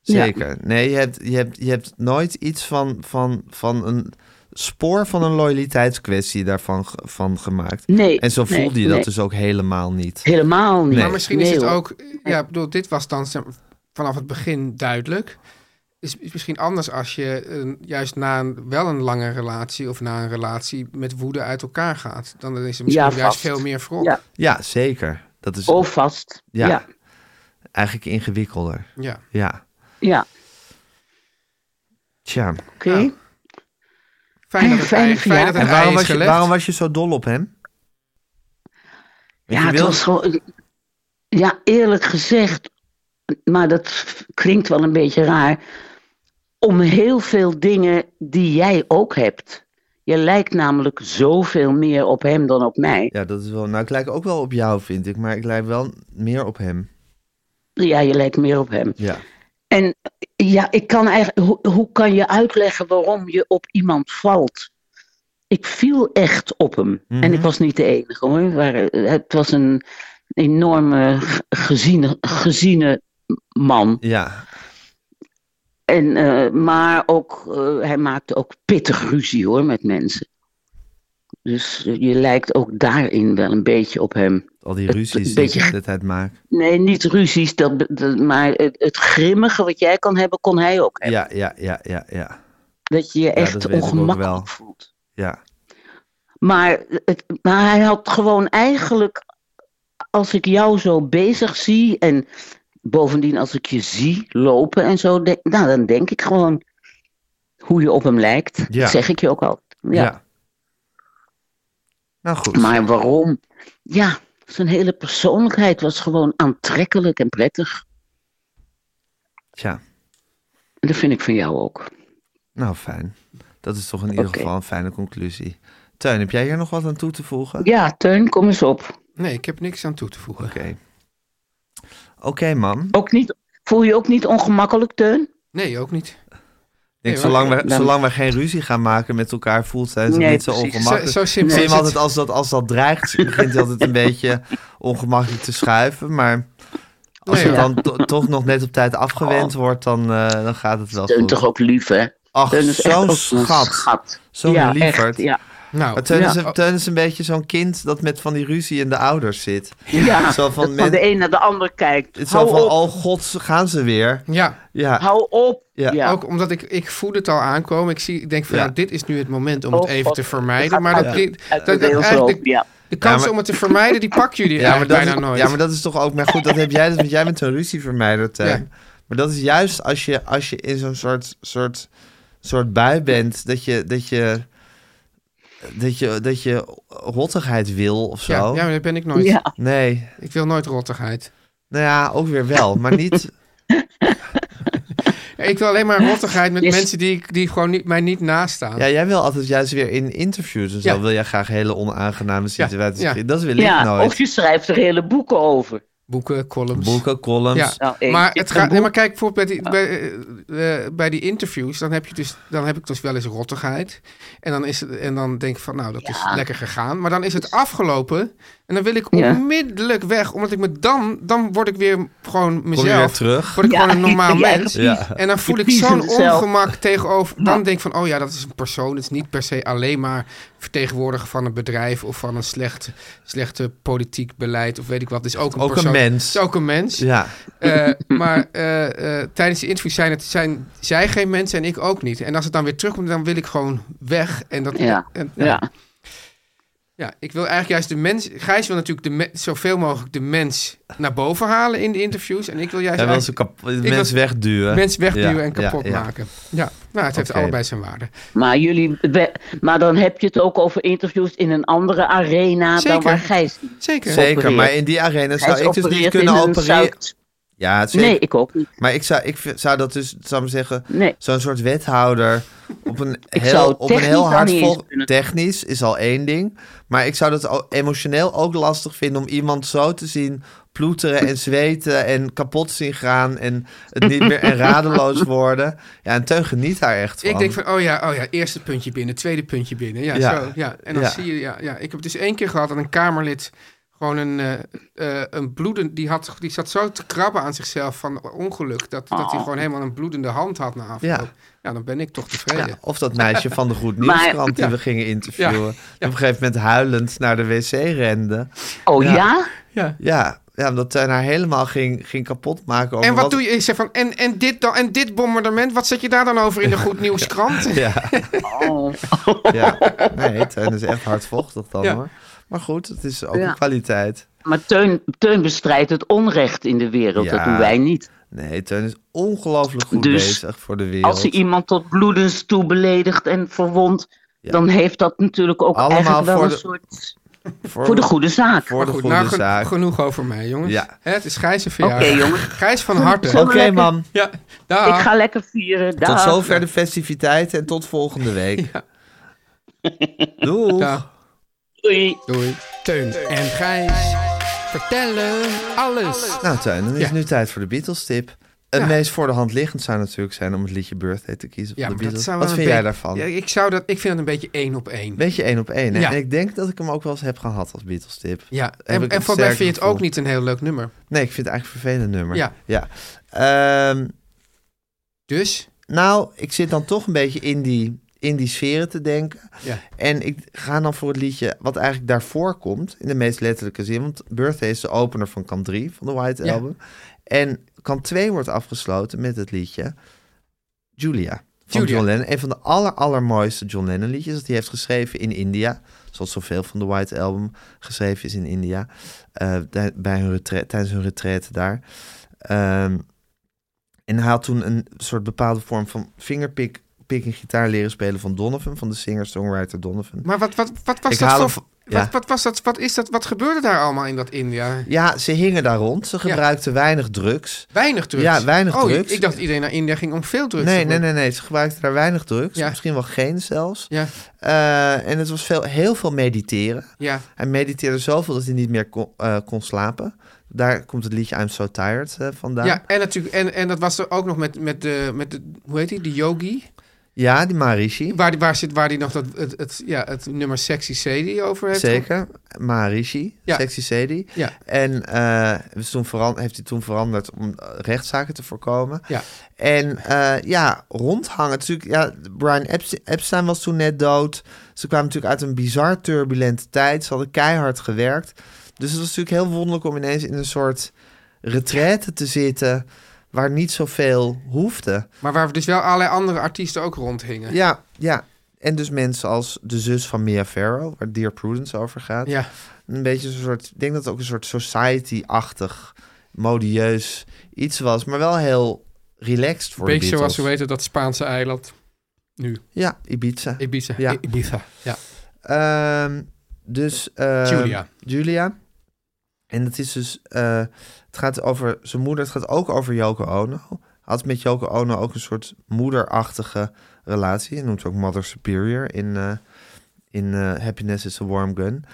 [SPEAKER 6] ja.
[SPEAKER 2] Zeker. Nee, je hebt, je, hebt, je hebt nooit iets van, van, van een spoor van een loyaliteitskwestie daarvan ge- van gemaakt.
[SPEAKER 6] nee.
[SPEAKER 2] En zo
[SPEAKER 6] nee,
[SPEAKER 2] voelde je dat
[SPEAKER 6] nee.
[SPEAKER 2] dus ook helemaal niet.
[SPEAKER 6] Helemaal niet.
[SPEAKER 2] Nee.
[SPEAKER 1] Maar misschien
[SPEAKER 6] Nee,
[SPEAKER 1] is het
[SPEAKER 6] hoor.
[SPEAKER 1] ook... Ja, ik bedoel, dit was dan zeg- vanaf het begin duidelijk. Is, is misschien anders als je eh, juist na een, wel een lange relatie... of na een relatie met woede uit elkaar gaat. Dan is er misschien
[SPEAKER 6] Ja,
[SPEAKER 1] juist
[SPEAKER 6] vast.
[SPEAKER 1] veel meer wrok.
[SPEAKER 6] Ja.
[SPEAKER 2] Ja, zeker. Dat is
[SPEAKER 6] Oh, vast.
[SPEAKER 2] Ja.
[SPEAKER 6] ja.
[SPEAKER 2] eigenlijk ingewikkelder.
[SPEAKER 1] Ja.
[SPEAKER 2] Ja.
[SPEAKER 6] ja.
[SPEAKER 2] Tja.
[SPEAKER 6] Oké.
[SPEAKER 1] Ja. Fijn dat het,
[SPEAKER 6] Fijne
[SPEAKER 1] ei, fijn dat
[SPEAKER 6] verjaardag.
[SPEAKER 1] het
[SPEAKER 2] En
[SPEAKER 1] ei
[SPEAKER 2] waarom
[SPEAKER 1] is
[SPEAKER 2] was, je,
[SPEAKER 1] gelegd.
[SPEAKER 2] waarom was je zo dol op hem?
[SPEAKER 6] Ja,
[SPEAKER 2] je
[SPEAKER 6] het
[SPEAKER 2] wil-
[SPEAKER 6] was gewoon. Ja, eerlijk gezegd, maar dat klinkt wel een beetje raar. Om heel veel dingen die jij ook hebt. Je lijkt namelijk zoveel meer op hem dan op mij.
[SPEAKER 2] Ja, dat is wel. Nou, ik lijk ook wel op jou, vind ik. Maar ik lijk wel meer op hem.
[SPEAKER 6] Ja, je lijkt meer op hem.
[SPEAKER 2] Ja.
[SPEAKER 6] En ja, ik kan eigenlijk. Hoe, hoe kan je uitleggen waarom je op iemand valt? Ik viel echt op hem.
[SPEAKER 2] Mhm.
[SPEAKER 6] En ik was niet de enige hoor. Er waren- Het was een enorme g- geziene, geziene man.
[SPEAKER 2] Ja.
[SPEAKER 6] En, eh, maar ook, eh, hij maakte ook pittig ruzie hoor met mensen. Dus eh, je lijkt ook daarin wel een beetje op hem.
[SPEAKER 2] Al die ruzies die
[SPEAKER 6] beetje-
[SPEAKER 2] ik de hele tijd maak.
[SPEAKER 6] Nee, niet ruzies, dat, be- dat- maar het, het grimmige wat jij kan hebben, kon hij ook.
[SPEAKER 2] Ja, ja, ja, ja, ja.
[SPEAKER 6] Dat je je
[SPEAKER 2] Ja,
[SPEAKER 6] echt
[SPEAKER 2] dat weet ik ook wel.
[SPEAKER 6] ongemakkelijk voelt.
[SPEAKER 2] Ja.
[SPEAKER 6] Maar, het, maar hij had gewoon eigenlijk, als ik jou zo bezig zie en bovendien als ik je zie lopen en zo, denk, nou dan denk ik gewoon hoe je op hem lijkt.
[SPEAKER 2] Ja.
[SPEAKER 6] Dat zeg ik je ook al. Ja.
[SPEAKER 2] Ja. Nou goed.
[SPEAKER 6] Maar waarom? Ja, zijn hele persoonlijkheid was gewoon aantrekkelijk en prettig.
[SPEAKER 2] Tja.
[SPEAKER 6] En dat vind ik van jou ook.
[SPEAKER 2] Nou, fijn. Dat is toch in ieder
[SPEAKER 6] Oké.
[SPEAKER 2] geval een fijne conclusie. Tuin, heb jij hier nog wat aan toe te voegen?
[SPEAKER 6] Ja, Teun, kom eens op.
[SPEAKER 1] Nee, ik heb niks aan toe te voegen.
[SPEAKER 2] Oké. Oké, mam.
[SPEAKER 6] Ook niet, voel je je ook niet ongemakkelijk, Teun?
[SPEAKER 1] Nee, ook niet.
[SPEAKER 2] Ik
[SPEAKER 1] Nee,
[SPEAKER 2] denk, zolang,
[SPEAKER 1] maar-
[SPEAKER 2] we,
[SPEAKER 6] Dan-
[SPEAKER 2] zolang we geen ruzie gaan maken met elkaar, voelt zij zich
[SPEAKER 6] Nee,
[SPEAKER 2] niet zo
[SPEAKER 6] precies.
[SPEAKER 2] ongemakkelijk.
[SPEAKER 1] Zo- zo simpel
[SPEAKER 2] Zie je
[SPEAKER 1] is
[SPEAKER 2] hem
[SPEAKER 1] het.
[SPEAKER 2] altijd als dat, als dat dreigt, begint hij altijd een beetje ongemakkelijk te schuiven. Maar als
[SPEAKER 1] Nee,
[SPEAKER 2] het
[SPEAKER 1] ja.
[SPEAKER 2] dan to- toch nog net op tijd afgewend wordt, dan, eh, dan gaat het wel
[SPEAKER 6] Teun
[SPEAKER 2] goed.
[SPEAKER 6] Oh. toch ook lief, hè?
[SPEAKER 2] Ach,
[SPEAKER 6] Teun is echt
[SPEAKER 2] zo'n
[SPEAKER 6] ook een
[SPEAKER 2] schat. Zo'n
[SPEAKER 6] ja,
[SPEAKER 2] lieverd.
[SPEAKER 6] echt, ja.
[SPEAKER 1] Nou,
[SPEAKER 2] Maar Teun,
[SPEAKER 6] Ja.
[SPEAKER 2] is, een- Teun is een beetje zo'n kind dat met van die ruzie in de ouders zit.
[SPEAKER 6] Ja,
[SPEAKER 2] Zo van,
[SPEAKER 6] dat
[SPEAKER 2] men-
[SPEAKER 6] de een naar de ander kijkt.
[SPEAKER 2] Het is zo
[SPEAKER 6] hou,
[SPEAKER 2] van,
[SPEAKER 6] op,
[SPEAKER 2] oh god, ze gaan ze weer.
[SPEAKER 1] ja,
[SPEAKER 2] Ja,
[SPEAKER 6] hou op.
[SPEAKER 2] Ja.
[SPEAKER 6] Ja.
[SPEAKER 1] ook omdat ik, ik voel het al aankomen. Ik, zie, ik denk van,
[SPEAKER 2] Ja.
[SPEAKER 1] nou, dit is nu het moment om
[SPEAKER 6] Oh,
[SPEAKER 1] het even
[SPEAKER 6] God.
[SPEAKER 1] te
[SPEAKER 6] Het
[SPEAKER 1] vermijden.
[SPEAKER 6] gaat
[SPEAKER 1] Maar
[SPEAKER 6] uit-
[SPEAKER 1] dat, dit-
[SPEAKER 6] uit
[SPEAKER 1] dat,
[SPEAKER 6] de wereld,
[SPEAKER 1] eigenlijk de,
[SPEAKER 6] ja.
[SPEAKER 1] de kans
[SPEAKER 2] Ja, maar-
[SPEAKER 1] om het te vermijden, die pakken jullie
[SPEAKER 2] ja, maar
[SPEAKER 1] eigenlijk
[SPEAKER 2] dat
[SPEAKER 1] bijna
[SPEAKER 2] is,
[SPEAKER 1] nooit.
[SPEAKER 2] ja, maar dat is toch ook... Maar goed, dat heb jij, dat, want jij bent een ruzievermijder, Teun.
[SPEAKER 1] Ja.
[SPEAKER 2] Maar dat is juist als je, als je in zo'n soort, soort, soort bui bent... Dat je, dat, je, dat, je, dat je rottigheid wil of zo.
[SPEAKER 1] ja, ja, maar dat ben ik nooit.
[SPEAKER 6] Ja.
[SPEAKER 2] Nee,
[SPEAKER 1] Ik wil nooit rottigheid.
[SPEAKER 2] nou ja, ook weer wel, maar niet...
[SPEAKER 1] Ja, Ik wil alleen maar rottigheid met
[SPEAKER 6] Yes.
[SPEAKER 1] mensen die, ik- die gewoon niet, mij niet nastaan.
[SPEAKER 2] Ja, jij wil altijd juist weer in interviews en zo...
[SPEAKER 1] Ja.
[SPEAKER 2] wil jij graag hele onaangename situaties.
[SPEAKER 1] ja.
[SPEAKER 2] creëren. Dat wil
[SPEAKER 6] Ja,
[SPEAKER 2] ik nooit.
[SPEAKER 6] of je schrijft er hele boeken over.
[SPEAKER 1] Boeken, columns.
[SPEAKER 2] Boeken, columns.
[SPEAKER 1] Ja,
[SPEAKER 6] Nou, ik-
[SPEAKER 1] maar,
[SPEAKER 6] ik
[SPEAKER 1] het
[SPEAKER 6] een
[SPEAKER 1] gaat, nee,
[SPEAKER 6] boek- Ah.
[SPEAKER 1] maar kijk, bijvoorbeeld bij die, bij, eh, eh, bij die interviews, dan heb, je dus, dan heb ik dus wel eens rottigheid. En dan, is het, en dan denk ik van, nou, dat is lekker gegaan. Maar dan is het afgelopen en dan wil ik
[SPEAKER 6] Dus- Ja.
[SPEAKER 1] onmiddellijk weg. Omdat ik me dan, dan word ik weer gewoon mezelf.
[SPEAKER 2] weer terug?
[SPEAKER 1] Word ik
[SPEAKER 6] Ja,
[SPEAKER 1] gewoon een normaal
[SPEAKER 6] ja,
[SPEAKER 1] mens.
[SPEAKER 6] precies.
[SPEAKER 2] Ja.
[SPEAKER 1] En dan voel
[SPEAKER 6] Je
[SPEAKER 1] ik
[SPEAKER 6] kiest
[SPEAKER 1] zo'n
[SPEAKER 6] mezelf.
[SPEAKER 1] ongemak tegenover. Dan denk ik van, oh ja, dat is een persoon. Het is niet per se alleen maar vertegenwoordiger van een bedrijf of van een slecht, slechte politiek beleid of weet ik wat. Het is ook een
[SPEAKER 2] Ook een
[SPEAKER 1] persoon.
[SPEAKER 2] mens.
[SPEAKER 1] Het is ook een mens.
[SPEAKER 2] Ja.
[SPEAKER 1] Eh, maar eh, eh, tijdens de interview zijn, het, zijn zij geen mensen en ik ook niet. En als het dan weer terugkomt, dan wil ik gewoon weg. En dat,
[SPEAKER 6] Ja.
[SPEAKER 1] en-
[SPEAKER 6] Ja.
[SPEAKER 1] ja, ik wil eigenlijk juist de mens... Gijs wil natuurlijk de me- zoveel mogelijk de mens naar boven halen in de interviews. En ik wil juist
[SPEAKER 2] Hij wil ze
[SPEAKER 1] eigenlijk
[SPEAKER 2] kap- mens
[SPEAKER 1] wil-
[SPEAKER 2] wegduwen.
[SPEAKER 1] mens wegduwen
[SPEAKER 2] eh, Ja,
[SPEAKER 1] en kapot
[SPEAKER 2] ja, ja.
[SPEAKER 1] maken. Ja, nou, het heeft
[SPEAKER 2] Oké.
[SPEAKER 1] allebei zijn waarde.
[SPEAKER 6] Maar, jullie, we- maar dan heb je het ook over interviews in een andere arena
[SPEAKER 1] Zeker.
[SPEAKER 6] dan waar Gijs.
[SPEAKER 1] Zeker.
[SPEAKER 2] Zeker,
[SPEAKER 6] Opereert.
[SPEAKER 2] maar in die arena zou
[SPEAKER 6] Gijs
[SPEAKER 2] ik dus niet
[SPEAKER 6] opereert
[SPEAKER 2] kunnen
[SPEAKER 6] in een
[SPEAKER 2] opereren.
[SPEAKER 6] Zuid-
[SPEAKER 2] Ja, zeker.
[SPEAKER 6] Nee, ik ook niet.
[SPEAKER 2] Maar ik zou, ik v- zou dat dus, zou ik zeggen,
[SPEAKER 6] Nee.
[SPEAKER 2] zo'n soort wethouder op een
[SPEAKER 6] Ik
[SPEAKER 2] heel,
[SPEAKER 6] zou
[SPEAKER 2] op een
[SPEAKER 6] technisch
[SPEAKER 2] heel
[SPEAKER 6] dan
[SPEAKER 2] hard
[SPEAKER 6] niet eens
[SPEAKER 2] vol-
[SPEAKER 6] kunnen.
[SPEAKER 2] Technisch is al één ding. Maar ik zou dat o- emotioneel ook lastig vinden om iemand zo te zien ploeteren en zweten en kapot zien gaan en het niet meer en radeloos worden. Ja, en Teun geniet daar echt van.
[SPEAKER 1] Ik denk van, oh ja, oh ja, eerste puntje binnen, tweede puntje binnen. Ja,
[SPEAKER 2] Ja.
[SPEAKER 1] zo. Ja. En dan
[SPEAKER 2] Ja.
[SPEAKER 1] zie je, ja, ja. Ik heb dus één keer gehad dat een Kamerlid gewoon een, eh, eh, een bloedend, die, had, die zat zo te krabben aan zichzelf van ongeluk, dat, dat hij gewoon helemaal een bloedende hand had na afloop.
[SPEAKER 2] Ah. Ja.
[SPEAKER 1] Ja. dan ben ik toch tevreden.
[SPEAKER 2] Ja, Nou, of dat meisje van de Goed Nieuwskrant die
[SPEAKER 1] Maar-
[SPEAKER 2] we gingen interviewen.
[SPEAKER 1] Ja,
[SPEAKER 2] die op een gegeven moment huilend naar de wc rende.
[SPEAKER 6] Oh
[SPEAKER 2] Ja.
[SPEAKER 6] ja?
[SPEAKER 1] Ja.
[SPEAKER 2] Ja, ja omdat Teun haar helemaal ging, ging kapot maken. Over
[SPEAKER 1] En wat doe je? Ik zeg van, en, en, dit dan, en dit bombardement, wat zet je daar dan over in de Goed Nieuwskrant?
[SPEAKER 2] Ja,
[SPEAKER 6] Oh.
[SPEAKER 2] ja. Nee, Teun is echt hardvochtig dan
[SPEAKER 1] Ja.
[SPEAKER 2] hoor. Maar goed, het is ook
[SPEAKER 6] Ja.
[SPEAKER 2] een kwaliteit.
[SPEAKER 6] Maar Teun, Teun bestrijdt het onrecht in de wereld.
[SPEAKER 2] Ja.
[SPEAKER 6] Dat doen wij niet.
[SPEAKER 2] Nee, Teun is ongelooflijk goed
[SPEAKER 6] Dus
[SPEAKER 2] bezig voor de wereld.
[SPEAKER 6] Als hij iemand tot bloedens toe beledigt en verwondt,
[SPEAKER 2] Ja.
[SPEAKER 6] dan heeft dat natuurlijk ook
[SPEAKER 2] Allemaal
[SPEAKER 6] eigenlijk wel
[SPEAKER 2] voor
[SPEAKER 6] een
[SPEAKER 2] de-
[SPEAKER 6] soort. Voor de goede zaak.
[SPEAKER 2] Voor de
[SPEAKER 1] Goed,
[SPEAKER 2] goede
[SPEAKER 1] nou, gen-
[SPEAKER 2] zaak.
[SPEAKER 1] genoeg over mij, jongens.
[SPEAKER 2] Ja.
[SPEAKER 1] Hè, het is Gijs' verjaardag.
[SPEAKER 6] Oké, jongens.
[SPEAKER 1] Gijs van harte.
[SPEAKER 2] Oké, man.
[SPEAKER 1] Ja,
[SPEAKER 6] Ik
[SPEAKER 1] dag.
[SPEAKER 6] ga lekker vieren.
[SPEAKER 2] Tot
[SPEAKER 6] Dag.
[SPEAKER 2] zover de festiviteiten en tot volgende week. Doeg.
[SPEAKER 1] Dag.
[SPEAKER 6] Doei.
[SPEAKER 1] Doei. Teun en Gijs vertellen alles.
[SPEAKER 2] Nou, Tuin, dan is het
[SPEAKER 1] Ja.
[SPEAKER 2] nu tijd voor de Beatles-tip. Het
[SPEAKER 1] Ja.
[SPEAKER 2] meest voor de hand liggend zou natuurlijk zijn om het liedje Birthday te kiezen.
[SPEAKER 1] Ja,
[SPEAKER 2] van
[SPEAKER 1] maar
[SPEAKER 2] de
[SPEAKER 1] dat
[SPEAKER 2] Beatles.
[SPEAKER 1] zou
[SPEAKER 2] Wat
[SPEAKER 1] wel
[SPEAKER 2] vind
[SPEAKER 1] een
[SPEAKER 2] jij
[SPEAKER 1] beetje-
[SPEAKER 2] daarvan?
[SPEAKER 1] Ja, ik, zou dat, ik vind dat een beetje één op één.
[SPEAKER 2] Beetje één op één. hè?
[SPEAKER 1] Ja.
[SPEAKER 2] En ik denk dat ik hem ook wel eens heb gehad als Beatles-tip.
[SPEAKER 1] Ja,
[SPEAKER 2] Heb ik
[SPEAKER 1] en, en
[SPEAKER 2] een
[SPEAKER 1] voor mij
[SPEAKER 2] sterk
[SPEAKER 1] vind je het
[SPEAKER 2] gevoel.
[SPEAKER 1] ook niet een heel leuk nummer.
[SPEAKER 2] Nee, ik vind het eigenlijk een vervelend nummer.
[SPEAKER 1] Ja.
[SPEAKER 2] ja. Ehm,
[SPEAKER 1] Dus,
[SPEAKER 2] nou, ik zit dan toch een beetje in die in die sferen te denken.
[SPEAKER 1] Ja.
[SPEAKER 2] En ik ga dan voor het liedje wat eigenlijk daarvoor komt, in de meest letterlijke zin. Want Birthday is de opener van kant 3 van de White
[SPEAKER 1] Ja.
[SPEAKER 2] Album. En kant 2 wordt afgesloten met het liedje Julia. Van
[SPEAKER 1] Julia.
[SPEAKER 2] John Lennon. Een van de aller, allermooiste John Lennon liedjes. Dat hij heeft geschreven in India. Zoals zoveel van de White Album geschreven is in India. eh, bij- bij hun retraite- tijdens hun retraite daar. Ehm, en hij had toen een soort bepaalde vorm van fingerpick picking gitaar leren spelen van Donovan, van de singer-songwriter Donovan.
[SPEAKER 1] Maar wat, wat, wat was
[SPEAKER 2] Ik
[SPEAKER 1] dat
[SPEAKER 2] haal
[SPEAKER 1] voor...
[SPEAKER 2] hem van- ja.
[SPEAKER 1] Wat, wat, was dat, wat, is dat, wat gebeurde daar allemaal in dat India?
[SPEAKER 2] Ja, ze hingen daar rond. Ze
[SPEAKER 1] Ja.
[SPEAKER 2] gebruikten weinig drugs.
[SPEAKER 1] Weinig drugs.
[SPEAKER 2] Ja, weinig
[SPEAKER 1] oh,
[SPEAKER 2] drugs.
[SPEAKER 1] Ik dacht dat iedereen naar India ging om veel drugs
[SPEAKER 2] nee,
[SPEAKER 1] te
[SPEAKER 2] nee,
[SPEAKER 1] doen.
[SPEAKER 2] nee, nee. Ze gebruikten daar weinig drugs.
[SPEAKER 1] Ja.
[SPEAKER 2] Misschien wel geen zelfs.
[SPEAKER 1] Ja.
[SPEAKER 2] Eh, en het was veel, heel veel mediteren.
[SPEAKER 1] Ja.
[SPEAKER 2] Hij mediteerde zoveel dat hij niet meer kon, eh, kon slapen. Daar komt het liedje I'm So Tired eh, vandaan.
[SPEAKER 1] Ja, en natuurlijk, en, en dat was er ook nog met, met, de, met de, hoe heet die, de yogi.
[SPEAKER 2] Ja, die Maharishi.
[SPEAKER 1] Waar die, waar zit, waar die nog dat, het, het, ja, het nummer Sexy Sadie over heeft.
[SPEAKER 2] Zeker, Maharishi,
[SPEAKER 1] Ja.
[SPEAKER 2] Sexy Sadie.
[SPEAKER 1] Ja.
[SPEAKER 2] En eh, is toen veran- heeft hij toen veranderd om eh, rechtszaken te voorkomen.
[SPEAKER 1] Ja.
[SPEAKER 2] En eh, ja, rondhangen. Natuurlijk, ja, Brian Epste- Epstein was toen net dood. Ze kwamen natuurlijk uit een bizar turbulente tijd. Ze hadden keihard gewerkt. Dus het was natuurlijk heel wonderlijk om ineens in een soort retraite te zitten... waar niet zoveel hoefde.
[SPEAKER 1] Maar waar dus wel allerlei andere artiesten ook rondhingen.
[SPEAKER 2] Ja, ja. En dus mensen als de zus van Mia Farrow, waar Dear Prudence over gaat.
[SPEAKER 1] Ja.
[SPEAKER 2] Een beetje zo'n soort, ik denk dat het ook een soort society-achtig, modieus iets was, maar wel heel relaxed voor de
[SPEAKER 1] Beetje
[SPEAKER 2] Beatles.
[SPEAKER 1] zoals, hoe heet het, dat Spaanse eiland. Nu.
[SPEAKER 2] Ja, Ibiza.
[SPEAKER 1] Ibiza.
[SPEAKER 2] Ja.
[SPEAKER 1] I- Ibiza. Ja.
[SPEAKER 2] Ehm, dus... ehm,
[SPEAKER 1] Julia.
[SPEAKER 2] Julia. En dat is dus... eh, het gaat over zijn moeder. Het gaat ook over Yoko Ono. Had met Yoko Ono ook een soort moederachtige relatie. Hij noemt ze ook Mother Superior in, eh, in eh, Happiness is a Warm Gun.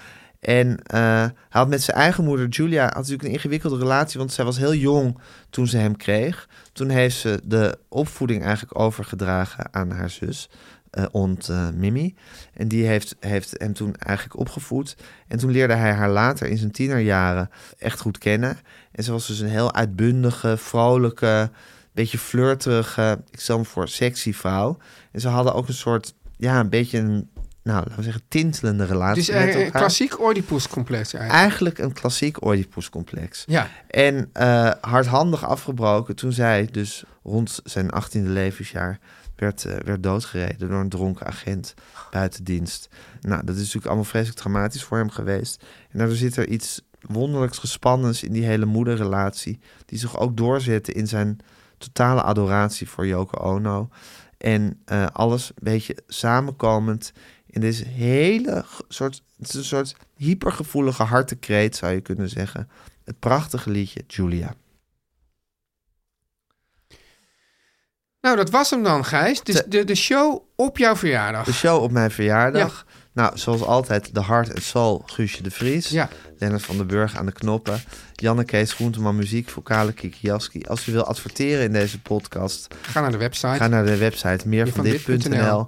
[SPEAKER 2] En eh, hij had met zijn eigen moeder, Julia, had natuurlijk een ingewikkelde relatie. Want zij was heel jong toen ze hem kreeg. Toen heeft ze de opvoeding eigenlijk overgedragen aan haar zus, eh ont eh, Mimi. En die heeft, heeft hem toen eigenlijk opgevoed. En toen leerde hij haar later in zijn tienerjaren echt goed kennen. En ze was dus een heel uitbundige, vrolijke, beetje flirterige, ik stel me voor, sexy vrouw. En ze hadden ook een soort, ja, een beetje een, nou, laten we zeggen, tintelende
[SPEAKER 1] Het
[SPEAKER 2] relatie
[SPEAKER 1] is
[SPEAKER 2] met
[SPEAKER 1] eigenlijk een
[SPEAKER 2] elkaar.
[SPEAKER 1] klassiek Oedipus-complex eigenlijk.
[SPEAKER 2] Eigenlijk een klassiek Oedipus-complex.
[SPEAKER 1] Ja.
[SPEAKER 2] En eh, hardhandig afgebroken toen zij dus rond zijn 18e levensjaar werd, eh, werd doodgereden door een dronken agent buiten dienst. Nou, dat is natuurlijk allemaal vreselijk traumatisch voor hem geweest. En daardoor zit er iets wonderlijks gespannens in die hele moederrelatie, die zich ook doorzette in zijn totale adoratie voor Yoko Ono. En eh, alles een beetje samenkomend in deze hele g- soort, het is een soort hypergevoelige hartekreet, zou je kunnen zeggen. Het prachtige liedje Julia.
[SPEAKER 1] Nou, dat was hem dan, Gijs. Dus
[SPEAKER 2] Te- Dus
[SPEAKER 1] de, de show op jouw verjaardag.
[SPEAKER 2] De show op mijn verjaardag. Nou, zoals altijd, de hart en soul, Guusje de Vries.
[SPEAKER 1] Ja.
[SPEAKER 2] Dennis van den Burg aan de knoppen. Janne Kees Groenteman Muziek, vocale Kiki Jaski. Als u wil adverteren in deze podcast,
[SPEAKER 1] Ga naar de website.
[SPEAKER 2] ga naar de website meervandit.nl.
[SPEAKER 1] meervandit.nl.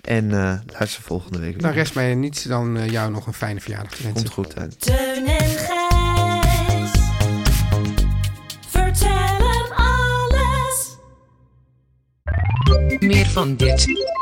[SPEAKER 2] En eh, luister volgende week.
[SPEAKER 1] Dan
[SPEAKER 2] weer.
[SPEAKER 1] rest mij niets dan eh, jou nog een fijne verjaardag te wensen.
[SPEAKER 2] Komt goed uit.
[SPEAKER 5] Teun en Gijs. Vertel hem alles.
[SPEAKER 4] Meer van dit.